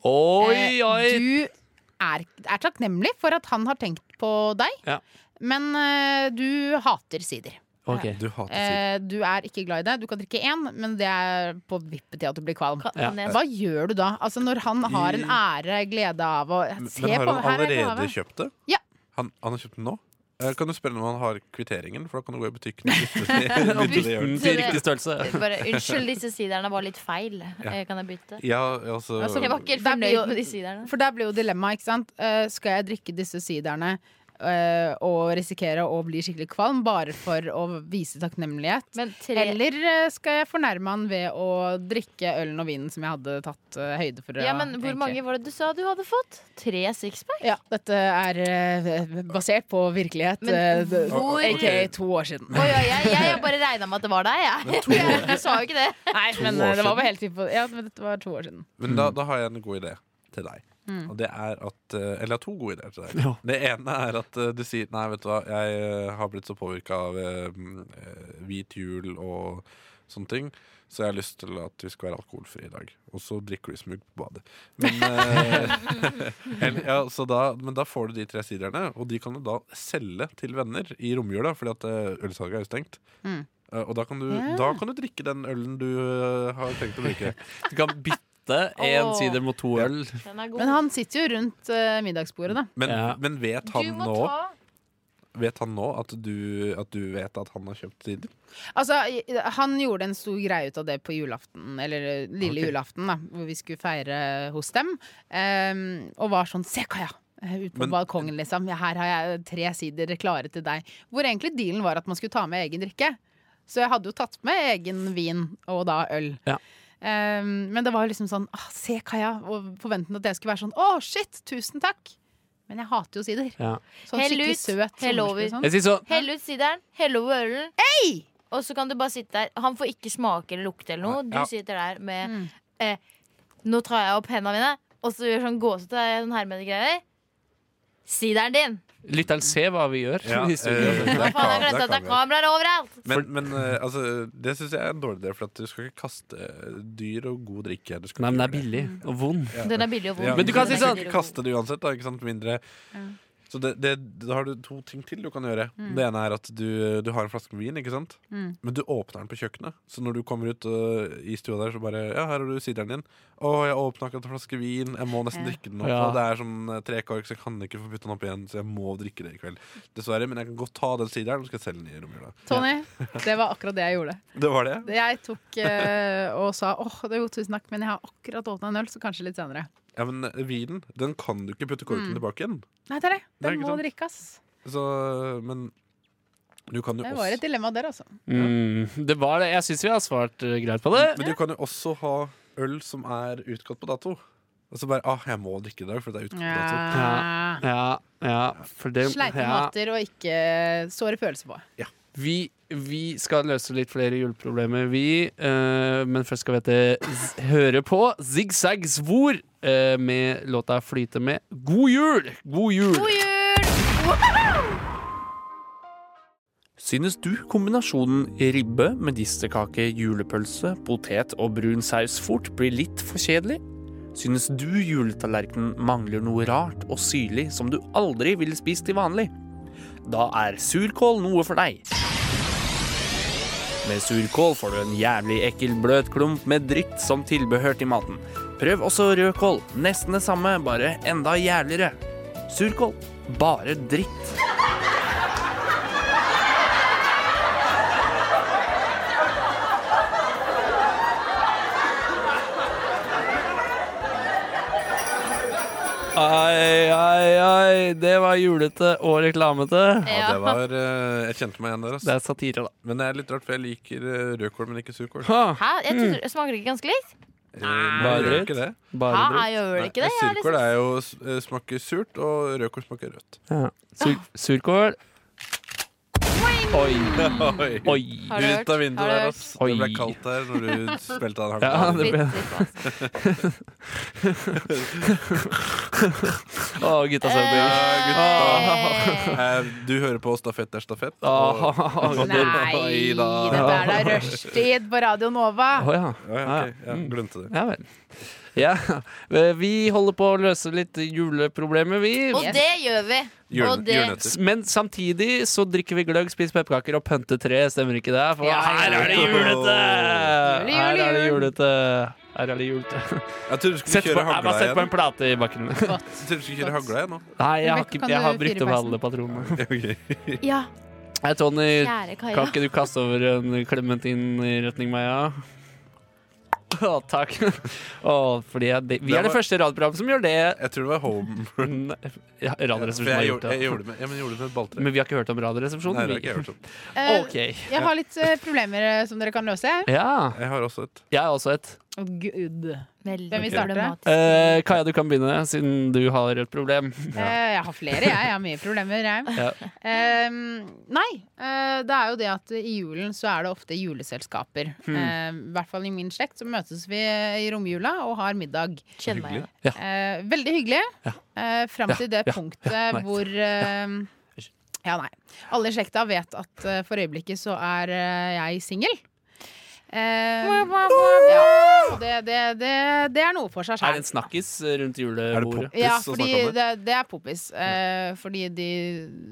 [SPEAKER 7] Oi,
[SPEAKER 4] Eh,
[SPEAKER 7] oi!
[SPEAKER 4] Du er, er takknemlig for at han har tenkt på deg,
[SPEAKER 7] Ja.
[SPEAKER 4] men eh, du hater sider.
[SPEAKER 7] Ok.
[SPEAKER 5] altså. Du hater sider.
[SPEAKER 4] Eh, du er ikke glad i det. Du kan drikke én, men det er på vippet til at du blir kvalm.
[SPEAKER 3] Kan,
[SPEAKER 7] Ja.
[SPEAKER 3] kan jeg
[SPEAKER 4] Hva gjør du da? Altså Når han har en ære, glede av å
[SPEAKER 5] Men-
[SPEAKER 4] Se
[SPEAKER 5] Men har
[SPEAKER 4] på
[SPEAKER 5] han
[SPEAKER 4] her er
[SPEAKER 5] allerede
[SPEAKER 4] gave.
[SPEAKER 5] kjøpt det?
[SPEAKER 4] Ja.
[SPEAKER 5] Han, han har kjøpt den nå? Eh, Kan du spørre om han har kvitteringen? For da kan du gå i butikken og bytte til- bytte til det
[SPEAKER 7] Bytten
[SPEAKER 5] hjørnet.
[SPEAKER 7] til riktig størrelse.
[SPEAKER 3] bare, unnskyld, disse siderne var litt feil. Eh, Kan jeg bytte?
[SPEAKER 5] Ja, altså
[SPEAKER 4] Altså,
[SPEAKER 3] Jeg var ikke helt
[SPEAKER 4] Der blir
[SPEAKER 3] fornøyd
[SPEAKER 4] jo-
[SPEAKER 3] med de siderne.
[SPEAKER 4] For der blir jo dilemmaet, ikke sant? Eh, skal jeg drikke disse siderne eh, og risikere å bli skikkelig kvalm bare for å vise takknemlighet?
[SPEAKER 3] Men tre
[SPEAKER 4] Eller eh, skal jeg fornærme han ved å drikke ølen og vinen som jeg hadde tatt eh, høyde for? å-
[SPEAKER 3] Ja, men hvor
[SPEAKER 4] egentlig.
[SPEAKER 3] mange var det du sa du hadde fått? Tre sixpack?
[SPEAKER 4] Ja, dette er eh, basert på virkelighet.
[SPEAKER 3] Men
[SPEAKER 4] eh, d-
[SPEAKER 3] hvor-
[SPEAKER 4] AKA to år siden.
[SPEAKER 3] Oi, oi, jeg, jeg, jeg bare regna med at det var deg, jeg. Du sa jo ikke det.
[SPEAKER 4] Nei, men
[SPEAKER 5] år
[SPEAKER 4] eh, det
[SPEAKER 5] siden?
[SPEAKER 4] var vel helt typ- Ja, men dette var to år siden.
[SPEAKER 5] Men da, da har jeg en god idé til deg.
[SPEAKER 4] Mm.
[SPEAKER 5] Og det er at eh, Eller jeg har to gode ideer til deg.
[SPEAKER 7] Ja.
[SPEAKER 5] Det ene er at eh, du sier Nei, vet du hva, jeg eh, har blitt så påvirka av eh, mm, eh, hvit jul og sånne ting, så jeg har lyst til at vi skal være alkoholfrie i dag. Og så drikker du smug på badet. Men, eh, eller, ja, så da, men da får du de tre siderne, og de kan du da selge til venner i romjula, fordi at eh, ølsalget er jo stengt.
[SPEAKER 4] Mm.
[SPEAKER 5] Eh, Og da kan, du,
[SPEAKER 4] Ja.
[SPEAKER 5] da kan du drikke den ølen du eh, har tenkt å bruke.
[SPEAKER 7] Du kan bytte én
[SPEAKER 3] Åh.
[SPEAKER 7] sider mot to øl.
[SPEAKER 3] Den er god.
[SPEAKER 4] Men han sitter jo rundt eh, middagsbordet, da.
[SPEAKER 5] Men,
[SPEAKER 7] Ja.
[SPEAKER 5] men vet
[SPEAKER 3] du
[SPEAKER 5] han
[SPEAKER 3] må
[SPEAKER 5] nå
[SPEAKER 3] ta
[SPEAKER 5] Vet han nå at du, at du vet at han har kjøpt sider?
[SPEAKER 4] Altså, i- han gjorde en stor greie ut av det på julaften, eller eh, lille
[SPEAKER 5] Ok.
[SPEAKER 4] julaften, da, hvor vi skulle feire hos dem. ehm, og var sånn 'se hva jeg har'. eh, Ute på
[SPEAKER 5] Men-
[SPEAKER 4] balkongen, liksom. Ja, her har jeg tre sider klare til deg. Hvor egentlig dealen var at man skulle ta med egen drikke. Så jeg hadde jo tatt med egen vin, og da øl.
[SPEAKER 7] Ja.
[SPEAKER 4] Ehm, men det var jo liksom sånn ah, 'se Kaja', og forventende at jeg skulle være sånn 'å, shit, tusen takk'. Men jeg hater jo sider.
[SPEAKER 7] Ja.
[SPEAKER 4] Sånn
[SPEAKER 3] Hell
[SPEAKER 4] skikkelig
[SPEAKER 3] ut,
[SPEAKER 4] søt.
[SPEAKER 3] hell
[SPEAKER 4] sommerfugl,
[SPEAKER 3] over.
[SPEAKER 4] sånn.
[SPEAKER 7] Jeg sier sånn
[SPEAKER 3] Hell ut sideren, hell over ølen. Og så kan du bare sitte der. Han får ikke smake eller lukte eller noe. Du
[SPEAKER 5] Ja.
[SPEAKER 3] sitter der med
[SPEAKER 4] Mm.
[SPEAKER 3] eh, Nå tar jeg opp hendene mine, og så gjør sånn gåsete sånn hermedegreier. Sideren din!
[SPEAKER 7] Lytteren ser hva vi gjør.
[SPEAKER 5] Ja,
[SPEAKER 7] i studio.
[SPEAKER 5] eh, det
[SPEAKER 3] Hva
[SPEAKER 5] er
[SPEAKER 3] faen, jeg
[SPEAKER 5] kam-
[SPEAKER 3] glemte at det er
[SPEAKER 5] kamera.
[SPEAKER 3] kameraer overalt!
[SPEAKER 5] Men, men eh, altså, det syns jeg er en dårlig idé, for at du skal ikke kaste eh, dyr og god drikke. Du skal
[SPEAKER 7] Nei, men det er
[SPEAKER 5] ikke gjøre
[SPEAKER 7] billig og vond.
[SPEAKER 3] Den er billig og vond.
[SPEAKER 5] Ja.
[SPEAKER 7] Men du kan si
[SPEAKER 3] Den er
[SPEAKER 7] sånn-
[SPEAKER 5] Du
[SPEAKER 3] billig
[SPEAKER 5] skal
[SPEAKER 3] og
[SPEAKER 5] ikke kaste det uansett, da. Ikke sant? Mindre. Så det, det, da har du to ting til du kan gjøre. Det ene er at du, du har en flaske med vin, ikke sant? men du åpner den på kjøkkenet. Så når du kommer ut øh, i stua der, så bare Ja, her har du sideren din. Å, jeg åpna akkurat en flaske vin. Jeg må nesten
[SPEAKER 4] Ja.
[SPEAKER 5] drikke den opp.
[SPEAKER 7] Ja.
[SPEAKER 5] Og det er sånn eh, trekork, så jeg kan ikke få putte den opp igjen. Så jeg må drikke det i kveld. Dessverre. Men jeg kan godt ta den sideren, og skal jeg selge den i romjula.
[SPEAKER 4] Tony, det var akkurat det jeg gjorde.
[SPEAKER 5] Det var det.
[SPEAKER 4] Jeg tok eh, og sa åh, det er jo tusen takk, men jeg har akkurat åpna en øl, så kanskje litt senere.
[SPEAKER 5] Ja, men eh, vinen, den kan du ikke putte korken
[SPEAKER 4] Mm.
[SPEAKER 5] tilbake igjen.
[SPEAKER 4] Nei, det er det.
[SPEAKER 5] Det er
[SPEAKER 4] Den
[SPEAKER 5] ikke
[SPEAKER 4] må
[SPEAKER 5] sant.
[SPEAKER 4] drikkes.
[SPEAKER 5] Så øh, Men du kan jo
[SPEAKER 4] Det var
[SPEAKER 5] også
[SPEAKER 4] et dilemma der, altså.
[SPEAKER 7] Mm, det var det. Jeg syns vi har svart eh, greit på det.
[SPEAKER 5] Men du kan jo også ha øl som er utgått på dato. Og så bare ah, jeg må drikke i dag, for det er utgått på dato.
[SPEAKER 4] Ja.
[SPEAKER 7] Ja, ja, for det
[SPEAKER 4] Sleipe
[SPEAKER 7] ja.
[SPEAKER 4] måter å ikke eh, såre følelser på.
[SPEAKER 7] Vi, vi skal løse litt flere juleproblemer, vi. eh, men først skal vi hete Z- høre på Zig Zag Svor eh, med låta 'Flyte med'. God jul! God jul!
[SPEAKER 3] vond. God jul!
[SPEAKER 7] Synes du kombinasjonen ribbe, medisterkake, julepølse, potet og brun saus fort blir litt for kjedelig? Synes du juletallerkenen mangler noe rart og syrlig som du aldri ville spist til vanlig? Da er surkål noe for deg. Med surkål får du en jævlig ekkel bløt klump med dritt som tilbehør til maten. Prøv også rødkål. Nesten det samme, bare enda jævligere. Surkål. Bare dritt.
[SPEAKER 2] Ai, ai, ai. Det var julete og reklamete.
[SPEAKER 5] Ja, det var, eh, jeg kjente meg igjen der.
[SPEAKER 2] Det
[SPEAKER 5] Altså.
[SPEAKER 2] er satire, da.
[SPEAKER 5] Men det er litt rart, for jeg liker eh, rødkål, men ikke surkål.
[SPEAKER 3] Hæ? Jeg trodde, Smaker det ikke ganske likt?
[SPEAKER 5] Eh, men
[SPEAKER 2] Bare
[SPEAKER 5] jeg gjør
[SPEAKER 2] rødt?
[SPEAKER 5] ikke det.
[SPEAKER 2] Bare
[SPEAKER 3] Hæ,
[SPEAKER 2] dritt.
[SPEAKER 3] jeg gjør det ikke
[SPEAKER 5] Nei,
[SPEAKER 3] det? Jeg
[SPEAKER 5] Surkål
[SPEAKER 3] liksom-
[SPEAKER 5] er jo, s- eh, smaker surt, og rødkål smaker rødt.
[SPEAKER 2] Sur,
[SPEAKER 5] Ah.
[SPEAKER 2] surkål. Oi.
[SPEAKER 5] Oi.
[SPEAKER 2] Oi.
[SPEAKER 3] Har du hørt?
[SPEAKER 5] Ut av vinduet
[SPEAKER 3] Har
[SPEAKER 5] der, altså. ass.
[SPEAKER 3] du
[SPEAKER 2] hørt?
[SPEAKER 5] Det ble
[SPEAKER 2] Oi.
[SPEAKER 5] kaldt her når du spilte den
[SPEAKER 2] Ja,
[SPEAKER 5] hardt.
[SPEAKER 2] det ble
[SPEAKER 3] Litt, litt vanskelig.
[SPEAKER 2] Å, gutta sønner.
[SPEAKER 3] Eh,
[SPEAKER 5] Eh, Du hører på Stafett er stafett.
[SPEAKER 2] Ah.
[SPEAKER 5] og-
[SPEAKER 2] Å
[SPEAKER 4] Nei,
[SPEAKER 5] Oi da.
[SPEAKER 4] dette er da rushtid på Radio Nova.
[SPEAKER 2] ja.
[SPEAKER 5] Ja, ja, ok. ja, glemte det.
[SPEAKER 2] Ja vel. Ja. Vi holder på å løse litt juleproblemer, vi.
[SPEAKER 3] Og det gjør vi.
[SPEAKER 5] Jule-
[SPEAKER 3] Og det-
[SPEAKER 5] Julenøtter.
[SPEAKER 2] S- Men samtidig så drikker vi gløgg, spiser pepperkaker og pønter tre. Stemmer ikke det? For
[SPEAKER 4] Ja, ja,
[SPEAKER 2] her er det julete!
[SPEAKER 4] Jule,
[SPEAKER 2] Her er det
[SPEAKER 4] jule, jul.
[SPEAKER 2] julete. Her er det julete.
[SPEAKER 5] Jeg trodde du skulle
[SPEAKER 2] Sett på,
[SPEAKER 5] kjøre
[SPEAKER 2] jeg
[SPEAKER 5] hagla
[SPEAKER 2] bare sett på en
[SPEAKER 5] igjen.
[SPEAKER 2] plate i bakken.
[SPEAKER 5] Jeg trodde du skulle kjøre hagla igjen nå.
[SPEAKER 2] Nei, jeg har,
[SPEAKER 4] Rebecca,
[SPEAKER 2] ikke,
[SPEAKER 4] kan
[SPEAKER 2] jeg
[SPEAKER 4] du
[SPEAKER 2] har brukt opp
[SPEAKER 4] fyre
[SPEAKER 2] alle patronene.
[SPEAKER 3] Ja,
[SPEAKER 2] Hei, Tony.
[SPEAKER 3] kjære Kaja.
[SPEAKER 2] Kan ikke du kaste over en klementin i retning meg, ja? Å, takk. Å, fordi jeg, det, vi
[SPEAKER 5] Det
[SPEAKER 2] er det
[SPEAKER 5] var-
[SPEAKER 2] første radioprogrammet som gjør det.
[SPEAKER 5] Jeg tror det var home.
[SPEAKER 2] Nei, ja,
[SPEAKER 5] For
[SPEAKER 2] Radioresepsjonen har
[SPEAKER 5] jeg,
[SPEAKER 2] gjort
[SPEAKER 5] gjorde, jeg
[SPEAKER 2] det.
[SPEAKER 5] gjorde det med, ja, men jeg gjorde det med et balltre.
[SPEAKER 2] Men vi har ikke hørt om
[SPEAKER 5] Nei, det
[SPEAKER 2] Radioresepsjonen.
[SPEAKER 5] har ikke
[SPEAKER 2] vi.
[SPEAKER 5] jeg hørt om.
[SPEAKER 4] Eh,
[SPEAKER 2] OK.
[SPEAKER 4] Jeg har litt eh, problemer eh, som dere kan løse.
[SPEAKER 2] Ja.
[SPEAKER 5] Jeg har også et.
[SPEAKER 2] Jeg har også et.
[SPEAKER 4] Å, Gud.
[SPEAKER 3] Veldig
[SPEAKER 4] Hvem vil starte?
[SPEAKER 3] problematisk.
[SPEAKER 2] Eh, Kaja, du kan begynne, siden du har et problem.
[SPEAKER 4] Eh, jeg har flere, jeg. Jeg har mye problemer, jeg.
[SPEAKER 2] Ja.
[SPEAKER 4] Eh, nei. eh, det er jo det at i julen så er det ofte juleselskaper.
[SPEAKER 2] Hmm.
[SPEAKER 4] Eh, I hvert fall i min slekt så møtes vi i romjula og har middag.
[SPEAKER 3] Kjenn meg igjen.
[SPEAKER 4] Eh, veldig hyggelig.
[SPEAKER 2] Ja.
[SPEAKER 4] Eh, fram til det punktet
[SPEAKER 2] nei.
[SPEAKER 4] hvor eh, ja. nei. Alle i slekta vet at eh, for øyeblikket så er eh, jeg singel. Eh, ja. Og det, det, det, det er noe for seg
[SPEAKER 2] Er
[SPEAKER 4] sjæl.
[SPEAKER 2] det en snakkis rundt
[SPEAKER 5] Er det
[SPEAKER 2] julebordet?
[SPEAKER 5] poppis
[SPEAKER 4] Ja,
[SPEAKER 5] å
[SPEAKER 4] fordi
[SPEAKER 5] snakke om det?
[SPEAKER 4] det, det er poppis. Eh, fordi de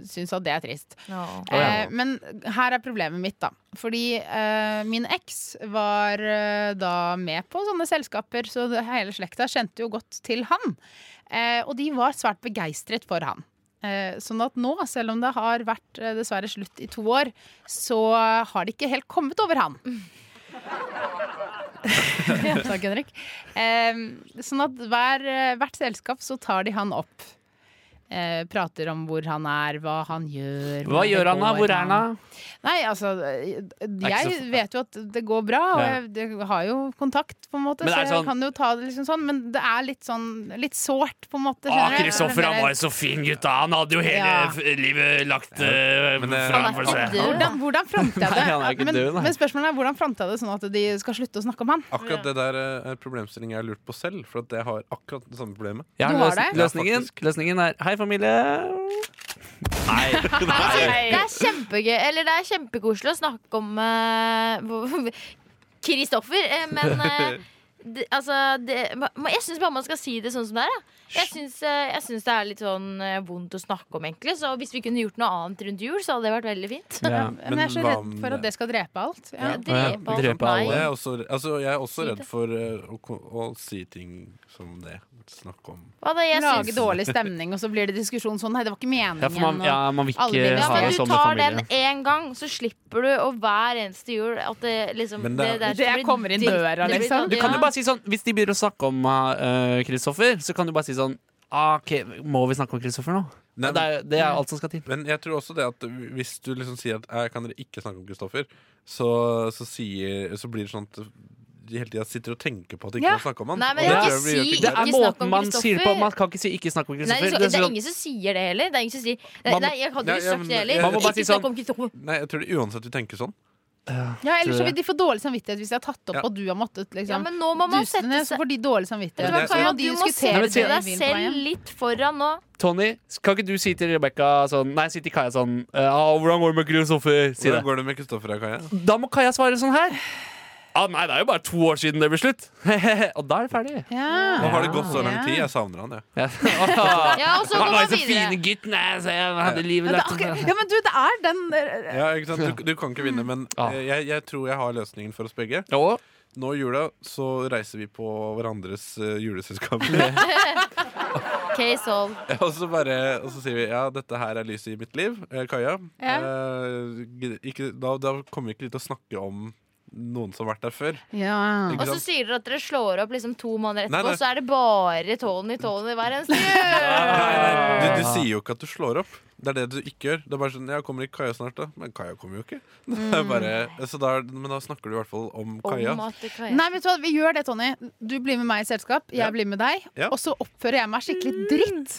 [SPEAKER 4] syns at det er trist.
[SPEAKER 3] Nå.
[SPEAKER 4] Eh, men her er problemet mitt, da. Fordi eh, min eks var eh, da med på sånne selskaper, så det, hele slekta kjente jo godt til han. Eh, og de var svært begeistret for han. Eh, sånn at nå, selv om det har vært eh, dessverre slutt i to år, så har de ikke helt kommet over han. Ja, Takk, Henrik. Eh, sånn at hver, eh, hvert selskap så tar de han opp. Eh, prater om hvor han er, hva han gjør.
[SPEAKER 2] Hva
[SPEAKER 4] hvordan det
[SPEAKER 2] gjør han da?
[SPEAKER 4] går
[SPEAKER 2] Hvor er han da?
[SPEAKER 4] Nei, altså eh,
[SPEAKER 2] ikke
[SPEAKER 4] Jeg
[SPEAKER 2] så-
[SPEAKER 4] vet jo at det går bra, og
[SPEAKER 2] Ja.
[SPEAKER 4] jeg det har jo kontakt, på en måte,
[SPEAKER 2] Men
[SPEAKER 4] så
[SPEAKER 2] er det
[SPEAKER 4] jeg
[SPEAKER 2] sånn-
[SPEAKER 4] kan jo ta det liksom sånn, men det er litt sånn Litt sårt, på en måte.
[SPEAKER 2] Å,
[SPEAKER 4] skjønner du?
[SPEAKER 2] Kristoffer Ah, han var jo så fin, gutta. Han hadde jo hele
[SPEAKER 4] Ja.
[SPEAKER 2] f- livet lagt uh,
[SPEAKER 5] Men eh, det-
[SPEAKER 2] fram for
[SPEAKER 3] Han er ikke
[SPEAKER 2] seg.
[SPEAKER 3] død.
[SPEAKER 4] Hvordan, hvordan fronter jeg det?
[SPEAKER 2] Nei, han er ikke
[SPEAKER 4] men,
[SPEAKER 2] død, nei.
[SPEAKER 4] men spørsmålet er hvordan fronter jeg det sånn at de skal slutte å snakke om han?
[SPEAKER 5] Akkurat det der eh, er problemstilling jeg har lurt på selv, for at jeg har akkurat det samme problemet.
[SPEAKER 2] Jeg har
[SPEAKER 4] Du har
[SPEAKER 2] løs-
[SPEAKER 4] det?
[SPEAKER 5] Ja,
[SPEAKER 2] løsningen,
[SPEAKER 5] faktisk.
[SPEAKER 2] løsningen er Hei, familie. Nei.
[SPEAKER 3] Det er kjempegøy, eller det er kjempekoselig å snakke om eh, hvor- Kristoffer, eh, men eh, det, altså, det, ma- jeg syns bare man skal si det sånn som det er. da. Jeg syns, eh, jeg syns det er litt sånn eh, vondt å snakke om, egentlig. Så hvis vi kunne gjort noe annet rundt jul, så hadde det vært veldig fint.
[SPEAKER 2] Ja.
[SPEAKER 4] Men, jeg er så
[SPEAKER 5] hva
[SPEAKER 4] redd
[SPEAKER 5] om
[SPEAKER 4] for at det skal drepe alt. Ja.
[SPEAKER 3] Ja, drepe alt.
[SPEAKER 2] drepe
[SPEAKER 5] Og
[SPEAKER 2] alle.
[SPEAKER 5] jeg er også, altså, jeg er også
[SPEAKER 3] Si
[SPEAKER 5] redd
[SPEAKER 3] det.
[SPEAKER 5] for eh, å, ko- å si ting som det. Snakke om
[SPEAKER 3] Hva da, jeg
[SPEAKER 4] Lage
[SPEAKER 3] syns
[SPEAKER 4] dårlig stemning, og så blir det diskusjon sånn Nei, det var ikke meningen.
[SPEAKER 2] Ja, for man,
[SPEAKER 4] og-
[SPEAKER 2] ja, man vil
[SPEAKER 4] Alle vil-
[SPEAKER 2] ikke
[SPEAKER 3] ja,
[SPEAKER 2] ha
[SPEAKER 3] men
[SPEAKER 2] en
[SPEAKER 3] du
[SPEAKER 2] sånn
[SPEAKER 3] tar
[SPEAKER 2] familie.
[SPEAKER 3] den én gang, så slipper du å hver eneste jul at det liksom
[SPEAKER 5] Men det er-
[SPEAKER 3] der
[SPEAKER 4] Det
[SPEAKER 3] blir
[SPEAKER 4] kommer inn
[SPEAKER 3] dritt.
[SPEAKER 4] døra,
[SPEAKER 3] Det blir
[SPEAKER 4] liksom.
[SPEAKER 2] Du
[SPEAKER 3] sånn,
[SPEAKER 2] kan
[SPEAKER 3] ja.
[SPEAKER 2] jo bare si sånn Hvis de begynner å snakke om eh, Kristoffer, så kan du bare si sånn ah, OK, må vi snakke om Kristoffer nå?
[SPEAKER 5] Nei,
[SPEAKER 2] det, er, det er alt som skal til.
[SPEAKER 5] Men jeg tror også det at hvis du liksom sier at jeg kan dere ikke snakke om Kristoffer, så, så, sier, så blir det sånn at de hele tida sitter og tenker på at de ikke
[SPEAKER 4] Ja.
[SPEAKER 5] kan snakke om han.
[SPEAKER 3] Nei, men
[SPEAKER 5] Og det
[SPEAKER 3] ikke
[SPEAKER 5] tror jeg blir-
[SPEAKER 3] si-
[SPEAKER 5] gjør
[SPEAKER 2] Det
[SPEAKER 5] ikke
[SPEAKER 2] er
[SPEAKER 3] Ikke snakke
[SPEAKER 2] måten
[SPEAKER 3] om
[SPEAKER 2] man sier det på.
[SPEAKER 3] Kristoffer.
[SPEAKER 2] Man kan ikke si 'ikke snakke om
[SPEAKER 3] Nei, det,
[SPEAKER 2] Kristoffer'.
[SPEAKER 3] er så,
[SPEAKER 2] Det er
[SPEAKER 3] det er
[SPEAKER 2] sånn-
[SPEAKER 3] ingen som sier det heller. Det er ingen som sier
[SPEAKER 2] Man må-
[SPEAKER 3] Nei, jeg hadde
[SPEAKER 5] Nei,
[SPEAKER 3] ikke
[SPEAKER 5] ja,
[SPEAKER 3] sagt det
[SPEAKER 5] men-
[SPEAKER 3] heller.
[SPEAKER 5] Man
[SPEAKER 2] må bare
[SPEAKER 3] Ikke
[SPEAKER 2] si sånn-
[SPEAKER 3] snakk om Kristoffer.
[SPEAKER 5] Nei, jeg tror det uansett vi tenker sånn.
[SPEAKER 4] Ja, eller
[SPEAKER 2] tror
[SPEAKER 4] så
[SPEAKER 2] jeg.
[SPEAKER 4] vil de få dårlig samvittighet hvis de har tatt opp
[SPEAKER 5] Ja.
[SPEAKER 4] og du har måttet
[SPEAKER 3] Ja,
[SPEAKER 4] liksom
[SPEAKER 3] men nå må man
[SPEAKER 4] duse det
[SPEAKER 3] sette
[SPEAKER 4] ned, så
[SPEAKER 3] seg
[SPEAKER 4] får de dårlig
[SPEAKER 3] Vet
[SPEAKER 4] samvittighet.
[SPEAKER 3] du
[SPEAKER 5] Det
[SPEAKER 3] hva,
[SPEAKER 5] er
[SPEAKER 3] Kaja,
[SPEAKER 4] så-
[SPEAKER 3] du
[SPEAKER 4] de
[SPEAKER 3] må
[SPEAKER 4] diskuterer
[SPEAKER 3] sette
[SPEAKER 2] det i
[SPEAKER 3] deg
[SPEAKER 4] bilen på
[SPEAKER 3] selv
[SPEAKER 4] veien.
[SPEAKER 3] litt foran nå.
[SPEAKER 2] Tony, kan ikke du si til Rebekka sånn Nei, si til Kaja sånn «Ja, 'Hvordan går det med Kristoffer?' Si det.
[SPEAKER 5] Hvordan går det med Kristoffer og Kaja?
[SPEAKER 2] Da må Kaja svare sånn her. Ah, nei, det er jo bare to år siden det ble slutt. og da er det ferdig.
[SPEAKER 5] Nå
[SPEAKER 4] Ja.
[SPEAKER 5] har det gått så lang
[SPEAKER 4] Ja.
[SPEAKER 5] tid. Jeg savner han, jeg.
[SPEAKER 2] Ja.
[SPEAKER 3] Ja, og så går
[SPEAKER 2] Han var
[SPEAKER 3] man
[SPEAKER 2] jo så fine
[SPEAKER 3] videre.
[SPEAKER 2] gutten, jeg, så jeg hadde livet
[SPEAKER 4] Men det er
[SPEAKER 2] lagt sånn
[SPEAKER 4] akkurat- ja, men du, det er den eh,
[SPEAKER 5] Ja, ikke sant? Du, du kan ikke vinne, men
[SPEAKER 2] Ja.
[SPEAKER 5] eh, jeg, jeg tror jeg har løsningen for oss begge.
[SPEAKER 2] Og
[SPEAKER 5] Nå i jula så reiser vi på hverandres eh, juleselskap.
[SPEAKER 3] Case solved.
[SPEAKER 5] og, så bare, og så sier vi ja, dette her er lyset i mitt liv. Eh, Kaja.
[SPEAKER 4] Ja.
[SPEAKER 5] eh, gid- ikke, da, da kommer vi ikke til å snakke om noen som har vært der før.
[SPEAKER 4] Ja.
[SPEAKER 5] Ikke
[SPEAKER 3] Og så
[SPEAKER 5] sant?
[SPEAKER 3] sier dere at dere slår opp liksom to måneder
[SPEAKER 5] Nei,
[SPEAKER 3] etterpå,
[SPEAKER 5] nei.
[SPEAKER 3] og så er det bare Tony Tony hver eneste jul!
[SPEAKER 5] Nei, nei, du, du sier jo ikke at du slår opp. Det er det du ikke gjør. Det er bare sånn, ja, Kommer ikke Kaja snart, da? Men Kaja kommer jo ikke. Det er bare, så da, er- men da snakker du i hvert fall om Kaja.
[SPEAKER 3] Om at det kan
[SPEAKER 4] Nei, vet du hva, vi gjør det, Tony. Du blir med meg i selskap, jeg
[SPEAKER 5] Ja.
[SPEAKER 4] blir med deg.
[SPEAKER 5] Ja.
[SPEAKER 4] Og så oppfører jeg meg skikkelig dritt.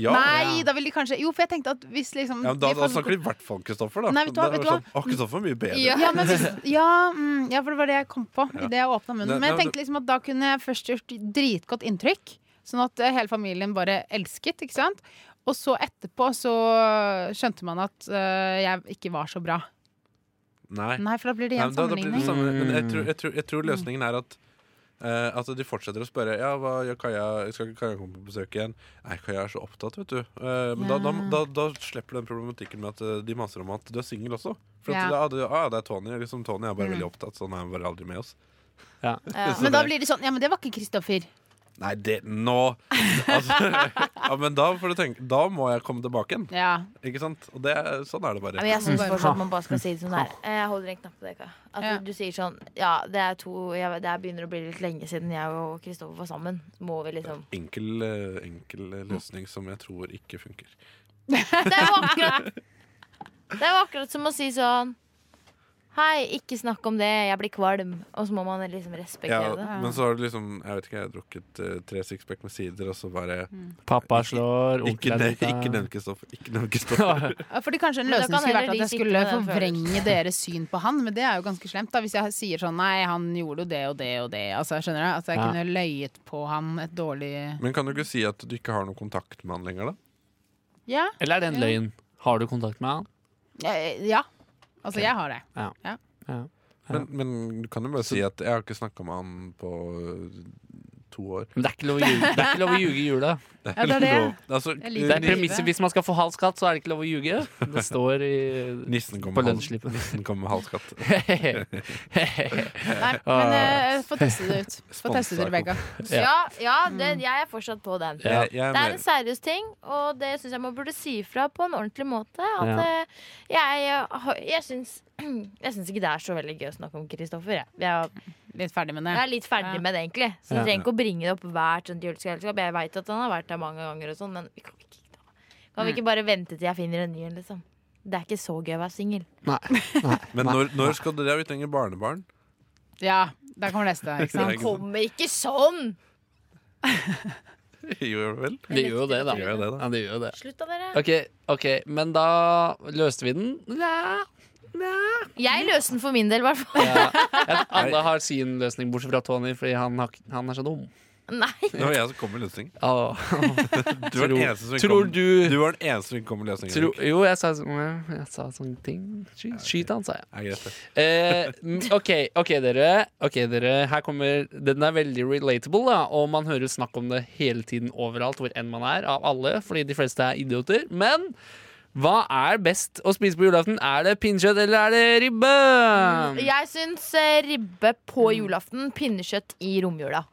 [SPEAKER 5] Ja,
[SPEAKER 4] Nei, da vil de kanskje Jo, for jeg tenkte at hvis liksom
[SPEAKER 5] Ja, men da,
[SPEAKER 4] de får-
[SPEAKER 5] da snakker de i hvert fall om Kristoffer, da.
[SPEAKER 4] Nei, vet du hva,
[SPEAKER 5] Da er det
[SPEAKER 4] vet du hva?
[SPEAKER 5] sånn, Å, Kristoffer er mye bedre.
[SPEAKER 3] Ja.
[SPEAKER 4] ja, men hvis, ja, mm, ja, for det var det jeg kom på idet jeg åpna munnen.
[SPEAKER 5] Nei,
[SPEAKER 4] Men jeg
[SPEAKER 5] nei,
[SPEAKER 4] tenkte liksom at da kunne jeg først gjort dritgodt inntrykk, sånn at eh, hele familien bare elsket, ikke sant? Og så etterpå så skjønte man at eh, jeg ikke var så bra.
[SPEAKER 5] Nei.
[SPEAKER 4] Nei, for da blir det
[SPEAKER 5] Nei,
[SPEAKER 4] igjen
[SPEAKER 5] men da, da blir det
[SPEAKER 4] sammenligning.
[SPEAKER 5] samme. Men jeg tror, jeg, tror, jeg tror løsningen er at eh, at de fortsetter å spørre Ja, hva gjør Kaja? Skal ikke Kaja komme på besøk igjen? Nei, Kaja er så opptatt, vet du. Eh, men da, da, da, da slipper du den problematikken med at eh, de maser om at du er singel også. For at, ja.
[SPEAKER 4] Ja.
[SPEAKER 5] du, ah, det er Tony. Liksom, Tony er bare veldig opptatt, så han er bare aldri med oss.
[SPEAKER 3] Ja.
[SPEAKER 5] Så
[SPEAKER 4] Men da
[SPEAKER 5] det-
[SPEAKER 4] blir det sånn Ja, men det var ikke Kristoffer.
[SPEAKER 5] Nei, det Nå! Altså, ja, men da får du tenke Da må jeg komme tilbake igjen.
[SPEAKER 4] Ja.
[SPEAKER 5] Ikke sant? Og det, er- sånn er det bare.
[SPEAKER 3] Ja, men jeg syns fortsatt man bare skal si det sånn der. Jeg holder en knapp på det. Kaja. At
[SPEAKER 4] Ja.
[SPEAKER 3] du sier sånn Ja, det er to jeg, Det her begynner å bli litt lenge siden jeg og Kristoffer var sammen. Må vi liksom
[SPEAKER 5] enkel, eh, enkel eh, løsning som jeg tror ikke funker.
[SPEAKER 3] Det er jo akkurat Det er jo akkurat som å si sånn Hei, ikke snakk om det, jeg blir kvalm. Og så må man liksom respektere det.
[SPEAKER 5] men så har du liksom Jeg vet ikke, jeg har drukket eh, tre sixpack med sider, og så bare
[SPEAKER 4] Mm.
[SPEAKER 2] pappa slår,
[SPEAKER 5] Ikke
[SPEAKER 2] onkelen
[SPEAKER 5] nevn
[SPEAKER 2] er ute.
[SPEAKER 5] ikke nevn Kristoffer. Ikke nevn Kristoffer.
[SPEAKER 4] Fordi kanskje en
[SPEAKER 3] Men da
[SPEAKER 4] løsning
[SPEAKER 3] kan
[SPEAKER 4] skulle
[SPEAKER 3] heller
[SPEAKER 4] vært at
[SPEAKER 3] de
[SPEAKER 4] jeg
[SPEAKER 3] sitte
[SPEAKER 4] skulle
[SPEAKER 3] med den
[SPEAKER 4] forvrenge deres syn på han, men det er jo ganske slemt. da Hvis jeg sier sånn Nei, han gjorde jo det og det og det. Altså, skjønner du? At jeg
[SPEAKER 2] Ja.
[SPEAKER 4] kunne løyet på han et dårlig
[SPEAKER 5] Men kan du ikke si at du ikke har noen kontakt med han lenger, da?
[SPEAKER 4] Ja.
[SPEAKER 2] Eller er det en løgn? Har du kontakt med han?
[SPEAKER 4] Eh, ja. Altså, jeg har det.
[SPEAKER 5] Men, men du kan jo bare si at 'jeg har ikke snakka med han på eh, to år'.
[SPEAKER 2] Men det er ikke lov å ljuge, det er ikke lov å ljuge i jula.
[SPEAKER 4] Ja, det er det.
[SPEAKER 5] lov. Altså,
[SPEAKER 4] Jeg liker
[SPEAKER 2] Det
[SPEAKER 5] eh,
[SPEAKER 2] er premisset hvis man skal få halv skatt, så er det ikke lov å ljuge. Det står i
[SPEAKER 5] Nissen kom
[SPEAKER 2] på
[SPEAKER 5] med halv-
[SPEAKER 2] lønnsslippen.
[SPEAKER 5] nissen kom med halvskatt.
[SPEAKER 4] Nei, men
[SPEAKER 3] Ah.
[SPEAKER 4] eh, få teste det ut. Få
[SPEAKER 5] Sponsa
[SPEAKER 4] teste det, Rebekka.
[SPEAKER 2] Ja.
[SPEAKER 3] Ja, ja det, jeg er fortsatt på den.
[SPEAKER 2] Ja.
[SPEAKER 5] Jeg, jeg er
[SPEAKER 3] Det er
[SPEAKER 5] mer,
[SPEAKER 3] en seriøs ting, og det syns jeg man burde si fra på en ordentlig måte. At
[SPEAKER 2] Ja.
[SPEAKER 3] eh, jeg, jeg, jeg syns jeg syns ikke det er så veldig gøy å snakke om Kristoffer. Jeg. Jeg,
[SPEAKER 4] Litt ferdig med det.
[SPEAKER 3] jeg er litt ferdig
[SPEAKER 4] Ja.
[SPEAKER 3] med det, egentlig. Så
[SPEAKER 2] Ja.
[SPEAKER 3] jeg trenger ikke å bringe det opp hvert sånt juleselskap. Jeg veit at han har vært der mange ganger, og sånn, men vi kan, ikke, kan vi ikke bare vente til jeg finner en ny en, liksom? Det er ikke så gøy å være singel.
[SPEAKER 2] Nei.
[SPEAKER 5] men når, når skal dere Vi trenger barnebarn.
[SPEAKER 4] Ja, der kommer neste.
[SPEAKER 5] Det er
[SPEAKER 4] Ikke sant?
[SPEAKER 5] ikke sant?
[SPEAKER 3] Kommer ikke sånn!
[SPEAKER 5] Jo vel.
[SPEAKER 2] Det gjør jo det, da.
[SPEAKER 5] Gjør jeg det, da?
[SPEAKER 2] Ja, det gjør jo det.
[SPEAKER 3] Slutt da, dere.
[SPEAKER 2] Ok, ok, men da løste vi den. Nja.
[SPEAKER 3] Jeg løser den for min del, i hvert fall.
[SPEAKER 2] Jeg- Alle har sin løsning, bortsett fra Tony, fordi han, har, ikke- han er så dum.
[SPEAKER 3] Nei.
[SPEAKER 5] Det var jeg som kom med løsning.
[SPEAKER 2] Åh.
[SPEAKER 5] Du var den eneste som ikke
[SPEAKER 2] tror
[SPEAKER 5] kom-
[SPEAKER 2] du-
[SPEAKER 5] Du var den eneste som ikke kom med løsningen.
[SPEAKER 2] Tro,
[SPEAKER 5] Henrik.
[SPEAKER 2] jo, jeg sa, sånn- jeg sa sånne ting. Sky- Skyt han, sa jeg.
[SPEAKER 5] Ja, greit, det.
[SPEAKER 2] Eh, mm, ok, ok dere. Ok dere Her kommer Den er veldig relatable, da og man hører snakk om det hele tiden overalt, hvor enn man er, av alle, fordi de fleste er idioter. Men hva er best å spise på julaften? Er det pinnekjøtt eller er det ribbe?
[SPEAKER 3] Jeg syns eh, ribbe på julaften, pinnekjøtt i romjula.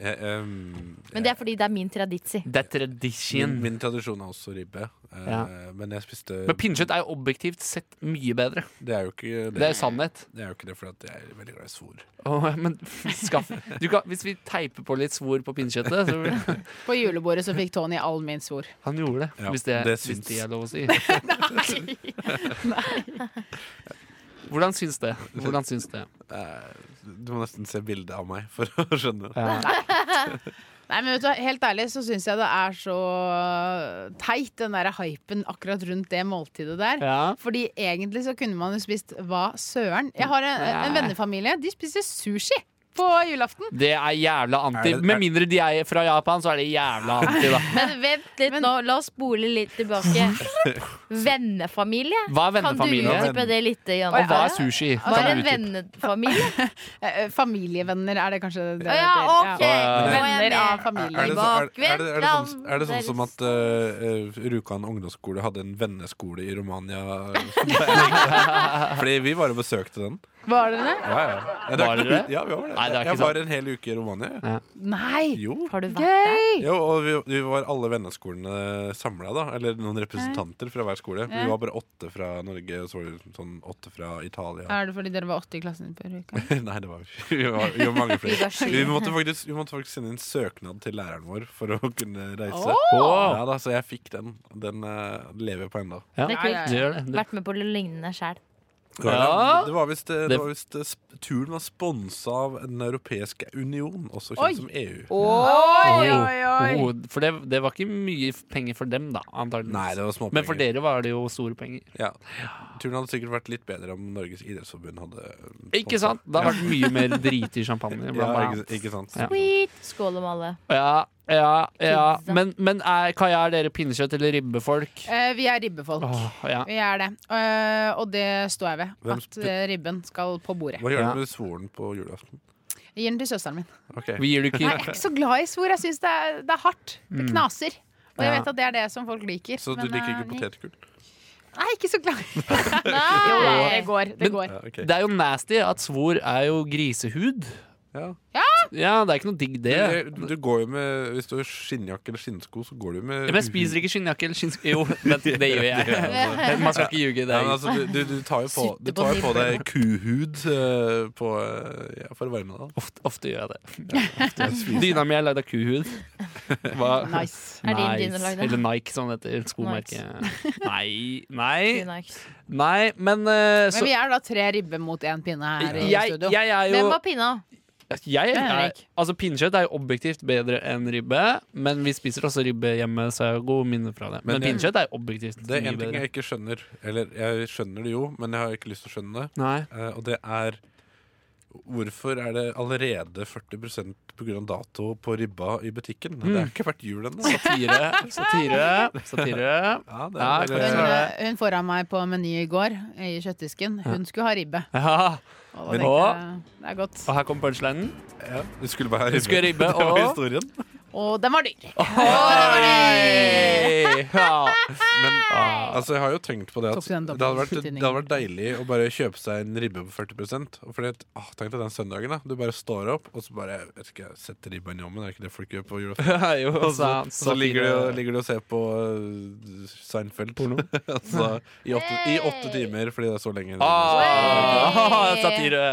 [SPEAKER 5] Jeg, ehm,
[SPEAKER 3] Men det er fordi det er min traditsi.
[SPEAKER 2] Det er
[SPEAKER 5] jeg- eh, min,
[SPEAKER 2] tradition.
[SPEAKER 5] min tradisjon er også ribbe. eh,
[SPEAKER 2] Ja.
[SPEAKER 5] Men jeg spiste
[SPEAKER 2] Men pinnekjøtt er jo objektivt sett mye bedre.
[SPEAKER 5] Det er jo ikke
[SPEAKER 2] Det er
[SPEAKER 5] det.
[SPEAKER 2] jo sannhet.
[SPEAKER 5] Det er jo ikke det, for at jeg er veldig glad i svor.
[SPEAKER 2] Åh, men skaff du kan, Hvis vi teiper på litt svor på pinnekjøttet, så
[SPEAKER 4] På julebordet så fikk Tony all min svor.
[SPEAKER 2] Han gjorde det.
[SPEAKER 5] Ja,
[SPEAKER 2] hvis, det,
[SPEAKER 5] det
[SPEAKER 2] hvis
[SPEAKER 5] syns.
[SPEAKER 2] det er lov å si. Hvordan syns det? Hvordan syns det?
[SPEAKER 5] Eh, Du må nesten se bilde av meg for å skjønne.
[SPEAKER 2] Ja.
[SPEAKER 4] Nei, men vet du, hva, Helt ærlig så syns jeg det er så teit, den der hypen akkurat rundt det måltidet der.
[SPEAKER 2] Ja.
[SPEAKER 4] Fordi egentlig så kunne man jo spist hva søren. Jeg har en, en vennefamilie, de spiser sushi på julaften.
[SPEAKER 2] Det er jævla anti.
[SPEAKER 5] Er det- er-
[SPEAKER 2] Med mindre de er fra Japan, så er det jævla anti, da.
[SPEAKER 3] Men vent litt nå, la oss spole litt tilbake. Vennefamilie?
[SPEAKER 2] Hva er
[SPEAKER 3] Kan du
[SPEAKER 2] vennefamilie?
[SPEAKER 5] jo-
[SPEAKER 3] utdype det litt? Janne?
[SPEAKER 2] Og hva er sushi?
[SPEAKER 3] Hva
[SPEAKER 2] Kan
[SPEAKER 3] er
[SPEAKER 2] du
[SPEAKER 3] en
[SPEAKER 2] utdype?
[SPEAKER 3] vennefamilie?
[SPEAKER 4] Eh, eh, Familievenner er det kanskje det det
[SPEAKER 3] Å ja,
[SPEAKER 4] heter.
[SPEAKER 3] ok!
[SPEAKER 2] Ja.
[SPEAKER 3] Nå er jeg
[SPEAKER 4] Venner av
[SPEAKER 3] med.
[SPEAKER 5] Er det,
[SPEAKER 4] familie.
[SPEAKER 5] så, er, er, det, er, det sånn, er det sånn
[SPEAKER 3] Bakvenn,
[SPEAKER 5] som at eh, eh, Rjukan ungdomsskole hadde en venneskole i Romania? Fordi vi bare besøkte den.
[SPEAKER 4] Var det det?
[SPEAKER 5] Ja, ja. Ja, det
[SPEAKER 2] Var
[SPEAKER 5] er ikke-
[SPEAKER 2] dere det?
[SPEAKER 5] Ja, vi var det.
[SPEAKER 2] Nei, det er ikke
[SPEAKER 5] jeg var en hel uke i Romania. jeg.
[SPEAKER 4] Nei!
[SPEAKER 5] Jo.
[SPEAKER 3] Har du vært
[SPEAKER 4] Gøy!
[SPEAKER 5] jo og vi, vi var alle venneskolene samla, da. Eller noen representanter fra hver skole. Vi var bare åtte fra Norge, og så var det sånn åtte fra Italia.
[SPEAKER 4] Er det fordi dere var åtte i klassen på Rjukan?
[SPEAKER 5] Nei, det var vi. Var, vi var mange
[SPEAKER 3] Vi var
[SPEAKER 5] flere.
[SPEAKER 3] sju.
[SPEAKER 5] Vi måtte, faktisk, vi måtte faktisk sende inn søknad til læreren vår for å kunne reise.
[SPEAKER 2] Åh!
[SPEAKER 5] Ja da, Så jeg fikk den. Den eh, lever jeg på ennå.
[SPEAKER 2] Ja.
[SPEAKER 3] Det er kult.
[SPEAKER 2] Det gjør det. Det-
[SPEAKER 3] Vært med på noe lignende sjæl.
[SPEAKER 2] Ja.
[SPEAKER 5] Det var visst eh, det
[SPEAKER 2] Det-
[SPEAKER 5] var visst, eh, sp- turen var sponsa av Den europeiske union, også
[SPEAKER 4] Oi.
[SPEAKER 5] kjent som E EU.
[SPEAKER 4] Oi,
[SPEAKER 2] Oh, for det, det var ikke mye penger for dem, da, antageligvis.
[SPEAKER 5] Nei, det var småpenger.
[SPEAKER 2] Men for dere var det jo store penger.
[SPEAKER 5] Ja. Turen hadde sikkert vært litt bedre om Norges idrettsforbund hadde eh,
[SPEAKER 2] Ikke sant? Det har vært mye mer drit i champagne.
[SPEAKER 5] Ja,
[SPEAKER 2] Blant
[SPEAKER 5] ikke,
[SPEAKER 2] annet.
[SPEAKER 5] ikke sant.
[SPEAKER 2] Ja.
[SPEAKER 3] Skål om alle.
[SPEAKER 2] Ja, ja, ja.
[SPEAKER 3] Pizza.
[SPEAKER 2] Men, men er, Kaja, er dere pinnekjøtt eller ribbefolk?
[SPEAKER 4] Eh, vi er ribbefolk.
[SPEAKER 2] Åh, ja.
[SPEAKER 4] Vi er det. Eh, og det står jeg ved.
[SPEAKER 5] Hvem
[SPEAKER 4] At eh, ribben skal på bordet.
[SPEAKER 5] Hva gjør
[SPEAKER 2] Ja.
[SPEAKER 5] du med svoren på julaften?
[SPEAKER 4] Jeg gir den til søsteren min.
[SPEAKER 5] Ok.
[SPEAKER 2] Vi gir det
[SPEAKER 4] Nei,
[SPEAKER 2] ikke
[SPEAKER 4] jeg er ikke så glad i svor. Jeg syns det, er- det er hardt. Det knaser. Og jeg
[SPEAKER 2] Mm. Ja.
[SPEAKER 4] vet at det er det som folk liker.
[SPEAKER 5] Så du
[SPEAKER 4] men,
[SPEAKER 5] liker
[SPEAKER 4] eh,
[SPEAKER 5] ikke potetgull?
[SPEAKER 4] Nei, ikke så glad. jo,
[SPEAKER 3] Nei.
[SPEAKER 4] det går. Det
[SPEAKER 2] Men-
[SPEAKER 4] går.
[SPEAKER 5] Ja, ok.
[SPEAKER 2] Det er jo nasty at svor er jo grisehud.
[SPEAKER 5] Ja.
[SPEAKER 2] Ja, det er ikke noe digg, det.
[SPEAKER 5] Du, du går jo med, hvis du har skinnjakke eller skinnsko, så går du jo med
[SPEAKER 2] Men jeg spiser ikke skinnjakke eller skinnsk... Jo, men det gjør jeg. Men Man skal ikke ljuge. Det
[SPEAKER 5] ja, men
[SPEAKER 2] er
[SPEAKER 5] altså, du, du, du tar jo på,
[SPEAKER 3] Sitter
[SPEAKER 5] du
[SPEAKER 3] på
[SPEAKER 5] tar jo på
[SPEAKER 3] nipplene.
[SPEAKER 5] deg kuhud eh, på, eh, ja, for å varme deg.
[SPEAKER 2] Ofte, ofte gjør jeg det. Dyna mi er lagd av kuhud. Hva?
[SPEAKER 4] Nice.
[SPEAKER 3] Er din dyne
[SPEAKER 2] Nice.
[SPEAKER 3] lagd av?
[SPEAKER 2] Eller Nike, som det heter. Skomerket. Nei, nei,
[SPEAKER 3] Men
[SPEAKER 2] nei. Men eh,
[SPEAKER 4] Men
[SPEAKER 2] så
[SPEAKER 4] vi er da tre ribber mot én pinne her i
[SPEAKER 2] jeg,
[SPEAKER 4] studio.
[SPEAKER 2] jeg er jo
[SPEAKER 3] var pinna?
[SPEAKER 2] jeg er,
[SPEAKER 4] Henrik.
[SPEAKER 2] Altså Pinnekjøtt er jo objektivt bedre enn ribbe, men vi spiser også ribbe hjemme, så jeg har gode minner fra det. Men
[SPEAKER 5] Men jeg-
[SPEAKER 2] pinnekjøtt er jo objektivt
[SPEAKER 5] Det er
[SPEAKER 2] mye
[SPEAKER 5] en ting
[SPEAKER 2] bedre.
[SPEAKER 5] jeg ikke skjønner. Eller jeg skjønner det jo, men jeg har ikke lyst til å skjønne det.
[SPEAKER 2] Nei.
[SPEAKER 5] Eh, og det er Hvorfor er det allerede 40 pga. dato på ribba i butikken? Det
[SPEAKER 2] Mm.
[SPEAKER 5] har ikke vært jul ennå.
[SPEAKER 2] Satire, satire, satire.
[SPEAKER 5] Ja, det
[SPEAKER 2] Ja,
[SPEAKER 5] er bare-
[SPEAKER 4] Hun,
[SPEAKER 2] kanskje.
[SPEAKER 4] eh, hun foran meg på Meny i går, i kjøttdisken. Hun skulle ha ribbe.
[SPEAKER 2] Ja.
[SPEAKER 4] Og da
[SPEAKER 2] Men-
[SPEAKER 4] tenkte jeg, det er godt.
[SPEAKER 2] Og her kom punchlinen.
[SPEAKER 5] ja, du skulle bare ha ribbe.
[SPEAKER 2] skulle ribbe,
[SPEAKER 5] det var
[SPEAKER 2] og-
[SPEAKER 5] historien.
[SPEAKER 4] Og den var dyr.
[SPEAKER 2] Oi! Ja.
[SPEAKER 5] Men altså, jeg har jo tenkt på det at
[SPEAKER 4] Tok du den
[SPEAKER 5] det hadde, vært,
[SPEAKER 4] dobbelt?
[SPEAKER 5] det hadde vært deilig å bare kjøpe seg en ribbe på 40 Og fordi at, ah, Tenk deg den søndagen. da Du bare står opp og så bare jeg vet ikke, setter ribba i ommen. Er ikke det folk gjør på julaften?
[SPEAKER 2] jo,
[SPEAKER 5] Og så,
[SPEAKER 2] sa-
[SPEAKER 5] så
[SPEAKER 2] satire.
[SPEAKER 5] ligger, du, ligger du og ser på øh, Seinfeld altså, i, åtte, I åtte timer, fordi det er så lenge.
[SPEAKER 2] Ah,
[SPEAKER 3] Wey!
[SPEAKER 2] satire.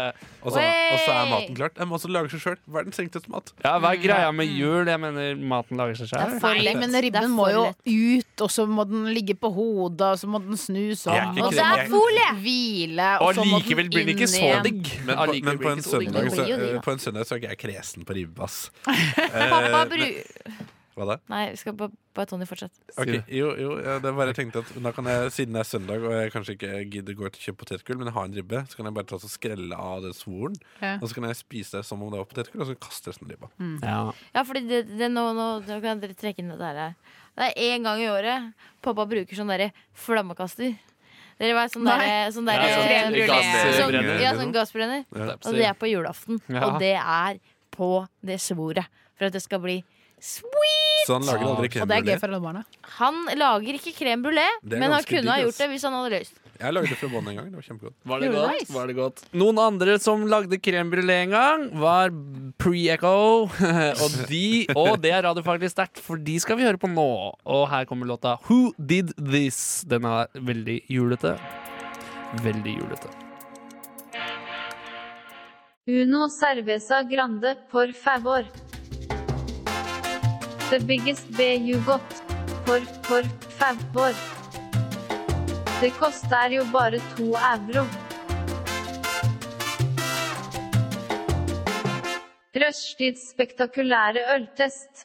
[SPEAKER 5] Og, så, og så er maten klart. Jeg må også lage seg sjøl. Verdens enkleste mat.
[SPEAKER 2] Ja, hva er greia med jul? Jeg mener, maten lager seg sjøl.
[SPEAKER 3] for
[SPEAKER 4] Nei,
[SPEAKER 3] lett.
[SPEAKER 4] men
[SPEAKER 3] Det er
[SPEAKER 4] ribben
[SPEAKER 3] for
[SPEAKER 4] må jo
[SPEAKER 3] lett.
[SPEAKER 4] ut, og så må den ligge på hodet, og så må den snus
[SPEAKER 5] Jeg er
[SPEAKER 4] om.
[SPEAKER 5] ikke
[SPEAKER 4] Og
[SPEAKER 5] kri-
[SPEAKER 4] så
[SPEAKER 5] jeg er
[SPEAKER 4] er
[SPEAKER 5] ikke-
[SPEAKER 4] folie! Hvile, og
[SPEAKER 2] Og
[SPEAKER 4] så må
[SPEAKER 2] likevel
[SPEAKER 4] den
[SPEAKER 2] blir den ikke
[SPEAKER 4] inn
[SPEAKER 2] så
[SPEAKER 4] igjen.
[SPEAKER 2] digg.
[SPEAKER 5] Men, på,
[SPEAKER 2] Allikevel
[SPEAKER 5] men på,
[SPEAKER 2] blir
[SPEAKER 5] en
[SPEAKER 2] den ikke så digg.
[SPEAKER 5] søndag, så,
[SPEAKER 3] Jo, jo, jo, da.
[SPEAKER 5] øh, på en søndag så er ikke jeg kresen på ribbe, ass.
[SPEAKER 3] Pappa
[SPEAKER 5] Eh,
[SPEAKER 3] bru...
[SPEAKER 5] Hva da?
[SPEAKER 3] Nei, vi skal bare, bare Tony fortsette.
[SPEAKER 5] Ok, jo, jo, ja, det er bare jeg tenkte at da kan jeg, siden det er søndag og jeg kanskje ikke gidder gå ut og kjøpe potetgull, men jeg har en ribbe, så kan jeg bare ta og skrelle av den svoren.
[SPEAKER 4] Ja.
[SPEAKER 5] Og så kan jeg spise det som om det var potetgull, og så kaste resten av ribba.
[SPEAKER 2] Ja.
[SPEAKER 3] Ja, fordi det, det, nå, nå, nå kan dere trekke inn dette her. Det er én gang i året pappa bruker sånn derre flammekaster. Dere vet sånn
[SPEAKER 4] Nei.
[SPEAKER 3] derre sånn
[SPEAKER 2] Ja,
[SPEAKER 3] derre-
[SPEAKER 4] sånn
[SPEAKER 3] sånn-
[SPEAKER 2] gassbrenner.
[SPEAKER 3] Ja, sånn gassbrenner. Og det er på julaften.
[SPEAKER 2] Ja.
[SPEAKER 3] Og det er på det svoret. For at det skal bli sweet.
[SPEAKER 5] Så han lager aldri
[SPEAKER 4] Og det er gøy
[SPEAKER 5] krembrulé.
[SPEAKER 4] for alle barna.
[SPEAKER 3] Han lager ikke krem brulé,
[SPEAKER 5] Det er
[SPEAKER 3] men han
[SPEAKER 5] ganske
[SPEAKER 3] kunne ha
[SPEAKER 5] digg,
[SPEAKER 3] gjort
[SPEAKER 5] ass.
[SPEAKER 3] det hvis han hadde lyst.
[SPEAKER 5] Jeg lagde det fra bånn en gang. Det var kjempegodt.
[SPEAKER 2] Var det
[SPEAKER 4] Gjorde du
[SPEAKER 2] godt?
[SPEAKER 4] nice?
[SPEAKER 2] Var det godt? Noen andre som lagde crème brulé en gang, var Pre-Echo. og, de, og det er radiofaglig sterkt, for de skal vi høre på nå. Og her kommer låta Who Did This? Den er veldig julete. Veldig julete.
[SPEAKER 6] Uno cerveza grande, por favor. The biggest B you got. For, for favor. Det koster jo bare to euro. Rushtids spektakulære øltest.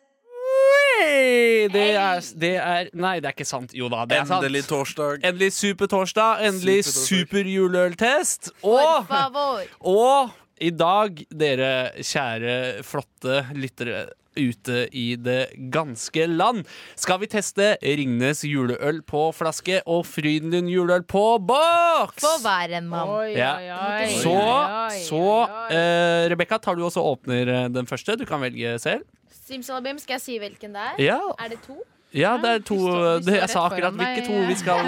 [SPEAKER 2] Hey, det, er, det er Nei, det er ikke sant. Jo da, det er sant.
[SPEAKER 5] Endelig torsdag.
[SPEAKER 2] Endelig supertorsdag. Endelig
[SPEAKER 5] Supertorsdag.
[SPEAKER 2] superjuleøltest.
[SPEAKER 3] For
[SPEAKER 2] Og,
[SPEAKER 3] favor.
[SPEAKER 2] og i dag, dere kjære, flotte lyttere ute i det ganske land, skal vi teste Ringnes juleøl på flaske og Frydenlund juleøl på boks!
[SPEAKER 3] For hver en mann.
[SPEAKER 4] Oi,
[SPEAKER 2] Ja.
[SPEAKER 4] oi, oi.
[SPEAKER 2] Så,
[SPEAKER 4] Oi, oi,
[SPEAKER 2] så
[SPEAKER 4] oi.
[SPEAKER 2] eh, Rebekka, tar du også og åpner eh, den første? Du kan velge selv.
[SPEAKER 3] Simsalabim, skal jeg si hvilken det er?
[SPEAKER 2] Ja,
[SPEAKER 3] Er det to?
[SPEAKER 2] ja det er to
[SPEAKER 4] vi står- vi
[SPEAKER 2] det,
[SPEAKER 4] står
[SPEAKER 2] Jeg sa
[SPEAKER 4] rett
[SPEAKER 2] akkurat
[SPEAKER 4] foran
[SPEAKER 2] hvilke
[SPEAKER 4] deg,
[SPEAKER 2] to vi skal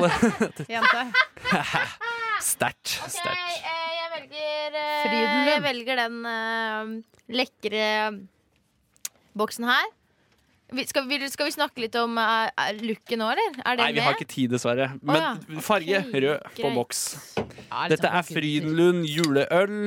[SPEAKER 4] Jente.
[SPEAKER 2] Sterkt.
[SPEAKER 3] Ok,
[SPEAKER 2] sterkt.
[SPEAKER 3] eh, jeg velger eh,
[SPEAKER 4] Frydenlund.
[SPEAKER 3] Jeg velger den eh, lekre eh, boksen her. Vi, skal, vil, skal vi snakke litt om eh, er looken nå, eller? Er den
[SPEAKER 2] Nei, vi
[SPEAKER 3] med?
[SPEAKER 2] har ikke tid, dessverre.
[SPEAKER 3] ja,
[SPEAKER 2] Men farge
[SPEAKER 3] ok,
[SPEAKER 2] rød på
[SPEAKER 3] greit.
[SPEAKER 2] boks.
[SPEAKER 4] Ja, litt
[SPEAKER 2] Dette
[SPEAKER 4] sånn
[SPEAKER 2] er Frydenlund juleøl.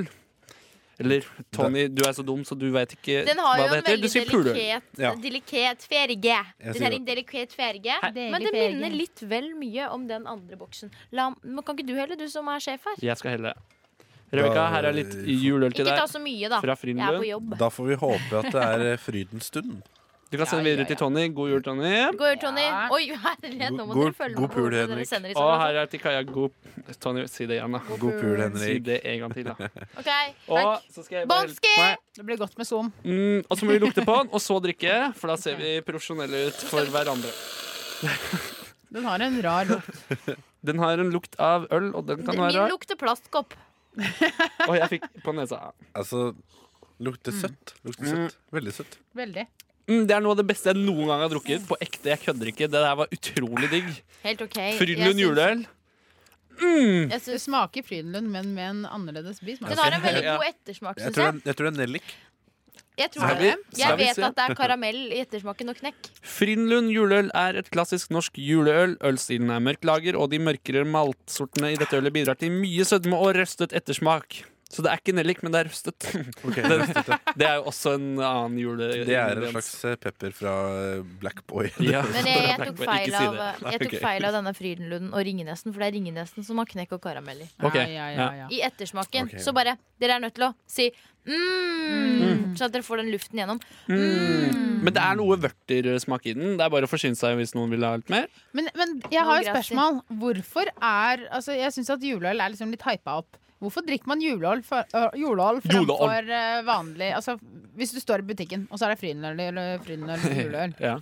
[SPEAKER 2] Eller Tony, du er så dum, så du veit ikke
[SPEAKER 3] Den
[SPEAKER 2] hva
[SPEAKER 3] har jo
[SPEAKER 2] det
[SPEAKER 3] en
[SPEAKER 2] heter. Du
[SPEAKER 3] veldig
[SPEAKER 2] sier puløl.
[SPEAKER 3] delikat,
[SPEAKER 5] Ja.
[SPEAKER 3] delikat farge. Den
[SPEAKER 5] sier
[SPEAKER 3] er en delikat farge,
[SPEAKER 2] Hei.
[SPEAKER 3] men
[SPEAKER 4] Deilig
[SPEAKER 3] det
[SPEAKER 4] farge.
[SPEAKER 3] minner litt vel mye om den andre boksen. La, men kan ikke du heller, du som er sjef her?
[SPEAKER 2] Jeg skal helle. Rebekka, her er litt juleøl til
[SPEAKER 3] Ikke ta
[SPEAKER 2] deg
[SPEAKER 3] så mye, da.
[SPEAKER 2] fra
[SPEAKER 3] Jeg er på
[SPEAKER 2] Frydenlund.
[SPEAKER 3] jobb.
[SPEAKER 5] Da får vi håpe at det er eh, frydens stund.
[SPEAKER 2] Du kan sende
[SPEAKER 4] Ja, ja,
[SPEAKER 2] videre til
[SPEAKER 4] ja.
[SPEAKER 2] Tony. God jul, Tony.
[SPEAKER 3] God Tony. Oi, herlighet, nå må
[SPEAKER 5] God-
[SPEAKER 3] dere følge
[SPEAKER 5] god
[SPEAKER 3] med. på
[SPEAKER 5] pul,
[SPEAKER 3] hvordan dere
[SPEAKER 5] Henrik.
[SPEAKER 3] sender disse
[SPEAKER 2] Og
[SPEAKER 3] her,
[SPEAKER 2] her er til Kaja. God Tony, si det igjen, da.
[SPEAKER 5] God
[SPEAKER 3] Mm,
[SPEAKER 5] pul,
[SPEAKER 2] Si
[SPEAKER 5] Henrik.
[SPEAKER 2] det en gang til, da.
[SPEAKER 3] altså. Ok,
[SPEAKER 2] Og så skal jeg bare
[SPEAKER 3] Banske!
[SPEAKER 2] Nei.
[SPEAKER 4] Det blir godt med Zoom.
[SPEAKER 2] Mm, og så må vi lukte på den, og så drikke, for da ser vi profesjonelle ut for hverandre.
[SPEAKER 4] Den har en rar lukt.
[SPEAKER 2] Den har en lukt av øl, og den kan være
[SPEAKER 3] Min
[SPEAKER 2] rar.
[SPEAKER 3] lukter plastkopp.
[SPEAKER 2] Og jeg fikk på nesa.
[SPEAKER 5] Altså, lukter søtt. Lukter søtt. Veldig søtt.
[SPEAKER 4] Veldig.
[SPEAKER 2] Mm, det er noe av det beste jeg noen gang har drukket. På ekte, jeg kødder ikke. Det der var utrolig digg.
[SPEAKER 3] Helt OK. Jeg
[SPEAKER 2] Frydenlund
[SPEAKER 3] syns-
[SPEAKER 2] juleøl.
[SPEAKER 3] jeg
[SPEAKER 4] Det
[SPEAKER 3] syns-
[SPEAKER 4] smaker Frydenlund, men med en annerledes bismak.
[SPEAKER 3] Den har en veldig
[SPEAKER 2] Ja.
[SPEAKER 3] god ettersmak,
[SPEAKER 5] Jeg
[SPEAKER 3] syns
[SPEAKER 5] tror,
[SPEAKER 3] jeg.
[SPEAKER 5] det, jeg tror det er nellik.
[SPEAKER 3] Jeg, tror
[SPEAKER 2] Skal vi-
[SPEAKER 3] det.
[SPEAKER 2] skal
[SPEAKER 3] jeg
[SPEAKER 2] vi
[SPEAKER 3] vet
[SPEAKER 2] se?
[SPEAKER 3] at det er karamell i ettersmaken og knekk.
[SPEAKER 2] Frydenlund juleøl er et klassisk norsk juleøl. Ølstilen er mørk lager, og de mørkere maltsortene i dette ølet bidrar til mye sødme og røstet ettersmak. Så det er ikke nellik, men det er røstet.
[SPEAKER 5] Ok,
[SPEAKER 2] Den-
[SPEAKER 5] røstet, ja.
[SPEAKER 2] Det er jo også en annen jule...
[SPEAKER 5] Det er en slags eh, pepper fra eh, Black Boy.
[SPEAKER 2] Ja.
[SPEAKER 3] Men jeg, jeg, tok,
[SPEAKER 2] Ikke
[SPEAKER 3] feil
[SPEAKER 2] si
[SPEAKER 3] av,
[SPEAKER 2] det.
[SPEAKER 3] jeg tok
[SPEAKER 5] ok.
[SPEAKER 3] feil av denne Frydenlunden og Ringenesen, for det er Ringenesen som har knekk og karamell i.
[SPEAKER 2] Ok,
[SPEAKER 4] Ja, ja, ja, ja.
[SPEAKER 3] I ettersmaken.
[SPEAKER 5] Ok.
[SPEAKER 3] Så bare Dere er nødt til å si mm, sånn at dere får den luften gjennom.
[SPEAKER 2] Mm. Men det er noe vørtersmak i den. Det er bare å forsyne seg hvis noen vil ha litt mer.
[SPEAKER 4] Men, men jeg har
[SPEAKER 3] Noe gress
[SPEAKER 4] et
[SPEAKER 3] i.
[SPEAKER 4] spørsmål. Hvorfor er altså, Jeg syns at juleøl er liksom litt hypa opp. Hvorfor drikker man juleøl, for, øh, juleøl framfor øh, vanlig altså, Hvis du står i butikken, og så er det Frydenøl eller Frydenøl eller juleøl.
[SPEAKER 2] Ja.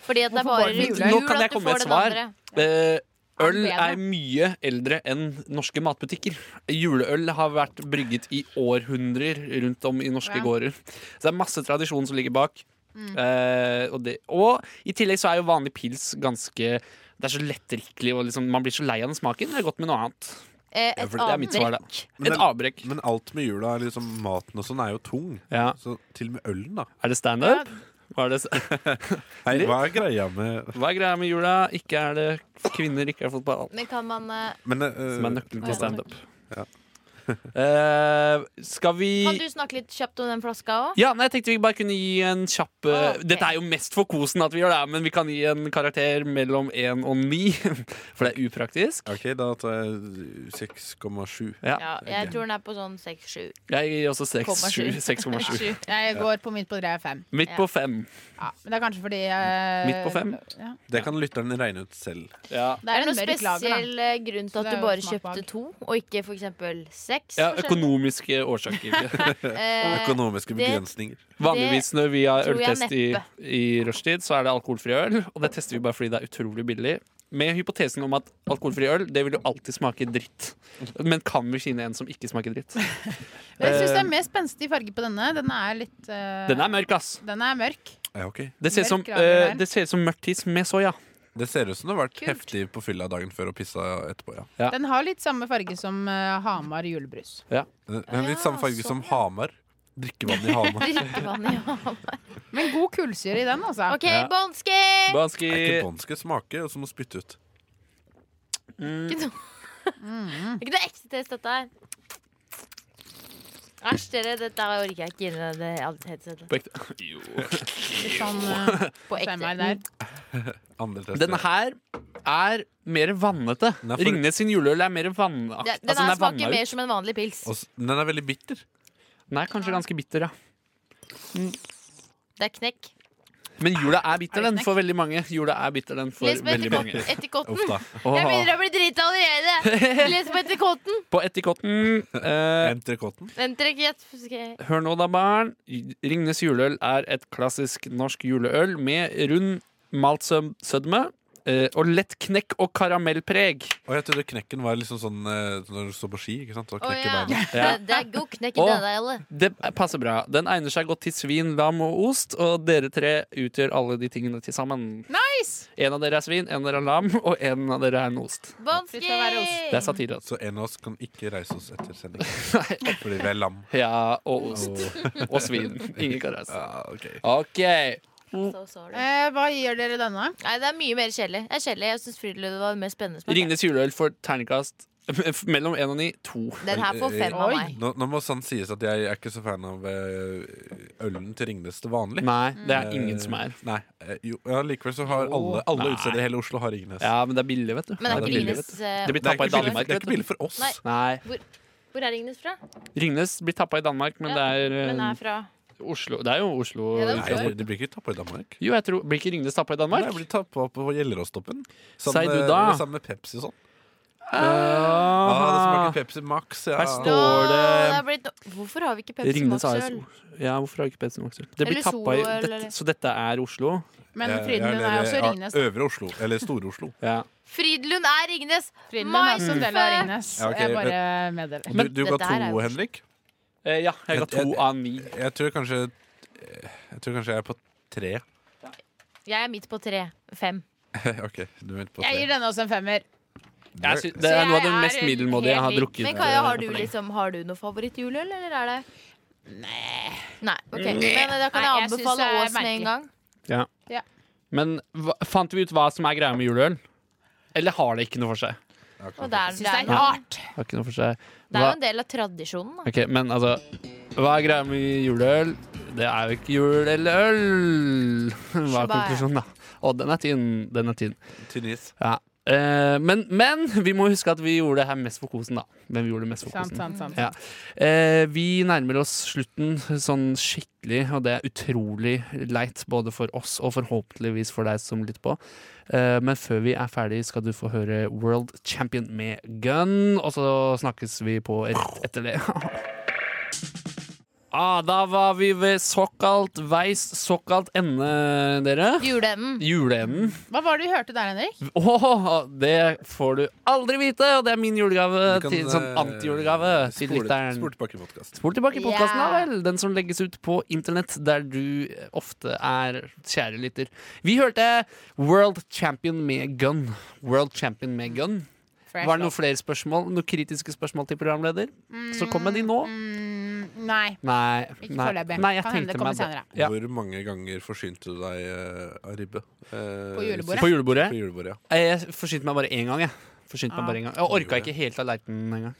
[SPEAKER 3] Fordi at det er bare
[SPEAKER 4] Hvorfor var det
[SPEAKER 3] rundt
[SPEAKER 4] juleøl?
[SPEAKER 2] Nå
[SPEAKER 3] jul
[SPEAKER 2] kan jeg
[SPEAKER 3] at du
[SPEAKER 2] komme med
[SPEAKER 3] får
[SPEAKER 2] et
[SPEAKER 3] den
[SPEAKER 2] svar.
[SPEAKER 3] andre.
[SPEAKER 2] Eh, øl
[SPEAKER 4] bedre?
[SPEAKER 2] er mye eldre enn norske matbutikker. Juleøl har vært brygget i århundrer rundt om i norske
[SPEAKER 4] Ja.
[SPEAKER 2] gårder. Så det er masse tradisjon som ligger bak. Eh, og, det, og i tillegg så er jo vanlig pils ganske Det er så lettdrikkelig, og liksom, man blir så lei av den smaken. Det er godt med noe annet.
[SPEAKER 3] Eh,
[SPEAKER 5] Ja,
[SPEAKER 3] Et
[SPEAKER 5] for
[SPEAKER 2] Det er mitt svar,
[SPEAKER 3] avbrekk.
[SPEAKER 2] da.
[SPEAKER 5] Men
[SPEAKER 2] Et
[SPEAKER 5] det-
[SPEAKER 2] avbrekk.
[SPEAKER 5] Men alt med jula, liksom maten og sånn, er jo tung.
[SPEAKER 2] Ja.
[SPEAKER 5] Så til og med ølen, da.
[SPEAKER 2] Er det standup? Hva, er det-
[SPEAKER 5] Hei, hva er greia med
[SPEAKER 2] hva er greia med jula? Ikke er det kvinner, ikke er det fotball.
[SPEAKER 3] Men kan man eh,
[SPEAKER 5] Men eh,
[SPEAKER 2] Som er nøkkelen til
[SPEAKER 3] Ja.
[SPEAKER 2] standup.
[SPEAKER 5] Ja.
[SPEAKER 2] Eh, skal vi
[SPEAKER 3] Kan du snakke litt kjapt om den flaska òg?
[SPEAKER 2] Ja, nei, jeg tenkte vi bare kunne gi en kjapp eh,
[SPEAKER 3] Ok.
[SPEAKER 2] Dette er jo mest for kosen at vi gjør det, her, men vi kan gi en karakter mellom 1 og 9. For det er upraktisk.
[SPEAKER 5] eh, OK, da tar jeg 6,7.
[SPEAKER 2] Ja.
[SPEAKER 3] Ja, jeg tror den er på sånn seks-sju.
[SPEAKER 2] Jeg gir også seks,
[SPEAKER 3] Komma
[SPEAKER 2] sju,
[SPEAKER 3] sju.
[SPEAKER 2] 6,7.
[SPEAKER 4] Jeg går på midt på tre er fem.
[SPEAKER 2] Midt på 5.
[SPEAKER 4] Ja, men det er kanskje fordi øh,
[SPEAKER 2] Midt på fem?
[SPEAKER 3] Eh,
[SPEAKER 4] Ja.
[SPEAKER 5] Det kan lytteren regne ut selv.
[SPEAKER 2] Ja.
[SPEAKER 4] Det
[SPEAKER 3] Er
[SPEAKER 4] er
[SPEAKER 3] det
[SPEAKER 4] en
[SPEAKER 3] noen
[SPEAKER 4] mørk lager, da.
[SPEAKER 3] spesiell eh, grunn til
[SPEAKER 4] Så
[SPEAKER 3] at
[SPEAKER 4] det
[SPEAKER 3] du
[SPEAKER 4] er jo
[SPEAKER 3] bare
[SPEAKER 4] smakbag.
[SPEAKER 3] kjøpte to, og ikke for eksempel seks?
[SPEAKER 2] ja,
[SPEAKER 3] forskjellige?
[SPEAKER 2] økonomiske årsaker.
[SPEAKER 3] Eh,
[SPEAKER 5] Økonomiske
[SPEAKER 3] det-
[SPEAKER 5] begrensninger.
[SPEAKER 2] Vanligvis når vi har
[SPEAKER 3] tror jeg
[SPEAKER 2] øltest i,
[SPEAKER 3] neppe.
[SPEAKER 2] i rushtid, så er det alkoholfri øl. Og det tester vi bare fordi det er utrolig billig. Med hypotesen om at alkoholfri øl det vil jo alltid smake dritt. Men kan vi finne en som ikke smaker dritt?
[SPEAKER 4] Men Jeg syns det er mer spenstig farge på denne. Den er litt øh,
[SPEAKER 2] Eh. Den er mørk, ass.
[SPEAKER 4] den er mørk.
[SPEAKER 5] Ja, ok
[SPEAKER 2] Det ser ut som,
[SPEAKER 4] Mørk radioen
[SPEAKER 2] eh,
[SPEAKER 4] her.
[SPEAKER 2] det ser ut som mørkt tis med soya.
[SPEAKER 5] Det ser ut som det har vært heftig på fylla dagen før og pissa etterpå, ja.
[SPEAKER 2] Ja.
[SPEAKER 4] Den har litt samme farge som øh, Hamar julebrus.
[SPEAKER 5] Men litt
[SPEAKER 3] Ja,
[SPEAKER 5] samme farge som
[SPEAKER 3] sånn, ja.
[SPEAKER 5] Hamar. Drikkevann i Hamar.
[SPEAKER 3] Drikkevann, ja.
[SPEAKER 4] Men god kullsyre i den, altså.
[SPEAKER 3] OK,
[SPEAKER 2] Ja.
[SPEAKER 3] Bonski!
[SPEAKER 2] Banski.
[SPEAKER 5] Er ikke bånske smake, og så må spytte ut.
[SPEAKER 3] Det er ikke noe ekte test, dette her. Æsj, dere. Dette her orker jeg ikke inn i det alt headsetet.
[SPEAKER 2] På ekte. Jo.
[SPEAKER 4] Litt sånn øh,
[SPEAKER 3] På
[SPEAKER 4] femmer
[SPEAKER 3] ekte.
[SPEAKER 4] der.
[SPEAKER 5] Andre tester.
[SPEAKER 2] Denne her er mer vannete.
[SPEAKER 5] Nei, for-
[SPEAKER 2] Ringnes sin juleøl er mer vannaktig.
[SPEAKER 3] Ja, Den
[SPEAKER 2] Altså,
[SPEAKER 3] her
[SPEAKER 2] vanna
[SPEAKER 3] smaker
[SPEAKER 2] ut.
[SPEAKER 3] mer som en vanlig pils.
[SPEAKER 5] Og s- den er veldig bitter.
[SPEAKER 2] Den er kanskje ganske bitter, ja.
[SPEAKER 3] Det er knekk.
[SPEAKER 2] Men jula er bitter,
[SPEAKER 4] Er det
[SPEAKER 2] den, for veldig mange. Jula er bitter, den, for
[SPEAKER 3] Les på
[SPEAKER 2] veldig mange.
[SPEAKER 3] etikotten. etikotten.
[SPEAKER 5] Uff da.
[SPEAKER 3] Jeg begynner å bli drita allerede. Les på etikotten.
[SPEAKER 2] På etikotten eh,
[SPEAKER 5] Entrecôten.
[SPEAKER 3] Vent, dere, ikke gjett. Skal jeg-
[SPEAKER 2] Hør nå da, barn. Ringnes juleøl er et klassisk norsk juleøl med rund malt søm- sødme eh, og lett knekk og karamellpreg.
[SPEAKER 5] Og jeg trodde knekken var liksom sånn eh, når du står på ski. ikke sant? Så
[SPEAKER 3] Å
[SPEAKER 5] knekker
[SPEAKER 3] ja.
[SPEAKER 5] beina.
[SPEAKER 2] Ja.
[SPEAKER 3] Det, det er god knekk i
[SPEAKER 2] Å.
[SPEAKER 3] det der, alle.
[SPEAKER 2] Det passer bra. Den egner seg godt til svin, lam og ost, og dere tre utgjør alle de tingene til sammen.
[SPEAKER 4] Nice!
[SPEAKER 2] En av dere er svin, en av dere er lam, og en av dere er en ost.
[SPEAKER 3] Bonski!
[SPEAKER 4] Slutt å være ost.
[SPEAKER 2] Det er satire. altså.
[SPEAKER 5] Så en av oss kan ikke reise oss etter sending fordi vi er lam.
[SPEAKER 2] Ja, og ost. Og svin. Ingen kan reise.
[SPEAKER 5] Ja, ok.
[SPEAKER 2] OK.
[SPEAKER 3] So sorry.
[SPEAKER 4] Eh, hva gir dere denne?
[SPEAKER 3] Nei, det er mye mer kjedelig. Jeg er kjedelig. Jeg syns Frydelund var mer spennende. smak.
[SPEAKER 2] Ringnes juleøl får terningkast mellom én og ni. To.
[SPEAKER 3] Den her får fem av
[SPEAKER 4] Oi.
[SPEAKER 3] meg.
[SPEAKER 5] Nå, nå må sånn sies at jeg er ikke så fan av eh, ølen til Ringnes til vanlig.
[SPEAKER 2] Nei, det er ingen som er.
[SPEAKER 5] Nei, eh, jo, ja, Likevel så har alle, alle
[SPEAKER 2] Nei.
[SPEAKER 5] utesteder i hele Oslo har Ringnes.
[SPEAKER 2] Ja, men det er billig, vet du.
[SPEAKER 3] Men det
[SPEAKER 5] Ja,
[SPEAKER 3] er ikke
[SPEAKER 5] det er billig,
[SPEAKER 3] Ringnes eh,
[SPEAKER 2] Det blir
[SPEAKER 5] Det er
[SPEAKER 2] tappa i
[SPEAKER 5] ikke billig,
[SPEAKER 2] Danmark.
[SPEAKER 5] det er ikke
[SPEAKER 2] vet du.
[SPEAKER 5] billig for oss.
[SPEAKER 3] Nei.
[SPEAKER 2] Nei.
[SPEAKER 3] Hvor er Ringnes fra?
[SPEAKER 2] Ringnes blir tappa i Danmark, men
[SPEAKER 3] Ja,
[SPEAKER 2] det er, eh,
[SPEAKER 3] Den er fra
[SPEAKER 2] Oslo. Det er jo Oslo.
[SPEAKER 3] Ja, det er
[SPEAKER 5] Nei, det blir ikke tappa i Danmark.
[SPEAKER 2] Jo, jeg tror Blir ikke Ringnes tappa i Danmark?
[SPEAKER 5] Nei, jeg blir tappa på Gjelleråstoppen.
[SPEAKER 2] Sier du da?
[SPEAKER 5] Sammen med Pepsi og sånn.
[SPEAKER 2] Ah,
[SPEAKER 5] Ah, det smaker Pepsi Max. Ja.
[SPEAKER 2] Her står-
[SPEAKER 3] Åh,
[SPEAKER 2] det-
[SPEAKER 3] det er blitt... Hvorfor har vi ikke Pepsi
[SPEAKER 2] Ringnes
[SPEAKER 3] Max
[SPEAKER 2] AS.
[SPEAKER 3] øl?
[SPEAKER 2] Ja, hvorfor har ikke Pepsi Max øl? Det blir
[SPEAKER 3] Eller Sol,
[SPEAKER 2] tappa i
[SPEAKER 3] eller-
[SPEAKER 2] dette, Så dette er Oslo?
[SPEAKER 4] Men
[SPEAKER 5] Jeg- jeg
[SPEAKER 4] Frydenlund er
[SPEAKER 5] nede
[SPEAKER 4] jo
[SPEAKER 5] i
[SPEAKER 4] også
[SPEAKER 5] A-
[SPEAKER 4] Ringnes.
[SPEAKER 5] Øvre Oslo. Eller Store-Oslo.
[SPEAKER 2] Ja.
[SPEAKER 3] Frydelund er Ringnes!
[SPEAKER 4] Frydenlund er også en del av
[SPEAKER 3] Mm.
[SPEAKER 4] Ringnes.
[SPEAKER 5] Ja, ok,
[SPEAKER 4] Jeg bare meddeler.
[SPEAKER 5] Du, du
[SPEAKER 3] det
[SPEAKER 5] ga
[SPEAKER 3] der er
[SPEAKER 5] to,
[SPEAKER 3] jo-
[SPEAKER 5] Henrik.
[SPEAKER 2] Eh, ja, jeg ga
[SPEAKER 5] Et- et-
[SPEAKER 2] to av ni.
[SPEAKER 5] Jeg tror kanskje Jeg tror kanskje jeg er på tre.
[SPEAKER 3] Jeg er midt på tre. Fem.
[SPEAKER 5] OK, du er på
[SPEAKER 4] Jeg
[SPEAKER 5] tre.
[SPEAKER 4] gir denne også en femmer.
[SPEAKER 2] Jeg sy det er
[SPEAKER 4] jeg
[SPEAKER 2] noe av det
[SPEAKER 4] er
[SPEAKER 2] mest
[SPEAKER 4] helt
[SPEAKER 2] middelmådige jeg har
[SPEAKER 4] lik.
[SPEAKER 2] drukket.
[SPEAKER 3] Men Kaja, har du, liksom, har du noe favorittjuleøl, eller er det Nei. ok. Men eh, da kan
[SPEAKER 4] Nei,
[SPEAKER 3] jeg
[SPEAKER 4] jeg synes
[SPEAKER 3] anbefale
[SPEAKER 4] det er
[SPEAKER 3] Ås med en
[SPEAKER 4] merkelig.
[SPEAKER 3] gang.
[SPEAKER 2] Ja.
[SPEAKER 4] Ja.
[SPEAKER 2] Men hva, fant vi ut hva som er greia med juleøl? Eller har det ikke noe for seg?
[SPEAKER 3] Og det er,
[SPEAKER 4] Syns det er
[SPEAKER 3] det, er,
[SPEAKER 4] rart.
[SPEAKER 2] Har ikke noe for seg.
[SPEAKER 3] det er
[SPEAKER 2] Hva-
[SPEAKER 3] jo en del av tradisjonen. Da.
[SPEAKER 2] Ok, men altså Hva er greia med juleøl? Det er jo ikke jul eller øl Hva er
[SPEAKER 3] Shabbat.
[SPEAKER 2] konklusjonen da? Å, den er tynn, den er tynn
[SPEAKER 5] Tunis.
[SPEAKER 2] ja. eh, men, men vi må huske at vi gjorde det her mest for kosen da Men vi gjorde det mest for
[SPEAKER 4] Sant,
[SPEAKER 2] kosen
[SPEAKER 4] sant, sant.
[SPEAKER 2] ja. eh, Vi nærmer oss slutten sånn skikkelig Og det er utrolig leit både for oss og forhåpentligvis for deg som lytter på eh, Men før vi er ferdig skal du få høre World Champion med Gun Og så snakkes vi på rett etter det Ah, da var vi ved såkalt veis, såkalt ende, dere.
[SPEAKER 3] Juleenden.
[SPEAKER 2] Juleenden.
[SPEAKER 4] Hva var det vi hørte der, Henrik?
[SPEAKER 2] Åh, det får du aldri vite, og det er min julegave.
[SPEAKER 5] Du kan,
[SPEAKER 2] til, sånn
[SPEAKER 5] eh,
[SPEAKER 2] antijulegave til
[SPEAKER 5] spole-
[SPEAKER 2] lytteren.
[SPEAKER 5] Spole tilbake podkast.
[SPEAKER 2] Spol tilbake i podkasten, da
[SPEAKER 3] Ja.
[SPEAKER 2] vel. Den som legges ut på internett, der du eh, ofte er, kjære lytter. Vi hørte World Champion med Gun. World Champion med Gun.
[SPEAKER 4] Fresh
[SPEAKER 2] Var det
[SPEAKER 4] love.
[SPEAKER 2] noen flere spørsmål? Noen kritiske spørsmål til programleder? Så kom med de nå.
[SPEAKER 4] Mm, nei.
[SPEAKER 2] Nei.
[SPEAKER 4] Ikke
[SPEAKER 2] nei.
[SPEAKER 4] foreløpig.
[SPEAKER 2] Nei, jeg
[SPEAKER 4] Kan hende det
[SPEAKER 2] tenkte meg
[SPEAKER 4] kommer
[SPEAKER 2] det.
[SPEAKER 4] senere.
[SPEAKER 2] Ja.
[SPEAKER 5] Hvor mange ganger forsynte du deg eh, av ribbe? Eh,
[SPEAKER 4] På julebordet?
[SPEAKER 2] På julebordet?
[SPEAKER 5] På julebordet, ja.
[SPEAKER 2] Eh, Jeg forsynte meg bare én gang. Jeg Forsynte meg
[SPEAKER 4] Ah.
[SPEAKER 2] bare en gang Jeg orka ikke helt tallerkenen engang.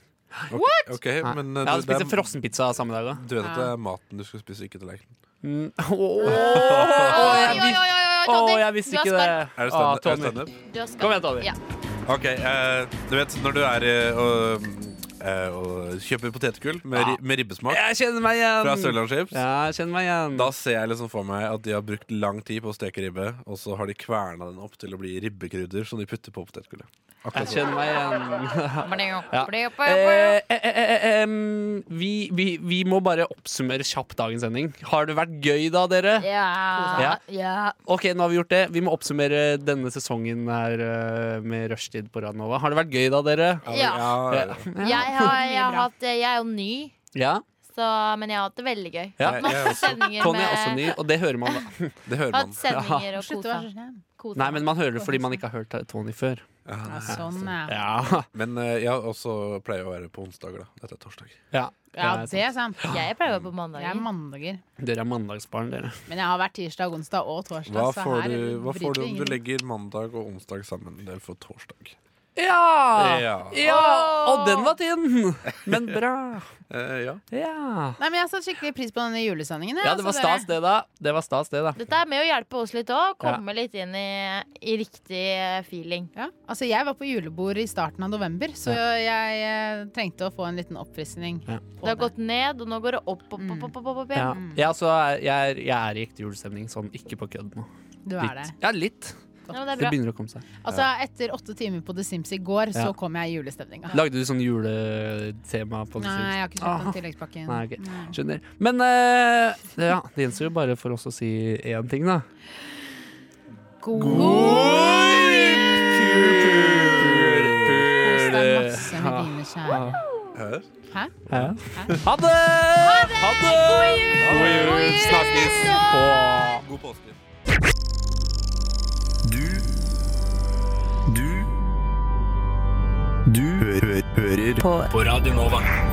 [SPEAKER 5] Ok, ok,
[SPEAKER 2] Nei.
[SPEAKER 5] men eh,
[SPEAKER 2] Jeg hadde
[SPEAKER 5] det- det
[SPEAKER 2] spist en
[SPEAKER 5] er-
[SPEAKER 2] frossenpizza samme dag òg.
[SPEAKER 5] Du vet at det er maten du skal spise, ikke tallerkenen.
[SPEAKER 2] Mm. Åh, jeg vis- åh, jeg visste ikke det.
[SPEAKER 5] Er det stand- er
[SPEAKER 2] Ah,
[SPEAKER 5] det
[SPEAKER 2] Tommy.
[SPEAKER 5] standup?
[SPEAKER 2] Kom igjen, Tommy.
[SPEAKER 3] Ja.
[SPEAKER 5] Ok, eh, du vet når du er eh, og, eh, og kjøper potetgull med,
[SPEAKER 2] Ja.
[SPEAKER 5] ri- med ribbesmak
[SPEAKER 2] Jeg kjenner meg
[SPEAKER 5] fra
[SPEAKER 2] igjen.
[SPEAKER 5] Sørlandschips,
[SPEAKER 2] Um, Ja, jeg kjenner meg igjen.
[SPEAKER 5] da ser jeg liksom for meg at de har brukt lang tid på å steke ribbe, og så har de kverna den opp til å bli ribbekrydder som de putter på potetgullet.
[SPEAKER 2] Jeg
[SPEAKER 5] Akkurat sånn.
[SPEAKER 2] kjenner meg igjen. Ja.
[SPEAKER 3] Ja.
[SPEAKER 2] Eh, eh, eh, eh, em, vi, vi, vi må bare oppsummere kjapt dagens sending. Har det vært gøy, da, dere?
[SPEAKER 3] Ja. ja.
[SPEAKER 2] Ok, nå har Vi gjort det Vi må oppsummere denne sesongen her eh, med rushtid på Radnova. Har det vært gøy, da, dere?
[SPEAKER 5] Ja,
[SPEAKER 2] Ja.
[SPEAKER 5] ja.
[SPEAKER 3] Jeg, har, jeg, har
[SPEAKER 4] Mye bra.
[SPEAKER 3] hatt, jeg er jo ny,
[SPEAKER 2] Ja.
[SPEAKER 3] så, men jeg har hatt det veldig
[SPEAKER 2] Ja.
[SPEAKER 3] gøy.
[SPEAKER 5] Jeg- jeg er
[SPEAKER 3] Masse
[SPEAKER 5] også-
[SPEAKER 3] sendinger
[SPEAKER 2] Tonje er også
[SPEAKER 3] med
[SPEAKER 2] ny, og det hører man. da
[SPEAKER 5] Det hører
[SPEAKER 3] Hatt
[SPEAKER 5] man.
[SPEAKER 3] sendinger og
[SPEAKER 4] Slutt å
[SPEAKER 3] kosa.
[SPEAKER 4] være så snill.
[SPEAKER 3] kosa.
[SPEAKER 2] Nei, men Man hører det fordi man ikke har hørt Tony før.
[SPEAKER 5] Ja.
[SPEAKER 4] Ja, sånn, ja.
[SPEAKER 2] Ja,
[SPEAKER 5] Men eh, jeg også pleier å være på onsdager, da. Dette er torsdag.
[SPEAKER 2] ja.
[SPEAKER 4] ja,
[SPEAKER 2] det er
[SPEAKER 4] det er sant.
[SPEAKER 3] Jeg pleier å være på
[SPEAKER 4] Jeg er
[SPEAKER 3] mandager.
[SPEAKER 4] mandager.
[SPEAKER 2] Dere er mandagsbarn, dere.
[SPEAKER 4] Men jeg har vært tirsdag, onsdag og torsdag.
[SPEAKER 5] Hva
[SPEAKER 2] Altså,
[SPEAKER 4] så
[SPEAKER 5] får
[SPEAKER 4] her
[SPEAKER 5] du, hva
[SPEAKER 4] bryter
[SPEAKER 5] får du om du
[SPEAKER 4] ingen-
[SPEAKER 5] legger mandag og onsdag sammen? Det er for torsdag.
[SPEAKER 2] Ja!
[SPEAKER 5] Ja.
[SPEAKER 2] Ja! Og den var tynn! Men bra.
[SPEAKER 5] Eh, ja.
[SPEAKER 2] Ja.
[SPEAKER 4] Nei, men Jeg satte skikkelig pris på denne julesendingen. jeg,
[SPEAKER 2] ja, det
[SPEAKER 4] altså,
[SPEAKER 2] var
[SPEAKER 4] dere.
[SPEAKER 2] stas, det, da. Det var stas, det, da.
[SPEAKER 3] Dette er med å hjelpe oss litt òg. Komme litt inn i, i riktig feeling.
[SPEAKER 4] Ja. Altså, jeg var på julebord i starten av november, så jeg eh, trengte å få en liten oppfriskning.
[SPEAKER 2] Ja.
[SPEAKER 4] på
[SPEAKER 3] Det har gått ned, og nå går det opp, opp, opp, opp, opp, opp, opp
[SPEAKER 2] Ja.
[SPEAKER 3] igjen.
[SPEAKER 2] Ja, så er- jeg, er, jeg er i ekte julestemning, sånn ikke på kødd nå.
[SPEAKER 4] Du er det.
[SPEAKER 2] Litt. Ja, litt.
[SPEAKER 3] Ja, men det er
[SPEAKER 2] Det
[SPEAKER 3] bra.
[SPEAKER 2] begynner å komme seg.
[SPEAKER 4] Altså, etter åtte timer på The Sims i går, så
[SPEAKER 2] Ja.
[SPEAKER 4] kom jeg i julestemninga.
[SPEAKER 2] Lagde du sånn juletema på The
[SPEAKER 4] Nei,
[SPEAKER 2] Sims?
[SPEAKER 4] jeg har ikke kjøpt
[SPEAKER 2] Ah.
[SPEAKER 4] den tilleggspakken.
[SPEAKER 2] Nei, ok. Skjønner. Men eh, det- ja, det gjenstår jo bare for oss å si én ting, da.
[SPEAKER 4] God Kos deg masse med dine kjære.
[SPEAKER 5] Her.
[SPEAKER 4] Hæ?
[SPEAKER 2] Ja. Ha det! Ha det! God jul! God jul! Snakkes på
[SPEAKER 5] God påske.
[SPEAKER 1] Du Du Du hø hø hører på. på Radio Nova.